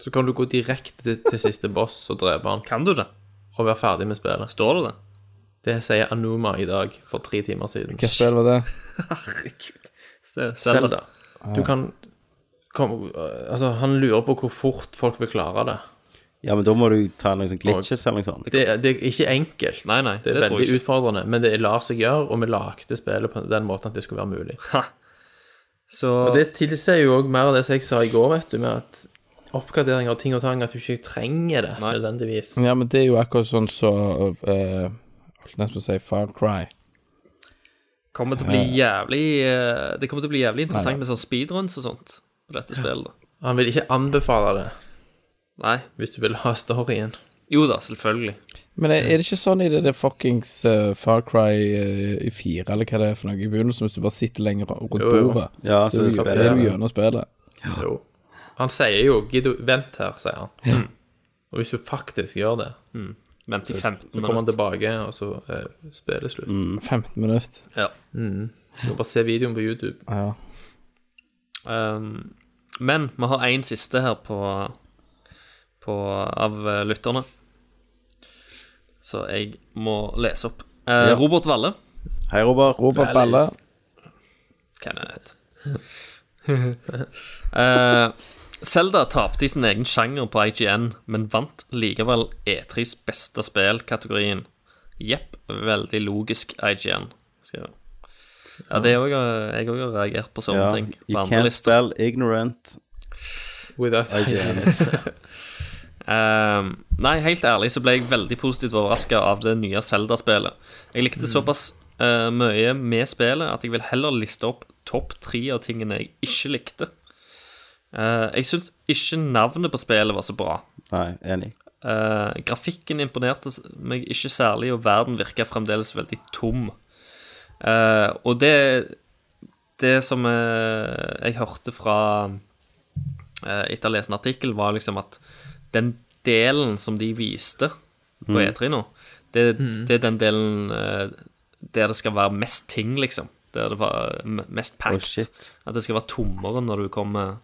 S4: så kan du gå direkte til, til siste boss og drepe han,
S6: Kan du det?
S4: og være ferdig med spillet.
S6: Står det det?
S4: Det sier Anuma i dag, for tre timer siden.
S5: Hva spill var det?
S6: Herregud. Se, Zelda.
S4: Zelda. Du kan komme, Altså, han lurer på hvor fort folk vil klare det.
S3: Ja, men da må du ta noen sånn glitches eller noe sånt.
S4: Det, det er ikke enkelt.
S6: Nei, nei,
S4: det er
S6: det tror jeg
S4: veldig
S6: ikke.
S4: utfordrende, men det lar seg gjøre, og vi lagde spillet på den måten at det skulle være mulig.
S6: Så
S4: Og det tilsier jo òg mer av det som jeg sa i går, vet du, med at oppgradering av ting og tang, at du ikke trenger det nødvendigvis.
S5: Mm.
S1: Ja, men det er jo akkurat sånn så eh, Holdt nesten på å si Far Cry.
S6: kommer til å bli jævlig eh, Det kommer til å bli jævlig interessant med sånn speedruns og sånt på dette spillet. da.
S4: Han vil ikke anbefale det
S6: Nei.
S4: hvis du vil ha storyen.
S6: Jo da, selvfølgelig.
S1: Men er, er det ikke sånn i det der fuckings eh, Far Cry eh, i 4, eller hva det er for noe, i begynnelsen, hvis du bare sitter lenger rundt
S4: jo. Altså,
S1: bordet,
S3: Ja,
S1: så,
S3: så
S1: så
S3: spiller
S1: er du
S3: jeg.
S1: gjennom spillet?
S4: Jo. Han sier jo 'gidd å vent her', sier han. Og hvis du faktisk gjør det,
S6: Vent i 15
S4: så kommer han
S6: minutter.
S4: tilbake, og så eh, spiller det slutt.
S1: 15 minutter.
S6: Ja.
S4: Du må bare se videoen på YouTube.
S1: Ja.
S6: Um, men vi har én siste her på, på av eh, lytterne. Så jeg må lese opp. Eh, Robert Valle.
S3: Hei, Robert.
S1: Robert Balle.
S6: Kenneth. Eh, Zelda tapte i sin egen sjanger på IGN, men vant likevel E3s beste spill-kategorien. Jepp, veldig logisk IGN. Skal jeg. Ja, det er også, jeg òg har reagert på sånne
S3: Ja.
S6: ting.
S3: You
S6: På
S3: can't
S6: andrelister.
S3: spell ignorant.
S4: Without
S6: Ehm, nei, helt ærlig så ble jeg veldig positivt overraska av det nye Zelda-spillet. Jeg likte såpass eh, mye med spillet at jeg vil heller liste opp topp tre av tingene jeg ikke likte. Eh, jeg syns ikke navnet på spillet var så bra.
S3: Nei, enig.
S6: Eh, grafikken imponerte s- meg ikke særlig, og verden virka fremdeles veldig tom. Eh, og det Det som eh, jeg hørte fra eh, etter å ha lest en artikkel, var liksom at den delen som de viste på E3 nå, det, det er den delen eh, der det skal være mest ting, liksom. Der det var m- mest packed.
S3: shit.
S6: At det skal være tommere når du kommer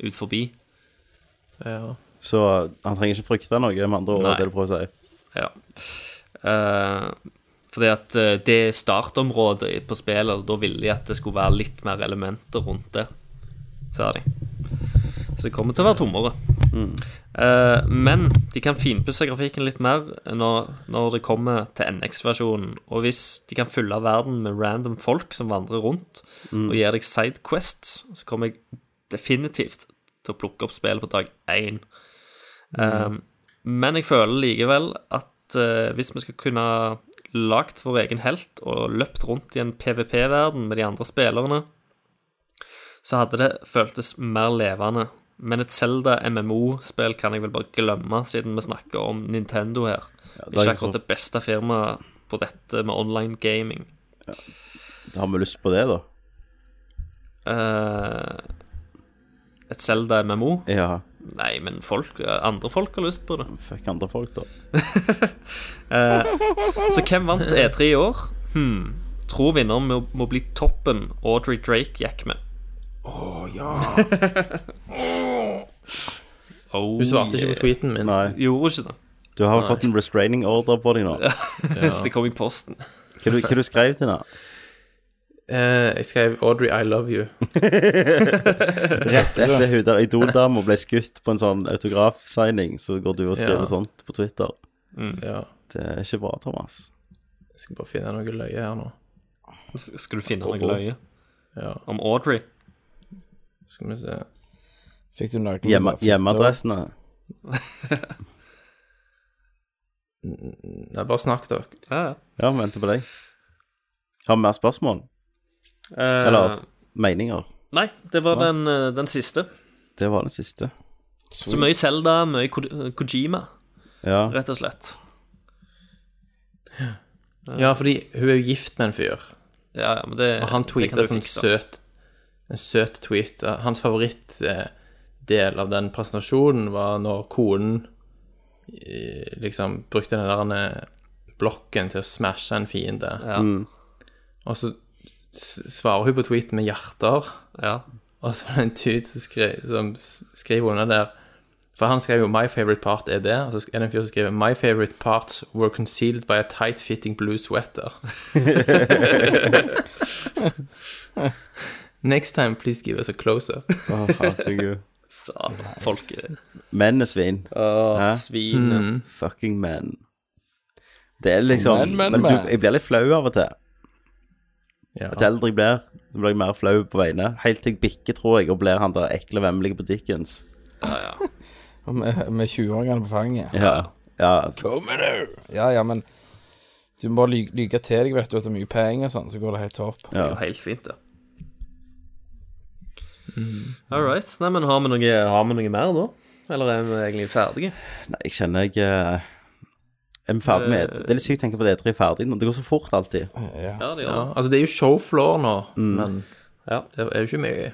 S6: ut forbi.
S4: Ja.
S3: Så han trenger ikke frykte noe, med andre ord,
S6: Nei.
S3: det du prøver å si.
S6: Ja. Eh, fordi at eh, det startområdet på spillet, da ville de at det skulle være litt mer elementer rundt det, sa de. Så det kommer til å være tommere. Eh, men de kan finpusse grafikken litt mer når, når det kommer til NX-versjonen. Og hvis de kan fylle verden med random folk som vandrer rundt, og gir deg side quests, så kommer jeg definitivt til å plukke opp spillet på dag én. Eh, men jeg føler likevel at eh, hvis vi skal kunne lagt vår egen helt og løpt rundt i en PVP-verden med de andre spillerne, så hadde det føltes mer levende. Men et Zelda MMO-spill kan jeg vel bare glemme, siden vi snakker om Nintendo her.
S3: det er
S6: Ikke
S3: ikke så-
S6: akkurat det beste firmaet på dette med online gaming.
S3: Har vi lyst på det, da?
S6: Eh, et Zelda MMO?
S3: Ja.
S6: Nei, men folk, eh, andre folk har lyst på det.
S3: Fuck andre folk, da.
S6: Så hvem vant E3 i år? Hmm. Tror vinneren må, må bli toppen Audrey Drake gikk med. Å ja.
S4: Du svarte ikke på tweeten min.
S3: Nei.
S6: Oh. Gjorde ikke det.
S3: Du har vel fått en restraining order på deg nå.
S6: Det kom i posten.
S3: Hva, du, hva du skrev til henne?
S4: Eh, jeg skrev 'Audrey, I love you'.
S3: Rett etter hun der Idol-dama ble skutt på en sånn autografsigning, så går du og skriver
S4: Ja.
S3: sånt på Twitter.
S4: Ja.
S3: Det er ikke bra, Thomas.
S4: Jeg skal bare finne noe løye her nå.
S6: S- Skal du finne noe løye
S4: Ja,
S6: om Audrey?
S4: skal vi se.
S1: Fikk du noen
S3: Hjemme,
S1: fitter?
S3: hjemmeadressene.
S4: Nei, bare snakk, dere.
S6: Ja, ja.
S3: Ja, vi venter på deg. Har vi mer spørsmål?
S6: Eh,
S3: Eller meninger?
S6: Nei, det var den, eh, den siste.
S3: Det var den siste.
S6: Så mye Selda, mye Ko- Kojima,
S3: Ja.
S6: rett og slett.
S4: Ja, fordi hun er jo gift med en fyr,
S6: Ja, ja, men det,
S4: og han
S6: det kan
S4: tweeta
S6: du
S4: sånn
S6: fikse.
S4: søt En søt tweet. Eh, Hans favorittdel av den presentasjonen var når konen eh, liksom brukte den der eh, blokken til å smashe en fiende. Og så s- svarer hun på tweeten med hjerter.
S6: Ja.
S4: Og så var det en dude som, skri, som s- skriver under der For han skrev jo 'My favorite part er det', og så sk- er det en fyr som skriver 'My favorite parts were concealed by a tight-fitting blue sweater'. Next time, please give us a close-up.
S3: Å, herregud.
S6: Satan, folk er
S3: Menn er svin. Hæ?
S6: Svin.
S4: Hmm.
S3: Fucking menn. Det er liksom
S5: Men, men,
S3: men
S5: men.
S3: du, Jeg blir litt flau av og til.
S4: Ja.
S3: Jo eldre jeg blir, så blir jeg mer flau på vegne. Helt til jeg bikker, tror jeg, og blir han der ekle vemmelige på Dickens.
S5: Og Med, med 20-åringene på fanget.
S3: Ja. ja.
S5: Ja, ja, men du må bare lyge, lyge til deg, vet du, at det er mye penger og sånn, så går det helt topp.
S6: Det er jo helt fint, det. All right. Nei, men har vi, noe, har vi noe mer da? Eller er vi egentlig ferdige?
S3: Nei, jeg kjenner jeg eh, er ferdig med Det er litt sykt å tenke på at E3 er ferdig nå. Det går så fort alltid.
S6: Ja, Mm. det gjør
S4: Ja,
S6: det.
S4: altså, det er jo showfloor nå, men
S6: Ja.
S4: det er jo ikke mye.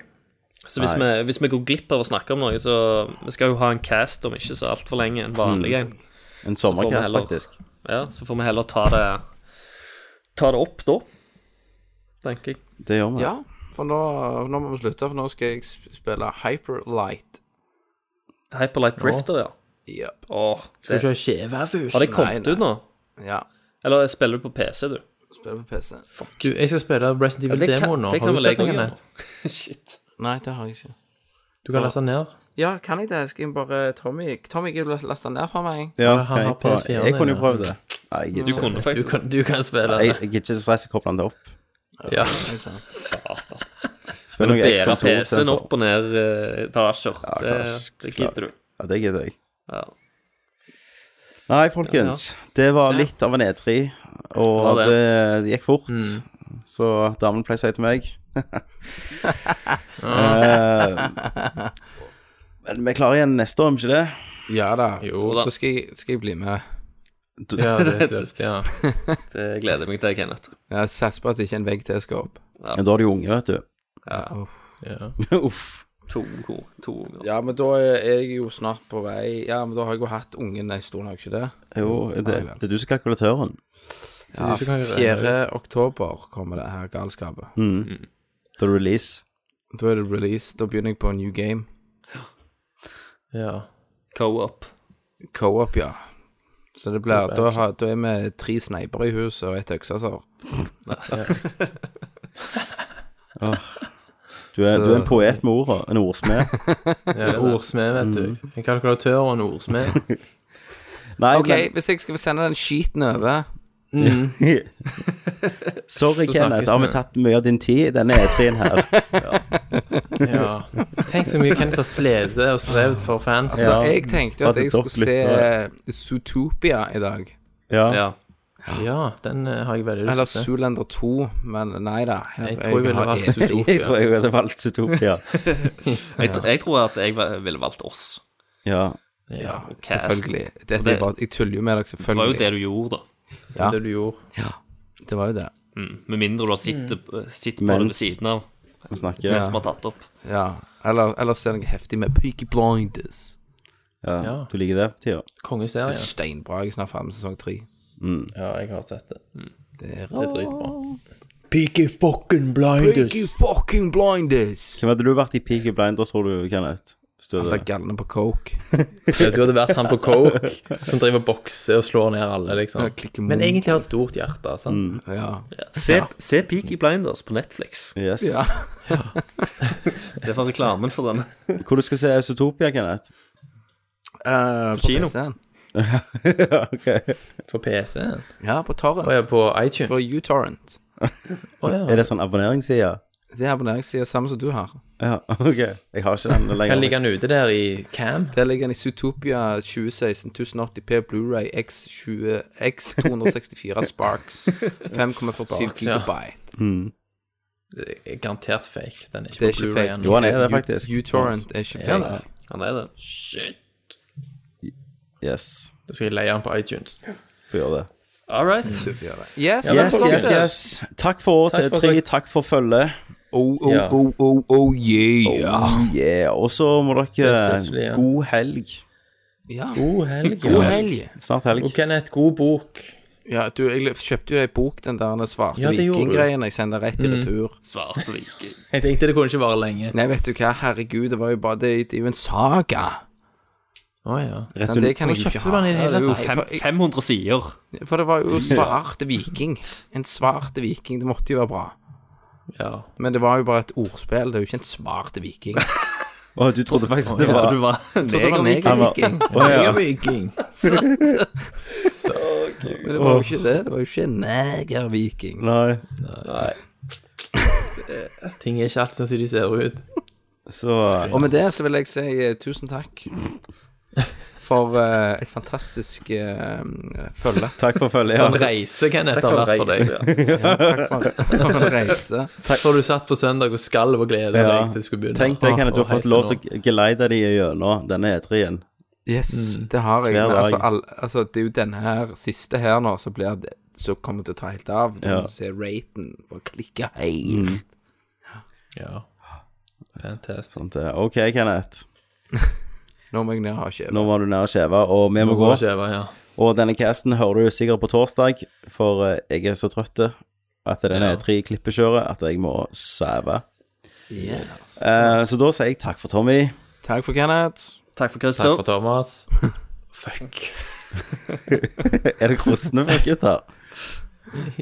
S6: Så hvis vi, hvis vi går glipp av å snakke om noe, så Vi skal jo ha en cast om ikke så altfor lenge, en vanlig en.
S3: En
S6: får vi
S3: sommerkast,
S6: heller-
S3: faktisk.
S6: Ja, så får vi heller ta det Ta det opp da, tenker jeg.
S3: Det gjør vi.
S7: Ja, for nå, nå må vi slutte, for nå skal jeg sp- spille Hyperlight.
S6: Hyperlight Drifter, ja.
S7: Yep.
S6: Åh,
S4: Skal
S6: det,
S4: du ikke ha skjevefus?
S6: har det kommet
S7: Nei, nei.
S6: ut nå?
S7: Ja,
S6: Eller spiller du på PC, du?
S7: spille på PC.
S4: Du, jeg skal spille Resident
S6: Ja, det kan-
S4: Evil-demoen nå.
S6: det
S4: Har
S6: kan
S4: du
S6: vel jeg
S4: spilt
S6: også
S4: den, Kenneth?
S6: Shit.
S7: Nei, det har jeg ikke.
S4: Du kan laste den ned.
S7: Ja, kan jeg det? Skal jeg bare Tommy Tommy, kan du laste den ned for meg?
S3: Ja,
S4: Ja,
S3: så
S4: han
S3: kan
S4: har
S3: jeg, prøve.
S4: PS4
S3: jeg kunne jo
S4: nå,
S3: prøvd det. Nei, jeg
S6: Du
S3: gidder ikke.
S6: kunne
S4: Du
S6: faktisk
S4: kan, du kan spille
S3: Jeg
S4: den.
S3: jeg gidder ikke stresse å koble den opp.
S4: Ja.
S6: Satan.
S3: Spør noe
S6: Bære
S3: X-Control
S6: PC-en
S3: til.
S6: opp og ned eh, etasjer. det,
S3: klart,
S6: det
S3: klart.
S6: gidder du.
S3: Ja, det gidder jeg.
S6: Ja.
S3: Nei, folkens. Det var litt av en E3,
S6: var
S3: og det,
S6: det.
S3: det gikk fort. Så damen pleier å si til meg Eh, Men vi klarer igjen neste år, om ikke det?
S5: Ja da.
S4: Jo da.
S5: Så skal jeg, skal jeg bli med.
S3: Du,
S4: Ja, det er et løft, ja.
S6: Det gleder jeg meg til, Kenneth.
S5: Jeg satser på at ikke en vegg til skal opp.
S3: Ja, Da er du unge, vet du.
S4: ja.
S3: Uff.
S6: To unger. To unger.
S5: Ja, men da er jeg jo snart på vei Ja, men da har jeg jo hatt ungen en stund, har jeg ikke det?
S3: Jo, det, det er du som er kalkulatøren.
S5: Ja, 4. oktober kommer det her galskapet.
S3: Mm. The release.
S5: Da er det release. Da begynner jeg på en new game.
S4: ja.
S6: Co-op.
S5: Co-op, ja. Så det blir Da, har- da er vi tre sneipere i huset og et øksesår.
S3: Du er,
S5: Så-
S3: du er en poet med orda. En ordsmed.
S4: ja ordsmed, vet
S5: Mm.
S4: du. En kalkulatør og en ordsmed.
S3: Nei,
S5: OK, hvis jeg skal sende den skiten over
S3: men Sorry,
S5: Så
S3: Kenneth.
S5: snakkes
S3: Har vi
S5: vi.
S3: tatt mye av din tid i denne E3-en her?
S4: Ja. Tenk så mye Kenneth har slitt og strevd for fans.
S5: Så
S3: Ja,
S5: jeg tenkte jo
S3: for
S5: at
S3: at
S5: jeg
S3: det dopp
S5: skulle se eh, Zootopia i dag.
S3: Ja.
S6: Ja.
S4: Ja, den eh, har jeg veldig
S5: Eller
S4: lyst til. å se.
S5: Zoolander 2, men nei da. her-
S4: Jeg tror jeg ville
S5: har
S4: valgt
S5: E3.
S3: Jeg
S4: Zootopia.
S3: tror jeg hadde valgt Zootopia.
S6: Jeg, jeg tror at jeg ville valgt oss.
S3: Ja.
S5: Ja,
S6: casten.
S5: selvfølgelig. Dette
S6: det-
S5: er bare, jeg tuller jo med dere,
S6: Det var jo
S5: selvfølgelig.
S6: det du gjorde, da.
S5: Ja.
S4: Det du gjorde.
S5: Det var jo det.
S6: Mm. Med mindre du har sittet sitt på det
S3: Mens-
S6: ved siden av
S3: Vi snakker.
S6: den
S3: Ja.
S6: som har tatt opp.
S5: Ja. Eller, eller så er det noe heftig med Peaky Blinders.
S4: Ja.
S3: Du liker det for tida?
S4: Kongeserie.
S5: Steinbra. Jeg er snart ferdig med sesong tre.
S4: Ja, jeg har sett det.
S5: Det er
S4: Det er dritbra.
S5: Peaky fucking Blinders!
S3: Hvem hadde du vært i Peaky Blinders, tror du, Kenneth? Hvis du
S5: Han
S3: hadde-
S5: der galne på coke.
S4: Ja, du hadde vært han på coke som driver bokser og slår ned alle, liksom.
S5: Ja, klikker
S4: Men
S5: mot.
S4: egentlig har et stort hjerte, sant?
S5: Ja.
S6: Se, se Peaky Blinders på Netflix.
S3: Yes.
S5: Ja.
S6: Det var reklamen for den.
S3: Hvor du skal se Zootopia, Kenneth?
S5: Eh, på
S6: kino.
S5: PC-en.
S3: ok.
S4: På PC-en.
S5: Ja, på Torrent.
S4: Å ja, på iTunes.
S5: På uTorrent.
S4: Å
S3: Er
S4: ja.
S3: det sånn abonneringsside?
S5: Det er abonneringssida samme som du har.
S3: Ja, ok. Jeg har ikke den
S4: Kan
S3: lenger.
S4: ligge han ute der i cam.
S5: Der ligger den i Zootopia 2016 1080p Blu-ray X20 X264 Sparks 5,47
S4: Sparks, ja.
S5: gigabyte.
S4: Det er Garantert fake. Den er
S5: Det er
S4: ikke på
S5: ikke
S4: Blu-ray
S5: fake.
S4: ennå.
S3: Jo, han er det faktisk.
S5: U- uTorrent er ikke
S4: Ja,
S5: fake.
S4: da.
S6: Han er det.
S3: Yes.
S4: Da skal jeg leie den på iTunes.
S3: Får gjøre det.
S6: All right.
S5: Yes,
S3: Yes, yes, yes. Takk for oss,
S4: Takk for
S3: E3. Takk for følget.
S5: Oh, oh,
S4: Ja.
S5: oh, oh, oh, yeah.
S3: Oh, Yeah. Og så må
S4: plutselig,
S3: dere
S4: ja.
S3: God helg.
S5: Ja.
S4: God helg.
S5: God
S4: Ja.
S5: helg.
S3: Snart helg.
S4: Og Kenneth, god bok.
S5: Ja, du, jeg kjøpte jo ei bok, den der den svarte
S4: Ja, det gjorde du. Mm.
S5: vikinggreien. Jeg sendte rett i retur.
S6: Svarte viking.
S4: Jeg tenkte det kunne ikke vare lenge.
S5: Nei, vet du hva, herregud, det var jo bare Det, det er jo en saga.
S4: Å ja.
S3: Rett
S5: Sant, det
S3: under
S5: kan jeg jo ikke
S4: kjøpte du
S5: ha.
S4: den i det
S5: Ja,
S4: hele
S5: er jo
S4: tatt?
S6: Fem,
S5: fem-
S6: 500 sider.
S5: For det var jo svarte viking. En svarte viking. Det måtte jo være bra.
S4: ja.
S5: Men det var jo bare et ordspill. Det er jo ikke en svarte viking.
S3: Å, du trodde faktisk at det
S6: Jeg
S3: var
S6: trodde du var neger, neger.
S3: Han var-
S5: Negerviking.
S3: Å, ja.
S5: Men det var jo ikke det. Det var jo ikke en negerviking.
S3: Nei.
S4: Ting er ikke alt sånn som de ser ut.
S3: Så
S5: Og med det så vil jeg si eh, tusen takk for eh, et fantastisk eh, følge.
S3: takk for følget.
S4: En
S3: Ja.
S4: reise kan dette ha vært for deg.
S5: Takk for, for en reise.
S4: For du satt på søndag og skalv og gleda
S3: Ja.
S4: deg til du skulle begynne.
S3: Tenk deg, Kenneth, du
S4: Og
S3: har fått
S4: helt
S3: lov til å geleide de gjennom denne E3-en.
S5: Yes, det har jeg.
S3: Mm. Hver
S5: Men
S3: dag.
S5: altså, all, altså, det er jo den her siste her nå som blir det så kommer det til å ta helt av. Du
S3: Ja. Mm.
S5: må se raten og klikke hei.
S4: Ja. Fantastisk.
S3: Sånn til- OK, Kenneth.
S5: Nå må jeg ned og ha kjøp.
S3: Nå var du nær skjeva, og vi må gå.
S4: Nå går skjeva, ja.
S3: Og denne casten hører du sikkert på torsdag, for eh, jeg er så trøtt at denne
S4: Ja.
S3: E3-klippekjøret at jeg må sove.
S5: Yes.
S3: Eh, så da sier jeg takk for Tommy.
S5: Takk for Kenneth.
S6: Takk for
S4: Takk
S6: Christer.
S4: for Thomas. Fuck.
S3: Er det krosne for gutter?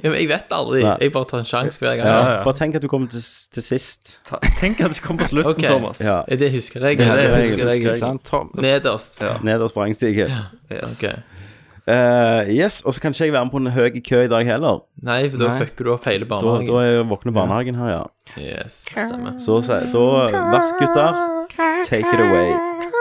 S4: Ja, men jeg vet aldri.
S3: Nei.
S4: Jeg bare tar en sjanse hver gang.
S3: Ja,
S6: ja.
S3: Bare tenk at du kommer til, s- til sist.
S6: Ta- Tenk at du kom på slutten,
S4: Ok.
S6: Thomas.
S3: Ja.
S4: Er Det husker jeg.
S5: Ja,
S4: eller?
S5: det
S3: jeg,
S5: husker jeg,
S6: husker
S5: ikke
S6: jeg.
S5: sant? Tom,
S4: Nederst.
S3: Nederst på rangstigen.
S6: Yes.
S4: Ok.
S3: Eh, yes, og så kan ikke jeg være med på en høy kø i dag heller.
S4: Nei, for da
S5: Nei.
S4: fucker du opp hele
S3: Da, da
S4: barnehagen.
S3: er jeg våkne barnehagen her, ja.
S4: Yes, stemmer.
S3: Så sier da Vask, gutter. Take it away.